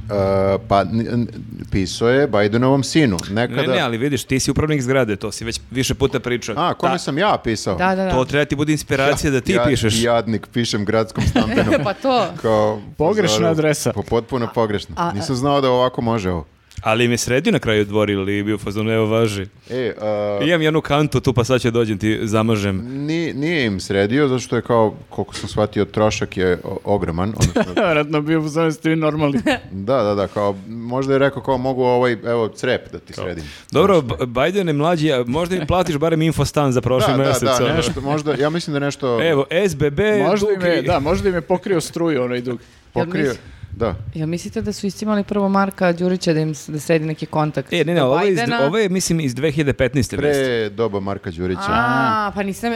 pa n- n- pisao je Bajdenovom sinu. Nekada...
Ne, ne, ali vidiš, ti si upravnik zgrade, to si već više puta pričao.
A, kome
Ta-
sam ja pisao?
Da, da, da.
Pa To treba ti bude inspiracija da ti
Ja-
pišeš.
Jadnik, pišem gradskom stambenom.
*laughs* pa to.
Kao,
Pogrešna
pozoru.
adresa.
Po, potpuno pogrešna.
a-
Nisam znao da ovako može ovo.
Ali mi je sredio na kraju dvori ili je bio fazon, evo važi.
E, a,
Imam jednu kantu tu, pa sad će dođem ti zamažem.
ni- nije im sredio, zato što je kao, koliko sam shvatio, trošak je o- ogroman.
*laughs*
odnosno-
Vjerojatno bio u zonu ste vi
*laughs*
normalni.
da, da, da, kao, možda je rekao kao mogu ovaj, evo, crep da ti sredim.
Dobro, B- Biden je mlađi, a možda im platiš barem infostan za prošli
Da,
mjesec.
da, da,
ono.
nešto, možda, ja mislim da nešto
*laughs* Evo, SBB,
Možda im je,
Duki-
da, možda im je pokrio struju onaj dug.
pokrio.
Jel
Da.
Ja mislite da su istimali prvo Marka Đurića da im s- da sredi neki kontakt?
E, ne, ne,
Do
ovo je, iz,
Bajdena?
ovo je, mislim, iz 2015. vest.
Pre doba Marka Đurića.
A, pa nisam...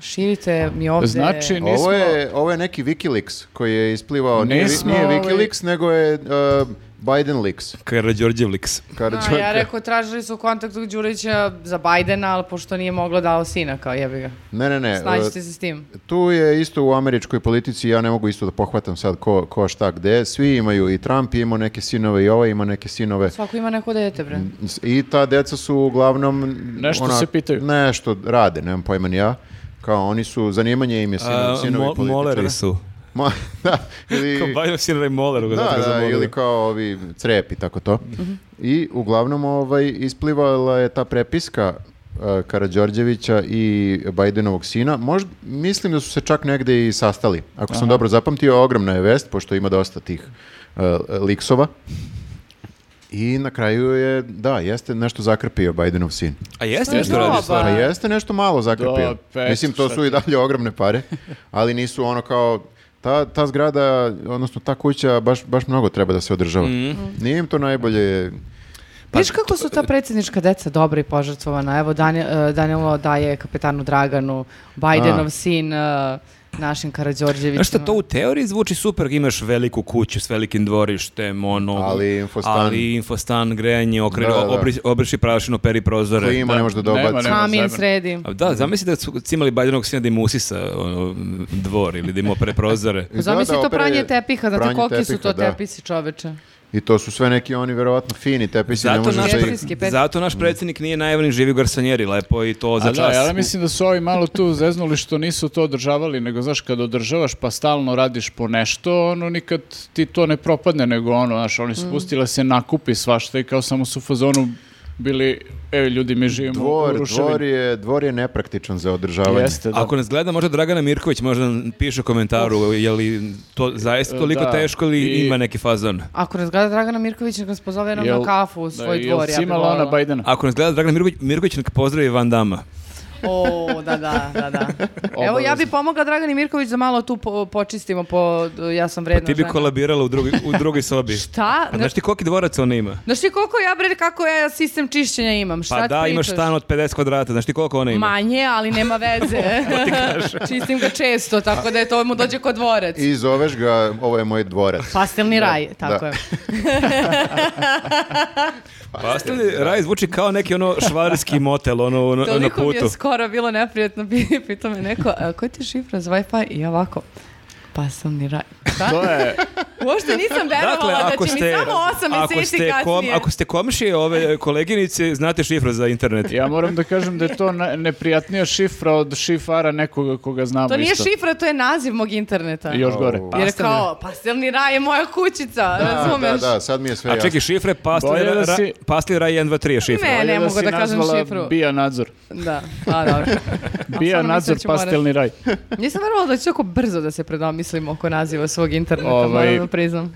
Širite mi ovdje...
Znači, nismo...
Ovo je, ovo je neki Wikileaks koji je isplivao. Nije, vi-
Nismo,
nije
ovaj-
Wikileaks, nego je uh, Biden Leaks.
Karadžorđev liks.
A, ja rekao, tražili su kontakt od Đurića za Bajdena, ali pošto nije moglo dao sina, kao jebi ga.
Ne, ne,
E,
ne.
Snađite se s tim.
uh, Tu je isto u američkoj politici, ja ne mogu isto da pohvatam sad ko, ko šta gde. Svi imaju i Trump je imao neke sinove i ovaj ima neke sinove.
Svako ima neko dete, bre.
I ta deca su uglavnom...
Nešto se pitaju.
Nešto rade, nemam pojma ni ja. Kao oni su, zanimanje im je sino-
A,
sinovi
mo-
političara.
moleri su.
Mo- *laughs* da, ili-
Kao Biden sinovi moleru. ga zato
Da,
ga
da,
zamolio.
ili kao ovi crep i tako to. I uglavnom ovaj, isplivala je ta prepiska uh, Karađorđevića i Bajdenovog sina. Možda, mislim da su se čak negde i sastali. Ako sam dobro zapamtio, ogromna je vest, pošto ima dosta tih uh, liksova. I na kraju je, da, jeste nešto zakrpio Bajdenov sin.
A jeste nešto
Šta
radiš?
Pa-
Pa jeste nešto malo zakrpio.
Do, pet,
Mislim, to
šta
su i dalje ogromne pare, ali nisu ono kao... Ta, ta zgrada, odnosno ta kuća, baš, baš mnogo treba da se održava. Nije im to najbolje...
Pa
Viš kako su ta predsjednička deca dobra i požrtvovana? Evo, Danje- e, Danilo daje kapetanu Draganu, Bajdenov
A.
sin, e, našim Karadžorđevićima.
Znaš šta, to u teoriji zvuči super, imaš veliku kuću s velikim dvorištem, ono...
Ali infostan.
Ali infostan, grejanje, okre,
Da, da, da.
obri- obriši prašinu, peri prozore.
Klima ne može da
Nema,
dobaci.
nema.
Kamin
zajebano.
sredi.
A da, zamisli da su imali Bajdenog sina da im usisa ono, dvor ili da im opere prozore.
Izgleda
Zamisli to
opere-
pranje tepiha, znate
pranje
koliki su
tepiha,
to
da.
tepisi čoveče.
I to su sve neki oni verovatno fini tepisi. ne
Zato
možeš
naš,
da ih-
Jesi- Jefrijski pet.
zato naš predsjednik nije najavljen živi u garsonjeri, lepo i to za
A da,
čas.
ja mislim da su ovi malo tu zeznuli što nisu to održavali, nego znaš, kad održavaš pa stalno radiš po nešto, ono nikad ti to ne propadne, nego ono, znaš, oni
Mm.
su pustile se nakupi svašta i kao samo su u fazonu bili, e, ljudi, mi živimo u
Dvor,
ruševini.
dvor, je, dvor je nepraktičan za održavanje.
Jeste, da.
Ako nas gleda, možda Dragana Mirković možda nam piše u komentaru, je li to
E,
zaista toliko
Da.
teško ili
I-
ima neki fazon?
Ako nas gleda Dragana Mirković, nek nas pozove jednom
Jel-
na kafu u svoj
da,
dvor.
Jel
ja
si
bi
imala ona
volala.
Bajdena?
Ako nas gleda Dragana Mirković, Mirković nek pozdravi Van Pa Dama.
O, da, da, da, da.
*laughs*
Evo, ja bi pomogla Dragani Mirković da malo tu po- počistimo po, ja sam
Pa
vredna
ti bi
žena.
kolabirala u, drugi, u drugoj sobi.
*laughs* Šta?
Pa znaš ti koliki dvorac ona ima?
Znaš ti koliko ja, bre, kako ja sistem čišćenja imam? Šta
Pa
ti
da, imaš
pričaš?
stan od 50 kvadrata, znaš ti koliko ona ima?
Manje, ali nema
*laughs*
veze. Čistim ga često, tako da je to mu dođe kod dvorac.
I zoveš ga, ovo je moj dvorac.
Pastelni raj, tako
da.
je.
Pa ostavi, raj zvuči kao neki ono švarski motel, ono, ono na
Toliko mi
putu.
je skoro bilo neprijatno, *laughs* pitao me neko, "A, koja ti je šifra za Wi-Fi? I ja ovako, pastelni raj.
To je,
Uopšte nisam
Dakle,
verovala da
ako
će
ste,
mi samo 8
ako
meseci
ste,
kasnije.
kom, ako ste komšije
*laughs*
ove koleginice, znate šifru za internet.
ja moram da kažem da je to na- neprijatnija šifra od šifara nekoga koga znamo
To nije
isto.
šifra, to je naziv mog interneta.
I Još gore.
Au.
Jer kao, pastelni raj je moja kućica, razumeš?
Da, da, sad mi je sve
A
jasno.
čekaj, šifre, pasli,
Bolje da
ra,
si-
pasli raj 1, 2, 3 je šifra.
E, Ne,
Bolje
ne mogu
si
da kažem
nazvala
šifru.
Bija
*laughs*
nadzor.
Da, a
*laughs*
dobro. stvarno
Bija
mislim
nadzor
da ću
pastelni raj.
Nisam verovala da će tako brzo da se predomislim oko naziva svog interneta,
Ovaj-
moram da priznam.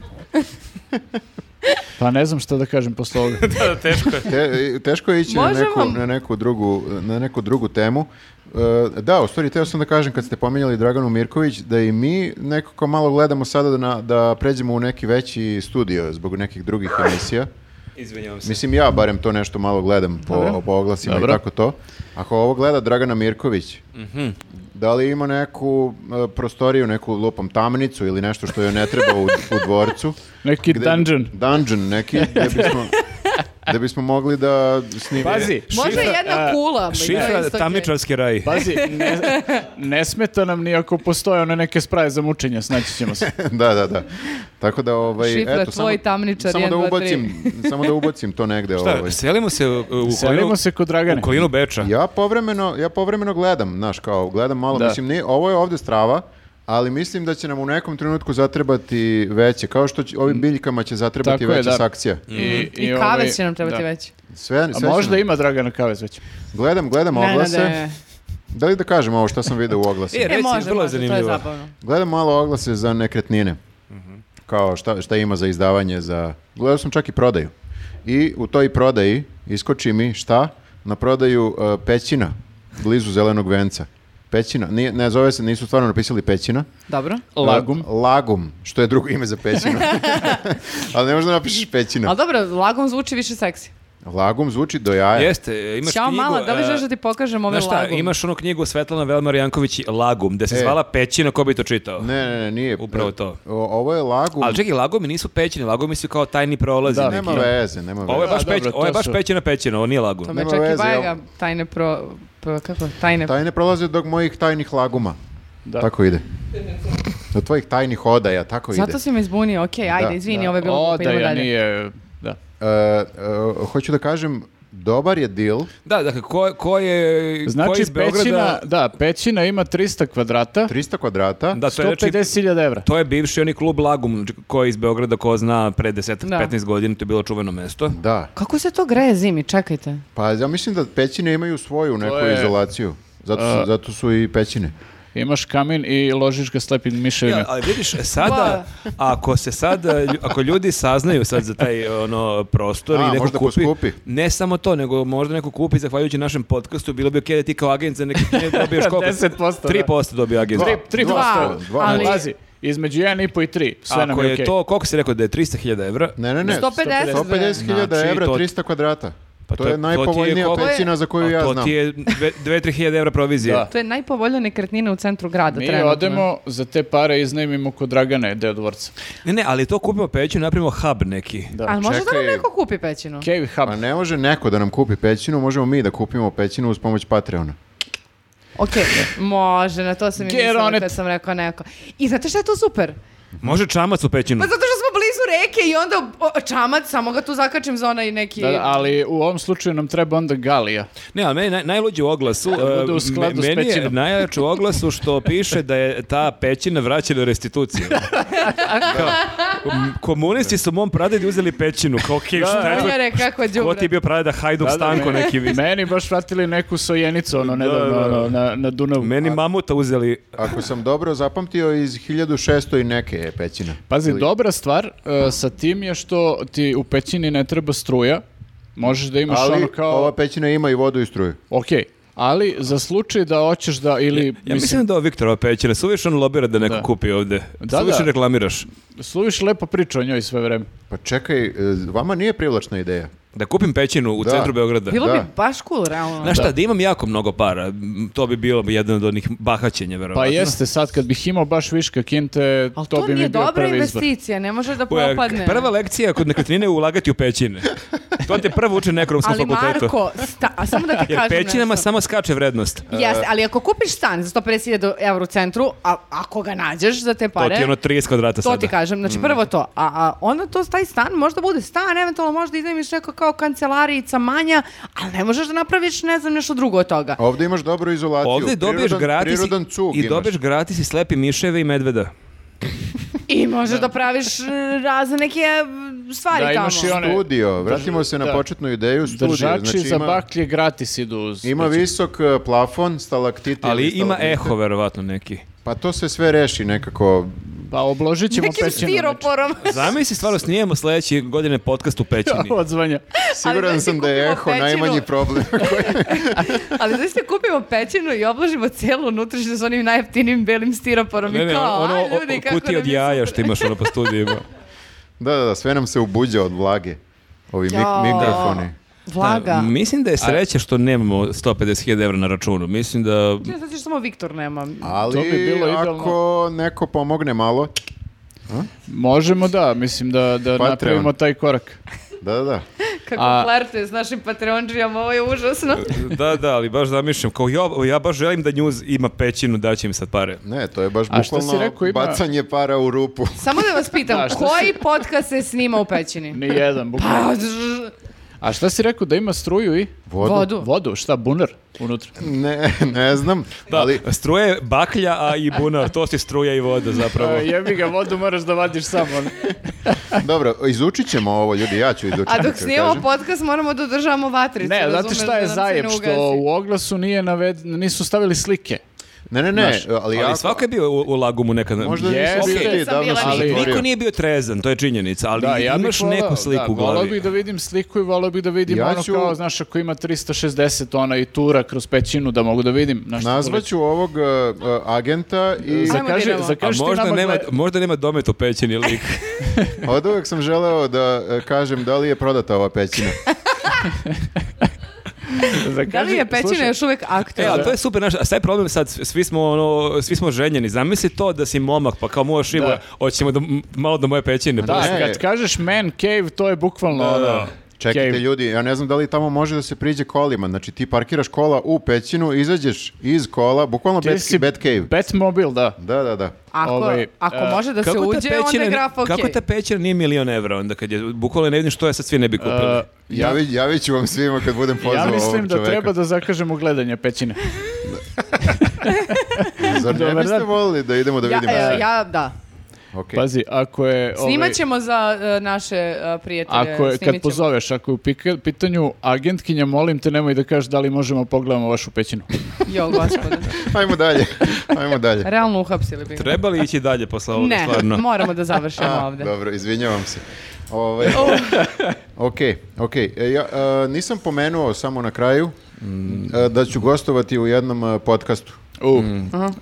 Pa ne znam šta da kažem posle ovoga.
Te- teško je ići na
Možemo?
neku, na, neku drugu, na neku drugu temu. E, da, u stvari, teo sam da kažem kad ste pominjali Draganu Mirković, da i mi nekako malo gledamo sada da, na- da pređemo u neki veći studio zbog nekih drugih emisija.
Izvinjavam se.
Mislim, ja barem to nešto malo gledam po, po oglasima i
Dobro.
tako to. Ako ovo gleda Dragana Mirković, da li ima neku e, prostoriju, neku lupom tamnicu ili nešto što joj ne treba u, u dvorcu?
*laughs*
Neki
Gde-
dungeon.
Dungeon neki,
*laughs*
gde bismo, gde bismo mogli da snimimo.
Pazi,
Može
Šifra- e,
jedna kula. ma i to je
Šifra
isto okej.
tamničarski raj.
pazi,
*laughs*
ne, ne smeta nam ni ako postoje one neke sprave za mučenje, snaći ćemo se.
*laughs* da, da, da. Tako da ovaj
Šifra
eto
tvoj tamničar,
samo da
1, 2,
ubacim, *laughs* samo da ubacim to negde
Šta,
ovaj.
selimo se u, u,
Selimo
kolinu,
se kod Dragane.
u kolinu Beča.
Ja povremeno, ja povremeno gledam, znaš, kao gledam malo,
Da.
mislim ni ovo je ovde strava, ali mislim da će nam u nekom trenutku zatrebati veće, kao što će, ovim biljkama će zatrebati
Mm. Tako je,
veća
da.
sakcija.
I
ovaj,
kave će nam trebati
da.
već.
Sve,
A
sve
možda
ću-
ima Dragana Kavez već.
Gledam, gledam oglase.
Nenade.
Da li da kažem ovo što sam vidio u
E,
oglasima?
reci,
E, može,
vrlo je
može, to je
zanimljivo.
zabavno.
Gledam malo oglase za nekretnine. Kao šta, šta ima za izdavanje za... Gledao sam čak i prodaju. I u toj prodaji iskoči mi šta? Na prodaju e, pećina, blizu zelenog venca. Pećina, nije, ne zove se, nisu stvarno napisali pećina.
Dobro.
Lagum.
E, Lagum, što je drugo ime za pećinu.
*laughs*
Ali ne možeš da napišeš pećina.
Ali dobro, lagom zvuči više seksi.
Lagum zvuči do jaja.
Jeste, imaš
Ćao
knjigu...
mala, da li
e,
želiš da ti pokažem ove
Znaš šta,
lagom?
imaš onu knjigu Svetlana Velmar Janković i Lagum, gde se
E.
zvala Pećina, ko bi to čitao?
Ne, ne, ne, nije.
Upravo to.
O- ovo je lagum.
Ali čekaj, Lagumi nisu Pećine, Lagumi su kao tajni prolazi.
Da,
neki.
nema veze, nema veze.
Ovo je
Da,
baš,
dobro,
peć, ovo je
to
baš
su-
Pećina Pećina, ovo nije Lagum.
To me
Nema
čak i
veze,
Bajaga,
jel?
tajne pro... pro- kako? Tajne...
Tajne prolaze dok mojih tajnih laguma.
Da.
Tako ide. Do tvojih tajnih odaja, tako ide.
Zato si me izbunio, okej, ajde,
Da,
izvini,
Da.
ovo je bilo
O,
glupo,
da,
idemo
ja
dalje.
nije... Da.
E, e, hoću da kažem, dobar je deal.
Da, dakle, ko, ko je... ko je
Znači,
iz Beograda...
pećina, da, pećina ima 300 kvadrata,
300 kvadrata.
Da, to je, znači,
150.000 evra.
to je bivši oni klub Lagum, koji je iz Beograda, ko zna, pre 10
Da.
15 godina, to je bilo čuveno mesto.
Da.
Kako se to greje zimi, čekajte.
Pa ja mislim da pećine imaju svoju neku
je-
izolaciju. Zato
e,
su, zato su i pećine.
Imaš kamin i ložiš ga slepim miševima.
Ja, ali vidiš, sada, ako se sad, lju- ako ljudi saznaju sad za taj ono, prostor
A,
i neko
možda
kupi,
poskupi.
ne samo to, nego možda neko kupi, zahvaljujući našem podcastu, bilo bi okej da ti kao agent za neke knjige
*laughs*
dobiješ koliko?
10%, da.
3% dobio agent.
Tri, tri
Dva,
posto.
dva,
ali-
Pazi, između 1,5 i 3, sve nam
Ako
je
je
okej.
to, koliko si rekao da je 300.000 evra?
Ne, ne, ne.
150.
150.000
Znači,
evra,
to-
300 kvadrata.
Pa
to,
to-
je
to ti je
najpovoljnija
koliko-
pećina za koju
A
ja
to
znam.
ti je 2-3.000 evra provizije.
Da.
To je najpovoljnija nekretnina u centru grada
Mi
trenutno.
odemo za te pare iznajmimo kod Dragane, deo dvorca.
Ne, ne, ali to kupimo pećinu, napravimo hub neki.
Ali može da nam
Čekaj.
neko kupi pećinu?
Cave Hub.
Pa ne može neko da nam kupi pećinu, možemo mi da kupimo pećinu uz pomoć Patreona.
Ok, može, na to sam i
Get on
mislila
it.
kad sam rekao neko. I znate šta je to super?
Može čamac u pećinu.
Pa zato što smo blizu reke i onda o, čamac, samo ga tu zakačim za onaj neki...
Da, da, ali u ovom slučaju nam treba onda Galija.
Ne, ali meni naj, najluđi u oglasu,
Da bude u
e,
skladu
me-
s
meni je
pećinom.
najjače u oglasu što piše da je ta pećina vraćena
*laughs*
restituciju. Kao, m, komunisti su mom pradedi uzeli pećinu, kao okej, šta je to?
Jare, kako
Ko
đubre.
ti je bio pradeda Hajduk
Da, da,
Stanko
meni-
neki vi-
Meni baš vratili neku sojenicu, ono, nedavno,
da, da.
ono, na, na Dunavu.
Meni mamuta uzeli
Ako sam dobro zapamtio, iz 1600 i neke je pećina.
Pazi,
Ili-
dobra stvar e, sa tim je što ti u pećini ne treba struja, možeš da imaš
Ali
ono kao...
ova pećina ima i vodu i struju.
Ok, Ali za slučaj da hoćeš da ili
Ja mislim da je Viktor Opećer, suviše on lobira da neko
Da.
kupi ovde.
Da,
suviše
da.
reklamiraš.
Sluviš lepo priča o njoj sve vreme.
Pa čekaj, e, vama nije privlačna ideja.
Da kupim pećinu u
Da.
centru Beograda.
Bilo
Da.
bi baš cool, realno.
Znaš šta, da imam jako mnogo para, m, to bi bilo jedan od onih bahaćenja,
Pa
verovatno.
jeste, sad kad bih imao baš viška kinte,
Ali to,
to bi mi
nije
bio
dobra
prvi izbor.
investicija, ne može da
Koja-
propadne.
Prva lekcija kod nekretnine je ulagati u pećine. To te prvo uče na ekonomskom
Ali
fakultetu.
Marko, sta, a samo da
*laughs*
ti
Jer
kažem
pećinama
nešto.
samo skače vrednost.
Jeste, ali ako kupiš stan za 150.000 evra u centru, a ako ga nađeš za te
To
pare...
ti je ono 30 kvadrata
To
sada.
ti kažem, znači prvo to, a, a onda to taj stan možda bude stan, eventualno možda iznajmiš neko kao kancelarijica manja, ali ne možeš da napraviš ne znam nešto drugo od toga.
A ovdje imaš dobru izolaciju.
Ovde dobiješ
prirodan-
gratis
prirodan
i-
cug
i
imaš.
dobiješ gratis i slepi miševe i medveda.
I možeš da praviš e, razne neke e, stvari
Da,
tamo.
imaš
ono,
i one-
Studio, vratimo se na
da.
početnu ideju. Studio,
Držači
znači
za
ima-
baklje gratis idu uz. znači,
Ima visok e, plafon, stalaktiti.
Ali
ili
ima
stalagnite.
eho, verovatno, neki.
Pa to se sve reši nekako.
Pa obložit ćemo
Nekim
pećinu.
stiroporom.
Zamisli, stvarno snijemo sledeće godine podcast u
*laughs*
pećini. *laughs*
znači. Odzvanja.
Ali
Siguran
da si
sam da je
kupimo
eho
pećinu.
najmanji
*laughs*
problem.
ali da se kupimo pećinu i obložimo celu unutrašnju s onim najjeftinijim belim stiroporom
Ne,
i
ne,
kao,
ono
a ljudi, kako
kuti
nam
od
je
jaja
super.
što imaš ono po studijima.
da, da, da, sve nam se ubuđa od vlage. Ovi mik-
Jao.
mikrofoni.
Vlaga.
Da, mislim da je sreća što nemamo 150.000 evra na računu. Mislim da...
Ja znači što samo Viktor nema.
Ali
To bi bilo idealno.
ako neko pomogne malo,
Možemo da, mislim da, da
Patreon.
napravimo taj korak.
da, da, da.
Kako
A-
flertuje s našim Patreondžijama, ovo je užasno.
Da, da, ali baš zamišljam. Kao ja, ja baš želim da njuz ima pećinu, daće im sad pare.
Ne, to je baš
A šta si
bukvalno
rekao, ima-
bacanje para u rupu. *laughs*
Samo da vas pitam,
Da, šta
koji podcast se snima u pećini?
Ni jedan, bukvalno.
Pa, zzz,
A šta si rekao da ima struju i
Vodu?
Vodu.
vodu? Šta, bunar unutra?
Ne, ne znam.
Da,
Ali
struje baklja, a i bunar. To si struja i voda zapravo.
E, Jebi ga, vodu moraš da vadiš samo.
dobro, izučit ćemo ovo, ljudi, ja ću izučiti.
A dok
ću
snimamo
kažem.
podcast moramo da održavamo vatricu.
*laughs* Ne, znate
razumeš,
šta
da
je
nam se ne
zajeb, što
ugasi.
u oglasu nije naved, nisu stavili slike.
Ne, ne, ne,
Znaš,
ali,
Ali
jako-
svako je bio u, u lagumu nekad.
Možda
Jeste,
nisi
okej.
ti, davno si
Ali
Ali
zatvorio.
niko nije bio trezan, to je činjenica. Ali imaš
voleo,
neku sliku
da,
u glavi.
voleo bih da vidim sliku i voleo bih da vidim
Ja
ono
ću-
kao, znaš, ako ima 360 ona i tura kroz pećinu da mogu da vidim. Znaš,
Nazvaću ovog uh, uh, agenta i
Ajmo,
Zakaži,
Dinamo.
A
zakaži ti
možda
nama
nema,
gled-
možda nema domet u pećini
*laughs*
lik.
od uvek sam želeo da uh, kažem da li je prodata ova pećina.
*laughs* zakaži-
Da li je pećina
slušaj,
još uvek
e,
aktualna?
ali to je super, znaš, a sad je problem sad, svi smo, ono, svi smo ženjeni. Zamisli to da si momak, pa kao moja šiba,
Da.
hoćemo da, m- malo do moje pećine.
Da,
Ne.
kad kažeš man cave, to je bukvalno
Da,
ono,
da.
Čekajte
cave.
ljudi, ja ne znam da li tamo može da se priđe kolima. Znači ti parkiraš kola u pećinu, izađeš iz kola, bukvalno
Ti
bat,
si
Batcave.
Batmobile, da.
Da, da, da.
Ako,
ovaj,
ako
e,
može da se
Kako ta
uđe, onda je
pećina-
graf ok.
Kako ta pećina nije milion evra onda kad je, bukvalno ne vidim što je sad svi ne bi kupili.
Uh,
E,
Javi, javit ću vam svima kad budem pozvao
ja
ovog
mislim da
čoveka.
treba da zakažemo gledanje pećine.
Zar ne
Dobar
biste
dan.
volili da idemo da
ja,
vidimo?
e,
sve?
ja, Pa- da.
Okej.
Pazi, ako je... ovaj,
Snimat ćemo za e, naše e, prijatelje.
Ako je,
snimit
kad
ćemo.
pozoveš, ako je u pika- pitanju agentkinja, molim te nemoj da kažeš da li možemo pogledamo vašu pećinu.
Jo, gospode.
Ajmo dalje.
*laughs*
Ajmo dalje.
Realno uhapsili bi. ga.
Treba li ići dalje posle ovoga,
Ne,
stvarno?
moramo da završimo
A,
ovde.
Dobro, izvinjavam se. Ovaj,
Oh.
*laughs* ok, ok. E, ja, e, nisam pomenuo samo na kraju
Mm.
e, da ću gostovati u jednom e, podcastu.
U,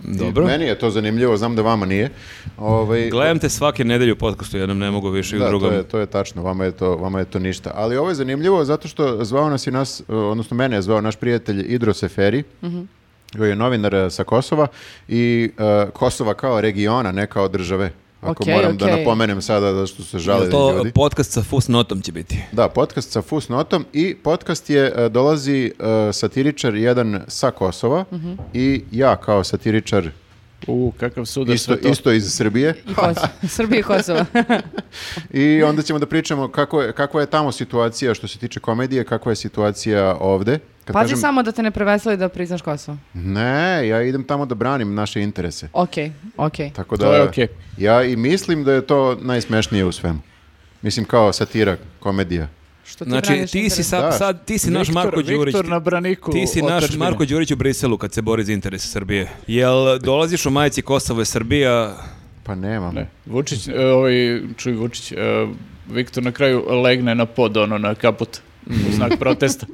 Dobro.
Meni je to zanimljivo, znam da vama nije. Ovaj,
Gledam te svake nedelje u podcastu, jednom ne mogu više i u
Da,
drugom.
to je, to je tačno, vama je to, vama je to ništa. Ali ovo je zanimljivo zato što zvao nas i nas, e, odnosno mene je zvao naš prijatelj Idro Seferi, koji je novinar e, sa Kosova i e, Kosova kao regiona, ne kao države. Ako
Okej,
moram da
okej.
napomenem sada da što se žale
Jel to
ljudi.
podcast sa fusnotom će biti.
Da, podcast sa Fusnotom i podcast je, e, dolazi e, satiričar jedan sa Kosova i ja kao satiričar
u kakav sudar
isto,
sve to.
isto iz Srbije.
I Kosovo. Srbije i Kosovo.
I onda ćemo da pričamo kako je, kakva je tamo situacija što se tiče komedije, kakva je situacija ovde. Kad
Pazi
kažem-
samo da te ne preveseli da priznaš Kosovo.
Ne, ja idem tamo da branim naše interese.
Okej, okej.
Tako da,
To je okej.
ja i mislim da je to najsmešnije u svemu. Mislim kao satira, komedija.
Što ti
Znači,
braniš
ti si,
interes?
sad,
Da.
sad, ti si naš
Viktor-
Marko Đurić.
Viktor na braniku
Ti si naš
otadžbine.
Marko Đurić u Briselu kad se bori za interese Srbije. Jel dolaziš u majici Kosovo je Srbija?
Pa nemam.
Ne, Vučić, e, ovaj, čuj
Mm. *laughs*
Vučić, e, Viktor na kraju legne na pod, ono, na kaput, u znak protesta.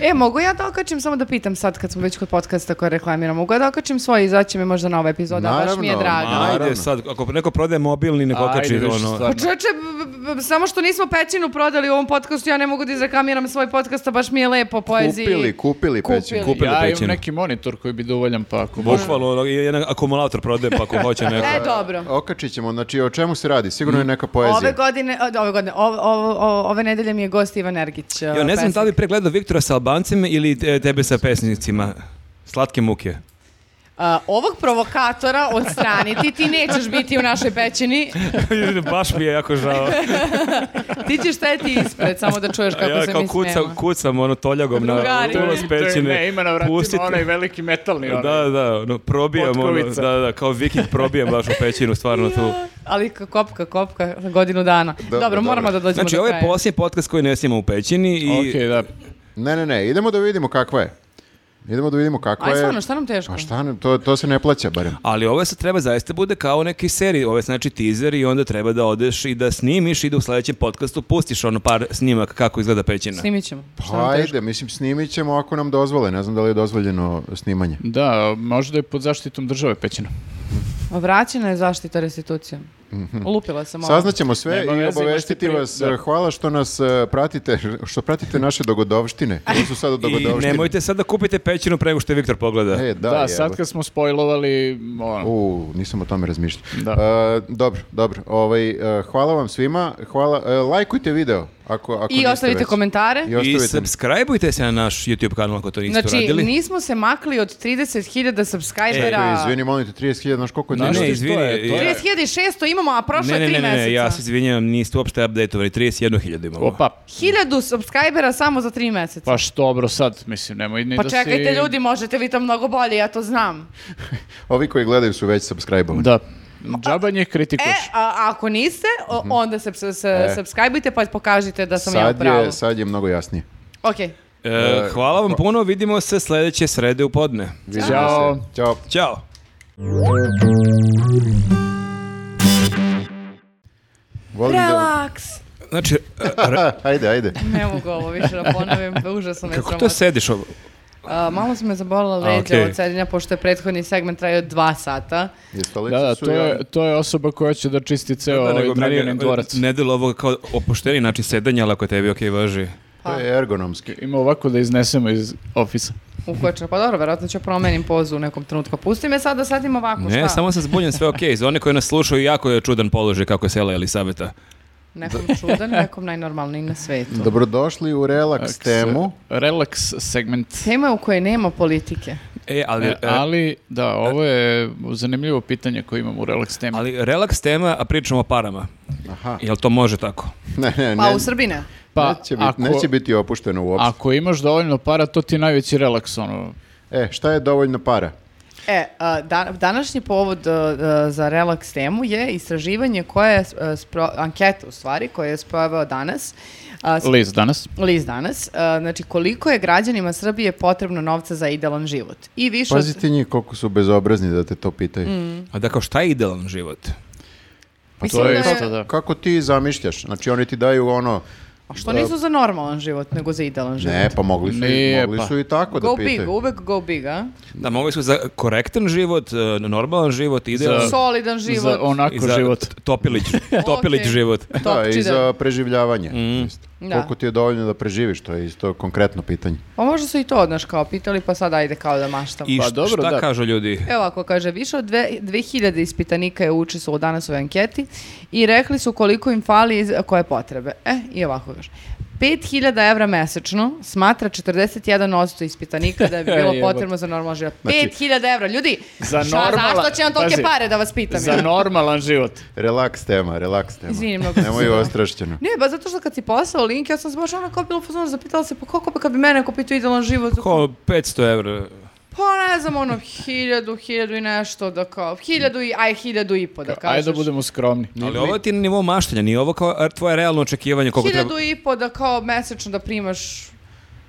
E, mogu ja da okačim, samo da pitam sad kad smo već kod podcasta koje reklamiramo, mogu ja da okačim svoj, izaći mi možda nova epizoda, baš mi je
Naravno, ma-
drago.
Naravno.
Ajde sad, ako neko prodaje mobilni, neko
Ajde,
okači
više
ono...
stvari.
Pa čoveče, b- b- b- samo što nismo pećinu prodali u ovom podcastu, ja ne mogu da izreklamiram svoj podcast, a baš mi je lepo poeziji.
Kupili, kupili
Kupili.
pećinu.
Kupili
ja
pećinu.
imam neki monitor koji bi dovoljan pa ako može.
Bukvalno, ono, i jedan akumulator prodaje, pa ako hoće neko...
E, dobro.
Okačit ćemo, znači o čemu se radi? Sigurno je neka poezija.
Ove godine, o, ove godine, o- o- o- ove nedelje mi je gost Ivan Ergić.
Ja ne znam da
pesnik.
li bi pregledao Viktora sa Albancima ili te- tebe sa pesnicima. Slatke *laughs* muke.
A, ovog provokatora odstraniti, ti nećeš biti u našoj pećini,
Baš mi je jako *laughs* žao.
ti ćeš stajati ispred, samo da čuješ kako
ja
se
kao
mi
kuca,
smemo.
kucam ono toljagom na
Drugari.
ulaz
To je-
pećine.
Ne, ima na vratima
Pustite-
onaj veliki metalni onaj.
Da, da, ono, probijam ono,
Potkovica.
da, da, kao viking probijam baš u pećinu, stvarno
*laughs*
tu.
Ali k- kopka, kopka, godinu dana. Dobro,
dobro.
moramo da dođemo
Znači,
do
ovo je
kraja.
posljednji podcast koji ne snimamo u pećini i...
Okej, da.
Ne, ne, ne, idemo da vidimo kakva je. Idemo da vidimo kakva
Aj,
je.
stvarno, šta nam teško?
Pa šta, nam- to, to se ne plaća barem.
Ali ovo se treba zaista bude kao neki seriji, ovo je znači teaser i onda treba da odeš i da snimiš i da u sledećem podcastu pustiš ono par snimaka kako izgleda pećina.
Snimit ćemo. Šta
Pa
nam teško?
ajde, mislim snimit ćemo ako nam dozvole. Ne znam da li je dozvoljeno snimanje.
Da, možda je pod zaštitom države pećina.
Vraćena je zaštita restitucijom.
Mhm.
Lupila sam ovo.
Saznaćemo sve
Nema
i
veze,
obavestiti
imaš ti pri-
vas.
da.
Hvala što nas e, pratite, što pratite naše dogodovštine. To su sada
I
dogodovštine.
nemojte sad da kupite pećinu prego što je Viktor pogleda.
E, da,
Da,
jebote.
sad kad smo spojlovali, ono,
U, nisam o tome razmišljao.
Da.
E, dobro, dobro. Ovaj, e, hvala vam svima. Hvala, e, lajkujte video. Ako, ako
I
niste
ostavite
već.
komentare.
I ostavite.
I subscribeujte se na naš YouTube kanal ako to niste
Znači,
uradili. E,
nismo se makli od 30.000 subscribera.
Čekaj, E, izvini, molim te, 30.000, znaš koliko je
Ne,
Znaš
ne,
ti
izvini.
što je? To je-
30.600 imamo, a prošlo
Ne, ne,
je 3
ne, ne,
mjeseca.
ne, ja se izvinjam, niste uopšte updateovali, 31.000 imamo.
opa,
1000 subscribera samo za 3 mjeseca.
pa što dobro sad, mislim, nemoj ni
Pa
da si...
čekajte ljudi, možete vi to mnogo bolje, ja to znam.
Ovi koji gledaju su već subscribe-ovani.
Da, džabanje kritikuš.
E, a, a ako niste,
Mhm.
o- onda se, se, se
E.
subscribeujte pa pokažite da sam ja u
Sad
pravu.
je, sad je mnogo jasnije.
Ok,
E, hvala vam puno, vidimo se sledeće srede u podne.
Vidimo
Ćao.
se. Ćao.
Ćao!
Volim da...
relaks.
Znači, e,
Ajde, ajde.
Ne mogu ovo više da ponovim,
*laughs*
užasno me
kako
sramota.
to sediš ovo?
A, malo su me zabolila leđa
okej.
od sedenja, pošto je prethodni segment trajao dva sata.
I stolice
Da, da,
su
to
i
je,
oni.
to je osoba koja će da čisti ceo
Da,
ovaj
nego meni
Draganin dvorac.
ne delo ovo kao opušteni način sedanja, ali ako je tebi okej važi.
To
Pa.
je ergonomski.
Ima ovako da iznesemo iz ofisa.
Ukočena, pa dobro, verovatno ću promenim pozu u nekom trenutku. Pusti me sad da sedim ovako,
Ne,
Pa šta?
samo sam zbunjen, sve okej. Za one koji nas slušaju, jako je čudan položaj kako je sela Elisaveta.
Nekom čudan, nekom najnormalniji na svetu.
Dobrodošli u relaks
*laughs*
temu.
Relax segment.
Tema u kojoj nema politike.
E, ali...
E,
e,
ali, da, ovo je zanimljivo pitanje koje imamo u relax temi.
ali relaks tema, a pričamo o parama.
Aha.
Jel to može tako?
Ne, ne,
Pa
ne.
u Srbiji ne.
pa,
neće, biti,
ako,
neće biti opušteno uopšte.
ako imaš dovoljno para, to ti je najveći relaks, ono.
E, šta je dovoljno para?
E, a, da- današnji povod a, a, za relaks temu je istraživanje koje je, a, spro- anketa u stvari, koje je sproveo danas. A, s-
Liz danas.
List danas. A, znači, koliko je građanima Srbije potrebno novca za idealan život? I više... od-
Pazi ti njih koliko su bezobrazni da te to pitaju.
Mm.
A da kao šta je idealan život?
Mislim
to je
da je-
Pa isto, da.
Kako ti zamišljaš? Znači oni ti daju ono...
A što nisu za normalan život, nego za idealan život?
Ne, pa mogli su, i,
Nije,
mogli
pa.
su i tako
Go
da pitaju.
big, uvek go big, a?
Da, mogli su za korektan život, e, normalan život, idealan...
Za-
Solidan život.
Za onako
i za
život.
t- Topilić,
*laughs*
topilić
Okej.
život.
Da, i
Topčider.
za preživljavanje.
Mm.
Isto.
Da.
Koliko ti je dovoljno da preživiš, to je isto konkretno pitanje.
Pa možda su i to, znaš, kao pitali, pa sad ajde kao da maštamo.
I
Pa
šta,
dobro,
šta
da.
kažu ljudi?
Evo ako kaže, više od dve- 2000 ispitanika je učestvovalo danas u anketi i rekli su koliko im fali iz koje potrebe. E, i ovako kaže. 5000 evra mesečno smatra 41% ispitanika
*laughs*
da bi bilo
Jebote.
potrebno za normalan život.
Znači-
5000 evra, ljudi!
Za
šta,
normalan-
zašto će vam tolike
Pazi,
pare da vas pitam?
Za
ja?
normalan život.
Relaks tema, relaks tema.
Izvini, mnogo sam
Nemoj
se-
ostrašćeno.
Ne, ba zato što kad si poslao link, ja sam se baš onako bilo u fazonu, zapitala se, pa koliko bi kad bi mene neko pitao idealan život?
Pa
Ko 500 evra.
Pa ne znam, ono, hiljadu, hiljadu i nešto, da kao, hiljadu i, aj, hiljadu i po, da kažeš.
Ajde da budemo skromni.
Ali ovo ti je na nivou maštanja, nije ovo kao tvoje realno očekivanje koliko treba...
hiljadu i po da kao mesečno da primaš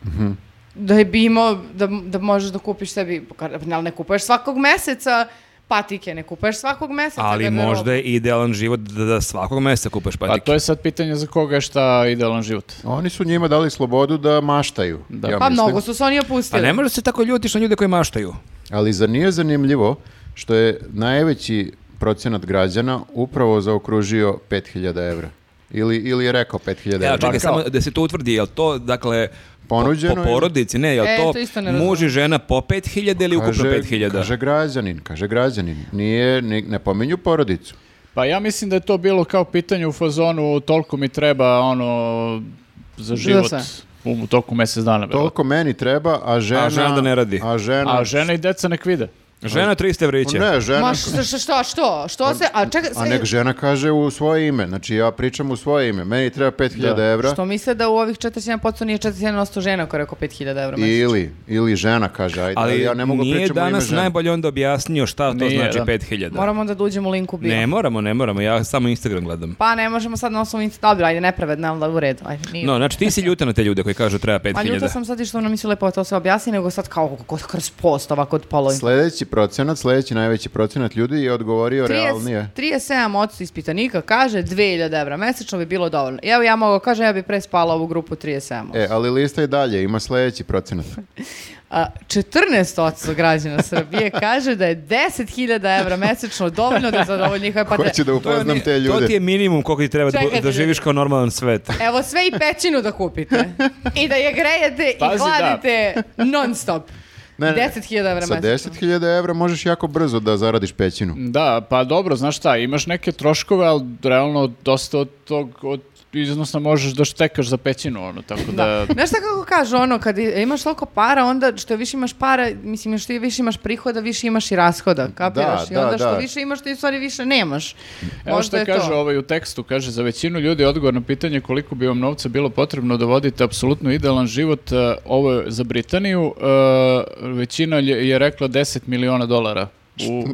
Mhm. da je bi imao, da, da možeš da kupiš sebi, pa ne, ali ne kupuješ svakog meseca patike ne kupuješ svakog meseca.
Ali
garderobu.
možda je idealan život da, da svakog mjeseca kupeš
Pa
patike.
to je sad pitanje za koga je šta idealan život.
Oni su njima dali slobodu da maštaju.
Da.
ja
Pa
mislim.
mnogo su se oni
Pa
opustili.
ne može se tako ljutiš na ljude koji maštaju.
Ali zar nije zanimljivo što je najveći procenat građana upravo zaokružio 5000 evra? Ili, ili je rekao 5000 evra?
Evo, čekaj,
kao-
samo da se to utvrdi, jel to, dakle, po-
Ponuđeno
po,
ili-
porodici, ne, jel
E,
to,
to isto ne
muž i
razumem.
žena po 5000 ili ukupno 5000?
Kaže građanin, kaže građanin. Nije, ni- ne pominju porodicu.
Pa ja mislim da je to bilo kao pitanje u fazonu toliko mi treba ono za život
sve.
u, u toku mjesec dana. verovatno.
Toliko meni treba, a žena...
A žena da ne radi.
A žena... Pa
A žene i deca nek vide.
Žena 300 evrića.
Ne, žena...
Ma šta, šta, šta, što? Što se, a čekaj,
A nek žena kaže u svoje ime. Znači ja pričam u svoje ime. Meni treba 5000
Da.
evra.
što misle da u ovih 41% nije 41% žena koja je rekao 5000 evra mesečno?
Ili, ili žena kaže, ajde,
Ali
ja ne mogu
nije
pričam u ime
danas
žene.
najbolje onda objasnio šta to
Nije,
znači
da.
5000.
Moramo onda da uđemo u linku bio.
Ne moramo, ne moramo, ja samo Instagram gledam.
Pa ne možemo sad na osnovu Insta. Dobro, ajde, nepravedno, ali u redu. Ajde, nije.
No, znači ti si ljuta na te ljude koji kažu treba
Pa
5000.
ljuta sam sad i što ona misli lepo da to sve objasni, nego sad kao kod kroz post ovako od polo.
Sljedeći procenat, sljedeći najveći procenat ljudi je odgovorio
30
realnije.
37% ispitanika kaže 2000 evra mesečno bi bilo dovoljno. Evo ja mogu kažem, ja bi pre spala ovu grupu 37%.
E, ali lista i dalje, ima sljedeći procenat.
A, 14% građana
*laughs*
Srbije kaže da je 10.000 evra mesečno dovoljno Pa da zadovolji njihove potrebe.
Hoću da
To je
upoznam
oni-
te
To ti je
ljude.
minimum koliko ti treba da bu-
Čekajte,
da živiš kao normalan svet.
Evo sve i pećinu da kupite.
*laughs*
I da je grejete i
Pazi, da.
hladite non stop.
Ne, ne, ne.
10.000 evra
Sa
mesečno.
10.000 evra možeš jako brzo da zaradiš pećinu.
Da, pa dobro, znaš šta, imaš neke troškove, ali realno dosta od tog od iznosa možeš da štekaš za pećinu, ono, tako da...
Da. *laughs* Znaš šta kako kažu, ono, kad i- imaš toliko para, onda što više imaš para, mislim, što više imaš prihoda, više imaš i rashoda, kapiraš?
Da,
I onda
da,
što
da.
više imaš, ti u stvari više nemaš.
Evo
Možda
što
je
kaže
to.
ovaj u tekstu, kaže za većinu ljudi odgovor na pitanje koliko bi vam novca bilo potrebno da vodite apsolutno idealan život, e, ovo je za Britaniju, e, većina je, je rekla 10 miliona dolara u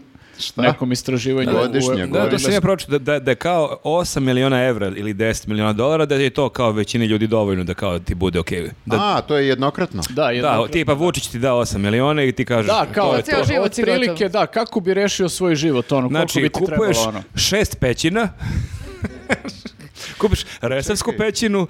nekom istraživanju.
Godišnje,
u- u-
Da, to sam ja pročito, da, da, da kao 8 miliona evra ili 10 miliona dolara, da je to kao većini ljudi dovoljno da kao ti bude okej. Da,
A, to je jednokratno.
Da,
da,
jednako-
tipa Vučić ti da 8 miliona i ti kažeš
Da, kao
to
je
je
to. Ceo život si
otprilike,
gotovo.
da, kako bi rešio svoj život, ono, koliko
Znači,
bi ti
kupuješ
trebalo, ono.
šest pećina, *laughs* kupiš resavsku
*laughs*
pećinu,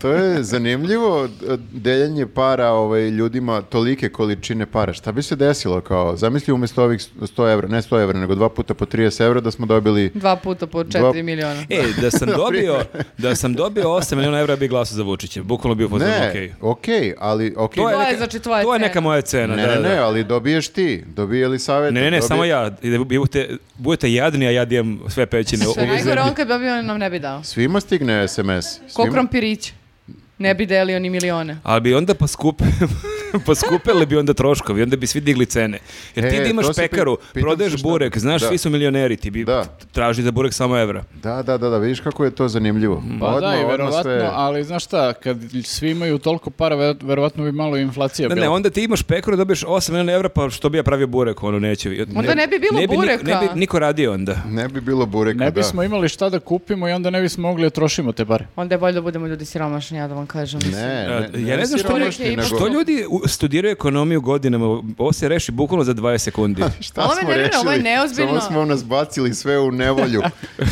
To je zanimljivo d- deljenje para ovaj, ljudima tolike količine para. Šta bi se desilo kao, zamisli umjesto ovih 100 evra, ne 100 evra, nego dva puta po 30 evra da smo dobili
Dva puta po 4
Dva-
miliona.
E, da
*laughs*
sam dobio, da sam dobio 8 miliona evra bi glasao za Vučića. Bukvalno bio pozvan,
Ne,
okej.
okej, ali okej.
To je znači tvoja
to je neka
cena.
moja cena.
Ne,
da,
ne,
da.
ne, ali dobiješ ti, dobije li savjet.
Ne, ne, ne, samo ja. I da bu- budete, budete jadni, a ja dijem sve pećine. u
Što je
ovoj
najgore,
zemlji.
on kad bi on nam ne bi dao.
Svima stigne SMS. Svima.
Ko krompirić. Ne bi delio ni milione.
Ali bi onda poskup, *laughs* poskupili bi onda troškovi, onda bi svi digli cene. Jer ti
E,
da imaš
to se pi-
pekaru,
pitam se
prodaješ
šta-
burek, znaš,
da.
svi su milioneri, ti bi
Da.
traži za burek samo evra.
Da, da, da, da, vidiš kako je to zanimljivo.
Pa da, i
odmah
verovatno,
sve-
ali znaš šta, kad svi imaju toliko para, ver- verovatno bi malo i inflacija
Ne,
bila.
ne, onda ti imaš pekaru, dobiješ 8 miliona evra, pa što bi ja pravio burek, ono neće.
Onda ne bi bilo
ni-
bureka.
Ne bi niko radio onda.
Ne bi bilo bureka,
Ne
da.
bismo imali šta da kupimo i onda ne bismo mogli da trošimo te pare.
Onda je bolje da budemo ljudi siromašni, ja da vam kažem.
Ne,
E,
mislim.
ne, ne,
Ja ne znam što
siromašni,
neki-
nego-
Što ljudi u- studiraju ekonomiju godinama, ovo se reši bukvalno za 20 sekundi.
*laughs* Šta
Ali ovo
smo
je nervira,
rešili?
ovo je neozbiljno.
Samo smo nas bacili sve u nevolju.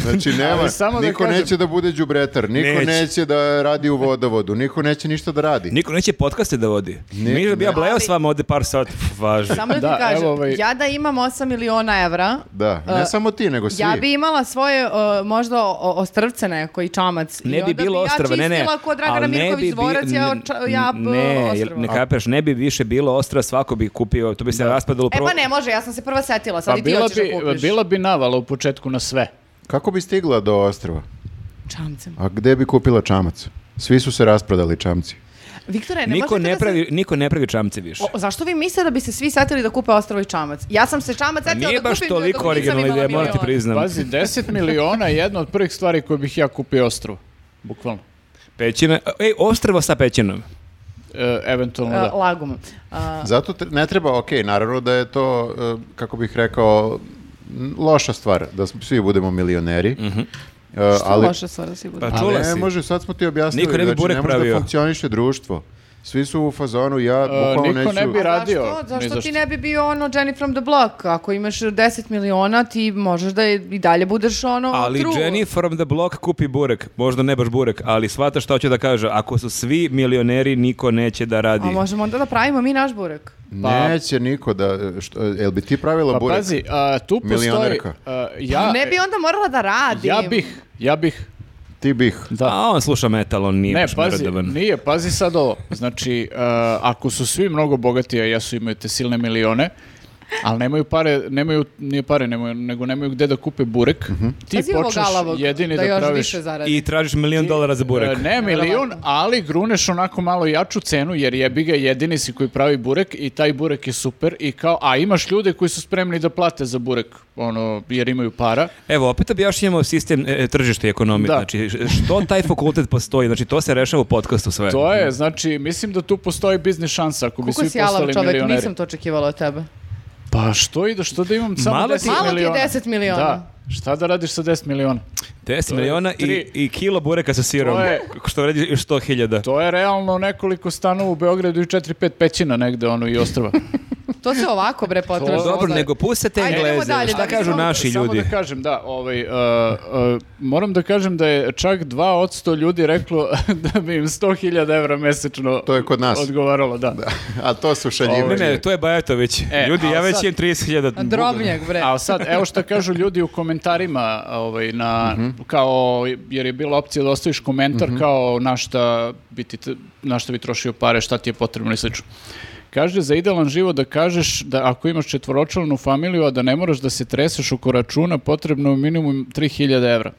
Znači, nema,
Ali samo da
niko
kažem-
neće da bude đubretar, niko
Neće.
neće. da radi u vodovodu, niko neće ništa da radi.
Niko neće podcaste da vodi.
Ne-
Mi bi ja
ne.
blejao s vama ovde par sati. Pff, Važno.
Samo da,
Da,
ti kažem,
evo ovaj-
ja da imam 8 miliona evra,
Da, ne
E,
samo ti, nego svi.
Ja bi imala svoje uh, možda o- ostrvce neko i čamac. I
Ne bi
onda
bilo
ja
ostrava, ne, ne.
čistila ko Dragana
ali ne bi
Mirković
bi-
dvorac, ja,
n-
oča- ja
n-
uh,
Ne, jer
ostrvo.
ne kapeš, ne bi više bilo ostrava, svako bi kupio, to bi se raspadalo.
E
pro-
pa ne može, ja sam se prva setila, sad
Pa
i ti
bila
hoćeš da
bi,
kupiš.
bila bi navala u početku na sve.
Kako bi stigla do ostrva?
Čamcem.
A gde bi kupila čamac? Svi su se rasprodali čamci.
Viktore, ne
Niko
možete
ne,
da se-
pravi, niko ne pravi čamce više.
O, zašto vi mislite da bi se svi setili da kupe ostrvo i čamac? Ja sam se čamac setila da kupim
Pa Nije baš
dok
toliko
nisam
originalna
imala
ideja, moram ti
milion.
priznam.
Pazi, 10 miliona je jedna od prvih stvari koje bih ja kupio ostrvo. Bukvalno.
Pećina, ej, ostrvo sa pećinom.
E, eventualno
Uh,
da.
lagom. Uh,
Zato tre- ne treba, ok, naravno da je to, e, kako bih rekao, n- loša stvar, da smo- svi budemo milioneri. E,
Mhm.
što
ali,
loša stvar da si bude.
Pa
ali
čula
ne
si.
može, sad smo ti objasnili,
Niko ne bi
znači,
burek
ne može da
pravio.
funkcioniše društvo. Svi su u fazonu, ja
E,
bukvalno neću...
niko ne bi
A
radio.
Zašto,
ni
zašto
zašto.
ti ne bi bio ono Jenny from the block? Ako imaš 10 miliona, ti možeš da i dalje budeš ono
Ali
true.
Jenny from the block kupi burek. Možda ne baš burek, ali shvata šta hoće da kaže. Ako su svi milioneri, niko neće da radi.
A možemo onda da pravimo mi naš burek.
Pa-
Neće niko da... e, Što, jel bi ti pravila
Pa
burek?
pazi, a, tu postoji...
Milionerka.
a,
Pa
ja,
ne bi onda morala da radim.
ja bih, ja bih.
Ti bih.
A on sluša metal, on nije
Ne,
baš
pazi,
mrdavan.
nije, pazi sad ovo. Znači, *laughs* e, ako su svi mnogo bogati, a jesu imaju te silne milione, ali nemaju pare, nemaju, nije pare, nemaju, nego nemaju gde da kupe burek, ti
Pazi ovog
počneš
galavog,
jedini da,
da još
praviš...
više zaradi.
I tražiš milion dolara za burek.
E, Ne milion, ali gruneš onako malo jaču cenu, jer jebi ga jedini si koji pravi burek i taj burek je super i kao, a imaš ljude koji su spremni da plate za burek, ono, jer imaju para.
Evo, opet objašnjamo sistem e, e, tržišta i ekonomije.
Da.
Znači, š- što taj fakultet postoji? Znači, to se rešava u podcastu sve.
To je, znači, mislim da tu postoji biznis šansa ako bi
Koliko
svi
si alav
postali
čovek,
milioneri.
nisam to očekivala od tebe.
Pa što ide, što da imam samo
Malo ti-
10
Malo ti je
miliona?
10 miliona.
Da, šta da radiš sa 10 miliona?
10
je
miliona i,
tri.
i kilo bureka sa sirom.
To je-
Što vredi još 100 hiljada.
To je realno nekoliko stanova u Beogradu i 4-5 pećina negde, ono, i ostrva.
To se ovako
*laughs*
bre potražno.
Dobro, nego puste te
Ajde, idemo
engleze.
dalje,
Šta
da
*laughs* kažu
vidimo.
naši
Samo
ljudi?
da kažem, da, ovaj, uh, uh, moram da kažem da je čak 2 od 100 ljudi reklo *laughs* da bi im 100.000 evra mesečno
To je kod nas.
odgovaralo, da.
A to su
Ne,
šaljivi.
ne, to je Bajatović.
E,
ljudi,
ali
ja već
sad-
imam 30 hiljada.
Drobnjak bre.
A sad, evo što kažu ljudi u komentarima, ovaj, na,
Mhm.
kao, jer je bila opcija da ostaviš komentar kao na šta, bi ti t- na šta bi trošio pare, šta ti je potrebno i slično. Kaže, za idealan život da kažeš da ako imaš četvoročlanu familiju, a da ne moraš da se treseš oko računa, potrebno je minimum 3000 evra.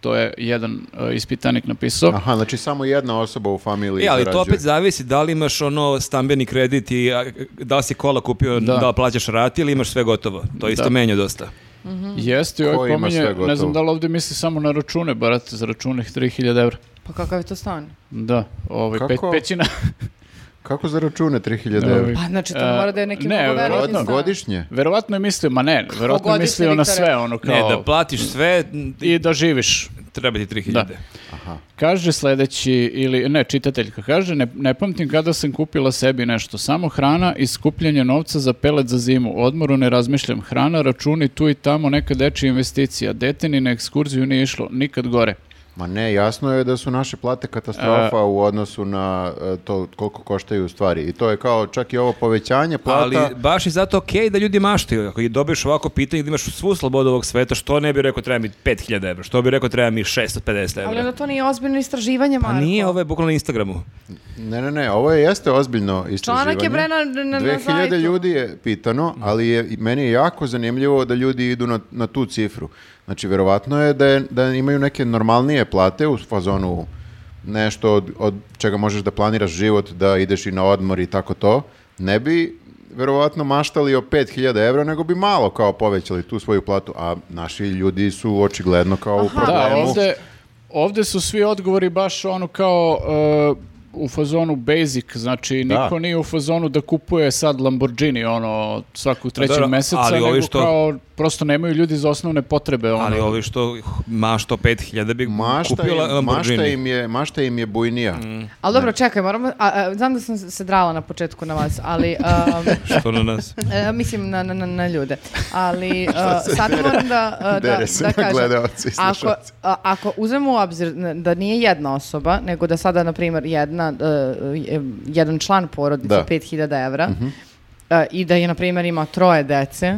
To je jedan e, ispitanik napisao.
Aha, znači samo jedna osoba u familiji
E, ali to
zarađuje.
opet zavisi da li imaš ono stambeni kredit i a, da li si kola kupio, da,
Da.
li plaćaš rati ili imaš sve gotovo. To isto
Da.
menja dosta.
Jeste, i
Ko
ovaj
ima sve
pominje,
gotovo?
ne znam da li ovdje misli samo na račune, barate za račune 3000 evra.
Pa kakav je to stan?
Da, ovaj, pe-
Kako?
pećina.
Kako za račune 3000
Ovaj,
evra?
Pa znači to
E,
mora da je neki
ne,
mnogo veliki
verovatno
Verovatno
stan.
godišnje.
Verovatno je mislio, ma ne, verovatno je
Pogodi se,
mislio na
Viktore.
sve, ono kao...
Ne, E, da pa- platiš sve, m,
I da živiš.
treba ti 3000.
Da. Kaže sledeći, ili ne, čitateljka kaže, ne, ne pamtim kada sam kupila sebi nešto, samo hrana i skupljanje novca za pelet za zimu, O odmoru ne razmišljam, hrana, računi tu i tamo, neka dečija investicija, dete ni na ekskurziju nije išlo, nikad gore.
Ma ne, jasno je da su naše plate katastrofa u odnosu na e, to koliko koštaju stvari. I to je kao čak i ovo povećanje
Ali
plata.
baš je zato okej da ljudi maštaju. Ako i dobiješ ovako pitanje da imaš svu slobodu ovog sveta, što ne bi rekao treba mi 5000 evra, što bi rekao treba mi 650
Ali
evra.
onda to nije ozbiljno istraživanje,
Pa
Marko.
nije, ovo je bukvalno na Instagramu.
Ne, ne, ne, ovo je jeste ozbiljno istraživanje.
Članak je, bre, na- na- na
2000
sajtu.
ljudi je pitano, ali je, i meni je jako zanimljivo da ljudi idu na, na tu cifru. Znači, verovatno je da, je da imaju neke normalnije plate u fazonu nešto od, od čega možeš da planiraš život, da ideš i na odmor i tako to. Ne bi verovatno maštali o 5000 evra, nego bi malo kao povećali tu svoju platu, a naši ljudi su očigledno kao u
Da,
problemu.
ovde, ovde su svi odgovori baš ono kao e, u fazonu basic, znači
Da.
niko nije u fazonu da kupuje sad Lamborghini ono svakog trećeg
Pa dobro,
meseca,
ali ovi
nego
što-
kao prosto nemaju ljudi za osnovne potrebe. Ono.
Ali ovi što mašto 5000 bi
Mašta
kupio
im,
Lamborghini.
mašta im je, mašta im je bujnija.
Mm.
Ali dobro, čekaj, moramo... A, a, znam da sam se drala na početku na vas,
*laughs*
ali... um,
Što na
*laughs*
nas?
e, mislim na, na, na, na ljude.
*laughs*
Ali uh, sad moram da, uh, da,
Dere se
da
na
kažem.
gledaoce i
ako,
slušaoce.
a- ako uzmemo u obzir n- da nije jedna osoba, nego da sada, na primjer, jedna, uh, je- jedan član porodice,
Da. Mhm.
5000 evra, uh, i da je, na primjer, ima troje dece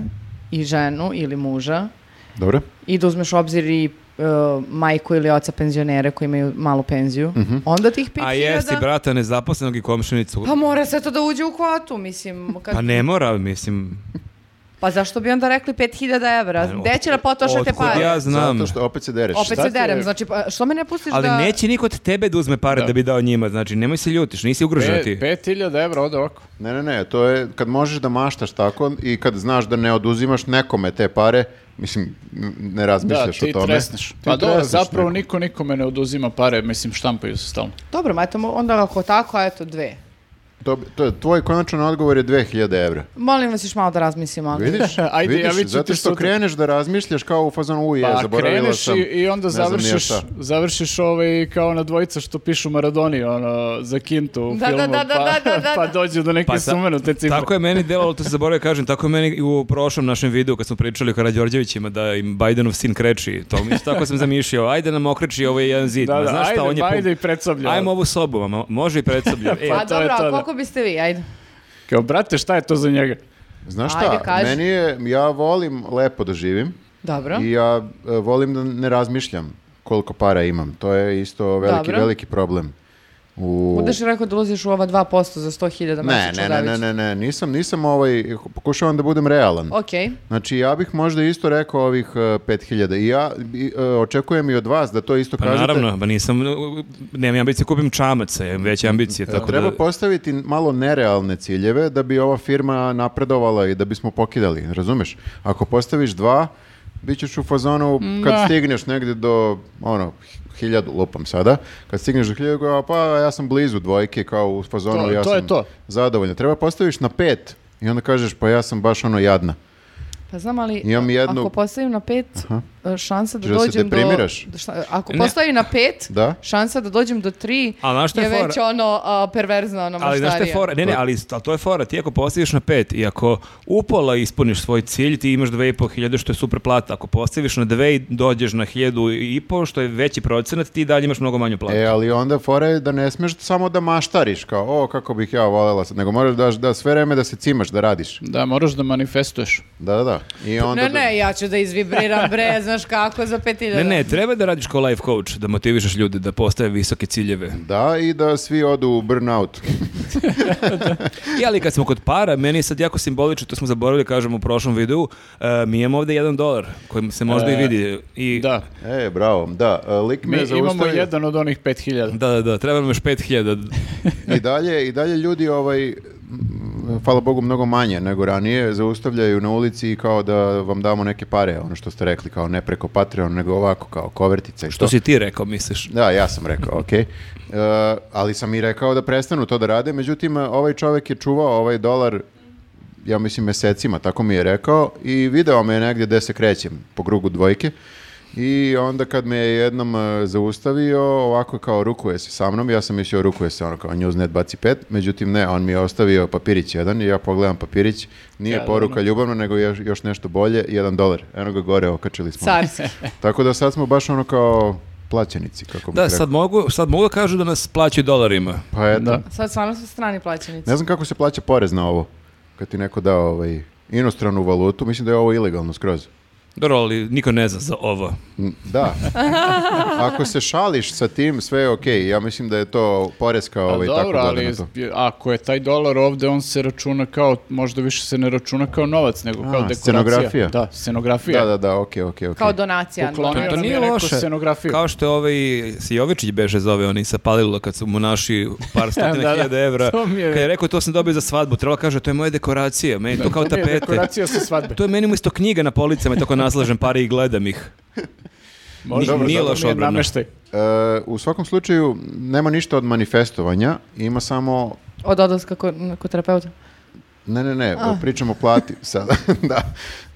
i ženu ili muža,
Dobro.
i da uzmeš u obzir i uh, majku ili oca penzionere koji imaju malu penziju,
Mhm.
onda tih 5000...
A jesi brata nezaposlenog i komšinicu.
Pa mora sve to da uđe u kvotu, mislim. Kad...
Pa ne mora, mislim.
Pa zašto bi onda rekli 5000 evra?
Ne,
Gde će da potroše te
Otkud
pare?
ja znam.
Zato što opet se dereš.
Opet
šta
se
ti je?
derem, znači pa, što me ne pustiš
Ali
da...
neće niko od tebe da uzme pare da.
Da.
bi dao njima, znači nemoj se ljutiš, nisi ugrožena
Pe-
ti.
5000 evra ode ovako.
Ne, ne, ne, to je kad možeš da maštaš tako i kad znaš da ne oduzimaš nekome te pare, mislim, n- ne
Da,
razmišljaš
ti
o tome.
tresneš.
Ti
Pa dobro,
tresneš
zapravo
nekom.
niko nikome ne oduzima pare, mislim štampaju se stalno.
Dobro, ma eto, onda ako tako, eto, dve.
To, bi- to, je- tvoj konačan odgovor je 2000
*laughs*
evra.
Molim vas još malo da razmislim, ali...
Vidiš?
Ajde,
Vidiš?
javit ću
Zato
ti
što
sutra.
kreneš da razmišljaš kao u fazonu uje,
Pa
zaboravila
kreneš
sam.
i, i onda
ne znam ni ja
završiš,
šta."
završiš ovaj kao na dvojica što pišu Maradoni ono, za Kintu u
Da, da,
filmu,
da, da,
pa,
da, da, da.
pa dođu do neke
Pa ta-
sumanute cifre.
Tako je meni delalo, to se zaboravio kažem, tako je meni i u prošlom našem videu kad smo pričali o Karađorđevićima da im Bajdenov sin kreči, to mi tako sam zamišljao, ajde nam okreči ovaj jedan zid,
Da,
Ma
da,
znaš šta,
ajde,
on je pun.
ajde i ono. predsoblje.
Ajmo ovu sobu, ma, mo- može i
*laughs*
predsoblje. E,
Pa
to je
dobro,
to,
a
da.
koliko biste vi, ajde.
Kao, brate, šta je to za njega?
Znaš
Ajde,
šta,
kaži.
meni je, ja volim lepo da živim
Dobro.
i ja e, volim da ne razmišljam koliko para imam. To je isto veliki,
Dobro.
veliki problem. U...
Budeš rekao da ulaziš u ova 2% za 100.000
Ne, ne,
mesečno,
ne, ne, ne, ne, nisam, nisam ovaj, pokušavam da budem realan.
Ok,
Znači, ja bih možda isto rekao ovih e, 5000 i ja i, e, očekujem i od vas da to isto
pa
kažete.
naravno, pa nisam, nemam ambicije, kupim čamaca, imam veće ambicije, tako
Treba
da...
postaviti malo nerealne ciljeve da bi ova firma napredovala i da bismo pokidali, razumeš? Ako postaviš dva, bit ćeš u fazonu kad
Da.
stigneš negdje do, ono, hiljadu, lupam sada, kad stigneš do hiljadu, kao, pa ja sam blizu dvojke, kao u fazonu,
To-
ja
to
sam
je to.
zadovoljan. Treba postaviš na pet i onda kažeš, pa ja sam baš ono jadna.
Pa znam, ali
Imam
a-
jednu-
ako postavim na pet, e, šansa da
Žel se
dođem do...
deprimiraš?
da šta- ako
Ne.
postavim na pet,
Da?
šansa da dođem do tri
A znaš šta je
je već
fora?
ono a, perverzna, ono
Ali znaš šta je
maštarija.
fora? Ne,
Pa-
ne, ali to, to je fora. Ti ako postaviš na pet i ako upola ispuniš svoj cilj, ti imaš 2500 što je super plata. Ako postaviš na dve i dođeš na 1000 i po, što je veći procenat, ti dalje imaš mnogo manju
Pa
platu.
E, ali onda fora je da ne smeš samo da maštariš, kao, o, kako bih ja voljela sad, nego moraš da, da sve vreme da se cimaš, da radiš.
Da, moraš da manifestuješ.
Da, da, da. I onda
Ne,
da-
ne, ja ću da izvibriram,
*laughs*
bre, znaš kako, za pet
Ne, ne, treba da radiš kao life coach, da motivišeš ljude da postave visoke ciljeve.
Da, i da svi odu u burnout.
I ali kad smo kod para, meni je sad jako simbolično, to smo zaboravili, kažem, u prošlom videu, e, mi imamo ovde jedan dolar, koji se možda i
E,
vidi. I,
Da,
e, bravo, da. e, Lik
mi
me
imamo
zaustavio.
jedan od onih 5000.
Da, da, da, treba nam još 5000.
I dalje, I dalje ljudi, ovaj, m, hvala Bogu, mnogo manje nego ranije, zaustavljaju na ulici i kao da vam damo neke pare, ono što ste rekli, kao ne preko Patreon, nego ovako, kao kovertica i
Što
to.
si ti rekao, misliš?
Da, ja sam rekao, okej. E, ali sam i rekao da prestanu to da rade, međutim, ovaj čovek je čuvao ovaj dolar ja mislim mesecima, tako mi je rekao i video me je negdje gde se krećem po krugu dvojke i onda kad me je jednom e, zaustavio ovako kao rukuje se sa mnom, ja sam mislio rukuje se ono kao Newsnet baci pet, međutim ne, on mi je ostavio papirić jedan i ja pogledam papirić, nije
Jadno.
poruka ljubavna nego još, još nešto bolje, jedan dolar, eno ga gore okačili smo.
*laughs*
Carski.
Tako da sad smo baš ono kao plaćenici, kako bih
Da,
rekao.
sad mogu, sad mogu da kažu da nas plaćaju dolarima.
Pa eto.
Da.
Sad stvarno su strani plaćenici.
Ne znam kako se plaća porez na ovo, kad ti neko da ovaj, inostranu valutu, mislim da je ovo ilegalno skroz.
Dobro, ali niko ne zna za ovo.
N-
*laughs*
Da. Ako se šališ sa tim, sve je okej. Ja mislim da je to poreska
Pa
ovaj, tako
dobro,
gleda
ali
na to.
je- ako je taj dolar ovde, on se računa kao, možda više se ne računa kao novac, nego kao
A,
dekoracija.
scenografija.
Da, scenografija.
Da, da, da, okej, okej, okej.
Kao donacija. ono,
Poklonio
normalno.
To
nam
nije
je rekao
loše.
scenografiju.
Kao što je ovaj Jovičić beže zove, oni sa Palilula kad su mu naši par
*laughs*
stotina
Da, da.
hiljada evra.
To mi je-
Kad je rekao to sam dobio za svadbu, trebalo kaže to je moja dekoracija, meni je to kao
To mi je
tapete.
Dekoracija sa svadbe.
To je meni isto knjiga na policama i tako naslažem pare i gledam ih.
Možda,
Nije
možda
loš
mi je
odbrana.
nameštaj.
E, u svakom slučaju, nema ništa od manifestovanja, ima samo...
Od odlaska kod, kod terapeuta.
Ne, ne, ne, pričamo o plati sada. *laughs* da,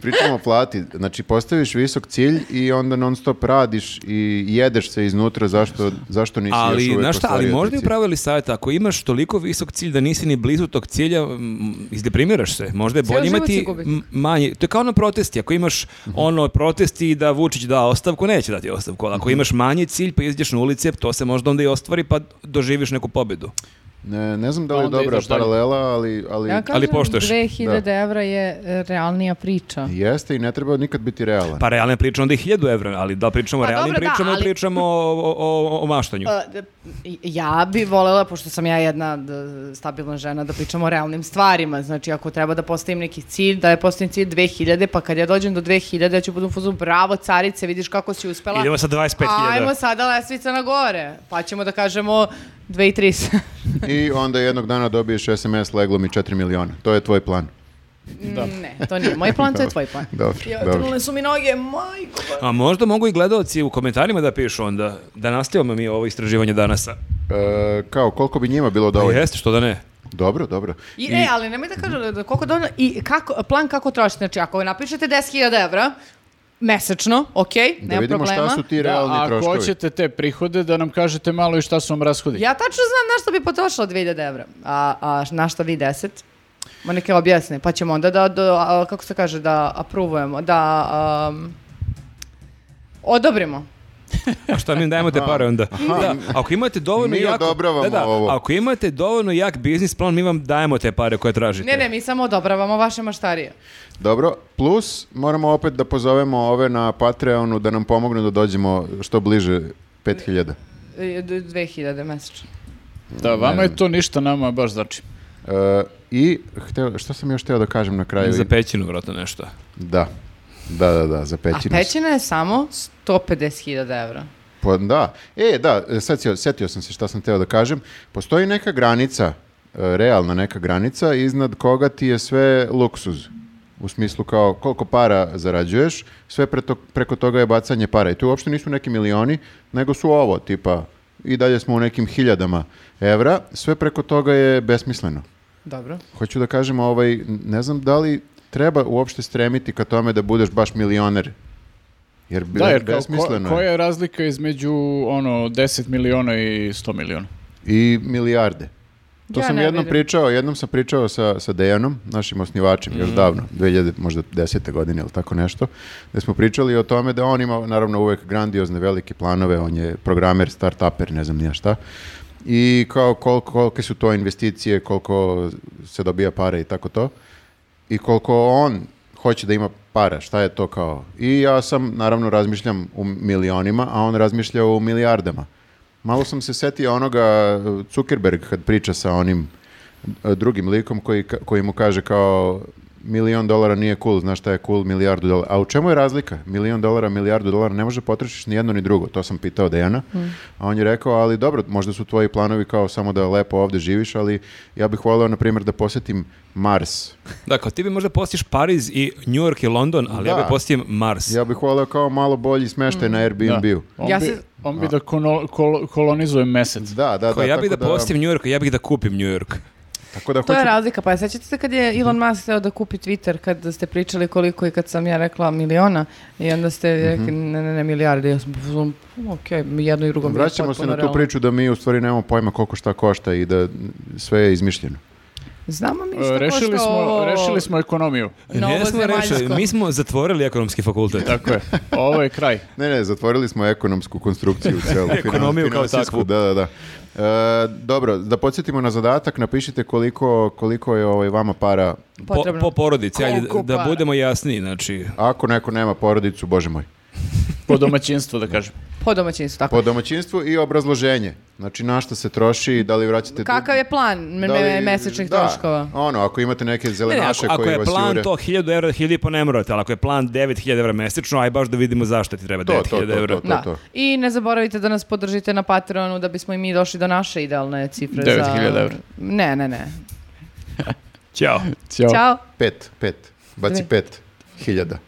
pričamo o plati. Znači, postaviš visok cilj i onda non stop radiš i jedeš se iznutra zašto, zašto nisi još
Ali,
uvek
znaš šta, ali
ostvario taj
možda je
cilj.
upravo ili savjet, ako imaš toliko visok cilj da nisi ni blizu tog cilja, m, izdeprimiraš se. Možda je
Cijeli
bolje
život
imati
si gubitnik.
m- manje. To je kao na protesti. Ako imaš ono protesti da Vučić da ostavku, neće dati ostavku. Ali ako imaš manji cilj pa izađeš na ulice, to se možda onda i ostvari pa doživiš neku pobedu.
Ne, ne znam da
Pa
li je
onda
dobra
ideš dalje.
paralela, ali, ali
Ja kažem,
poštuješ.
2000 evra je e, realnija priča.
jeste i ne treba nikad biti realan.
Pa realna priča onda i 1000 evra, ali da li pričamo o
Pa
realnim
dobro, da,
pričama ili
ali-
pričamo o, o, o- o maštanju.
Uh, d- Ja bi voljela, pošto sam ja jedna d- stabilna žena, da pričam o realnim stvarima. Znači, ako treba da postavim neki cilj, da je postavim cilj 2000, pa kad ja dođem do 2000, ja ću budem fuzu, bravo carice, vidiš kako si uspela.
Idemo sa 25.000.
Ajmo sada lesvica na gore, pa ćemo da kažemo 2300. *laughs*
I onda jednog dana dobiješ SMS leglo mi 4 miliona. To je tvoj plan.
Da.
Ne, to nije moj plan, to je tvoj plan.
Dobro,
Ja,
*laughs* dobro.
trnule su mi noge, majko.
A možda mogu i gledalci u komentarima da pišu onda da nastavimo mi ovo istraživanje danas.
E, kao, koliko bi njima bilo
Pa
dovoljno?
jeste, što da ne?
Dobro, dobro.
I, e, ali nemoj da kažem da koliko dovoljno i kako, plan kako trošite. Znači, ako napišete 10.000 evra, mesečno, ok,
Da
nema
vidimo
problema.
šta su ti
Da,
realni
a ako
troškovi.
hoćete te prihode, da nam kažete malo i šta su vam rashodi.
Ja tačno znam na što bi potrošila 2000 evra, a, a na što vi 10. Ma neke objasne, pa ćemo onda da, da a, kako se kaže, da apruvujemo, da am, odobrimo.
A šta mi dajemo te pare onda? Da, ako imate dovoljno
Mi
jak...
odobravamo
da, da,
ovo.
Ako imate dovoljno jak biznis plan, mi vam dajemo te pare koje tražite.
Ne, ne, mi samo odobravamo vaše maštarije.
Dobro, plus moramo opet da pozovemo ove na Patreonu da nam pomognu da dođemo što bliže 5000.
E, d- 2000 mesečno.
Da, vama je to ništa nama baš znači.
E, I, hteo, što sam još hteo da kažem na kraju?
Za pećinu, vjerojatno nešto.
Da. Da, da, da, za
A
pećinu.
pećina je samo 150.000 evra.
Pa da. E, da, sad si- setio sam se šta sam teo da kažem. Postoji neka granica, e, realna neka granica, iznad koga ti je sve luksuz. U smislu kao koliko para zarađuješ, sve preto- preko toga je bacanje para. I tu uopšte nisu neki milioni, nego su ovo, tipa, i dalje smo u nekim hiljadama evra, sve preko toga je besmisleno.
Dobro.
Hoću da kažem, ovaj, ne znam da li treba uopšte stremiti ka tome da budeš baš milioner. Jer, bi-
Da, jer kao, ko,
besmisleno je.
koja je razlika između ono 10 miliona i 100 miliona?
i milijarde. To
Ja
sam
ne
jednom
vidim.
pričao, jednom sam pričao sa, sa Dejanom, našim osnivačem,
Mm.
još davno, 2000, možda 10. godine ili tako nešto, da smo pričali o tome da on ima naravno uvek grandiozne velike planove, on je programer, startuper, ne znam nija šta, i kao koliko, kolike su to investicije, koliko se dobija pare i tako to, i koliko on hoće da ima para, šta je to kao. I ja sam, naravno, razmišljam u milionima, a on razmišlja u milijardama. Malo sam se setio onoga eh, Zuckerberg kad priča sa onim eh, drugim likom koji, ka- koji mu kaže kao milion dolara nije cool, znaš šta je cool, milijardu dolara. A u čemu je razlika? Milion dolara, milijardu dolara, ne može potrošiš ni jedno ni drugo. To sam pitao Dejana. A on je rekao, ali dobro, možda su tvoji planovi kao samo da lepo ovdje živiš, ali ja bih voleo, na primjer, da posjetim Mars.
Dakle, ti bi možda postiš Pariz i New York i London, ali ja bi
Da.
postim Mars.
Ja bih voleo kao malo bolji smeštaj
Mm,
na Airbnb-u.
On,
Ja
bi,
se-
on bi da kono- kol- kolonizuje mesec.
Da, da,
Ko,
da.
ja bih da,
tako
postim New York, ja bih da kupim New York.
Tako da
To je
hoću- Mhm.
razlika, pa sećate se kad je Elon Musk hteo da kupi Twitter, kad ste pričali koliko i kad sam ja rekla miliona i onda ste
Mhm.
rekli ne, ne, ne, milijarde, ja sam pozvom, ok, jedno i drugo mi je
Vraćamo se
potpuno
na tu
realno.
priču da mi u stvari nemamo pojma koliko šta košta i da sve je izmišljeno.
Znamo mi
E,
što
Rešili
košta
smo,
ovo
rešili smo ekonomiju.
Nismo
novozemaljsko.
rešili, mi smo zatvorili ekonomski fakultet.
Tako je. Ovo je kraj.
Ne, ne, zatvorili smo ekonomsku konstrukciju celu. finan-
*laughs* Ekonomiju kao
financijsku,
takvu.
Da, da, da. E, dobro, da podsjetimo na zadatak, napišite koliko, koliko je ovaj, vama para,
Po,
Potrebno.
po porodici, ajde,
Koliko
da
para?
budemo jasni, znači...
ako neko nema porodicu, bože moj.
Po domaćinstvu, da kažem.
Po domaćinstvu, tako.
Po domaćinstvu i obrazloženje. Znači, na šta se troši, da li vraćate... dug-
Kakav je plan me,
da li-
me- mesečnih
da,
troškova?
Ono, ako imate neke
Ne, ne, ako,
zelenaše
ako
koji
je
vas
plan
jure-
to 1000 evra, 1000 pa ne morate, ali ako je plan 9000 evra mesečno, aj baš da vidimo zašto ti treba
To, to, to,
9000 evra.
to, to.
Da. I ne zaboravite da nas podržite na Patreonu da bismo i mi došli do naše idealne cifre za...
9.000 evra.
Ne, ne, ne.
Ćao.
Ćao.
Pet, pet. Baci
Dve.
pet hiljada.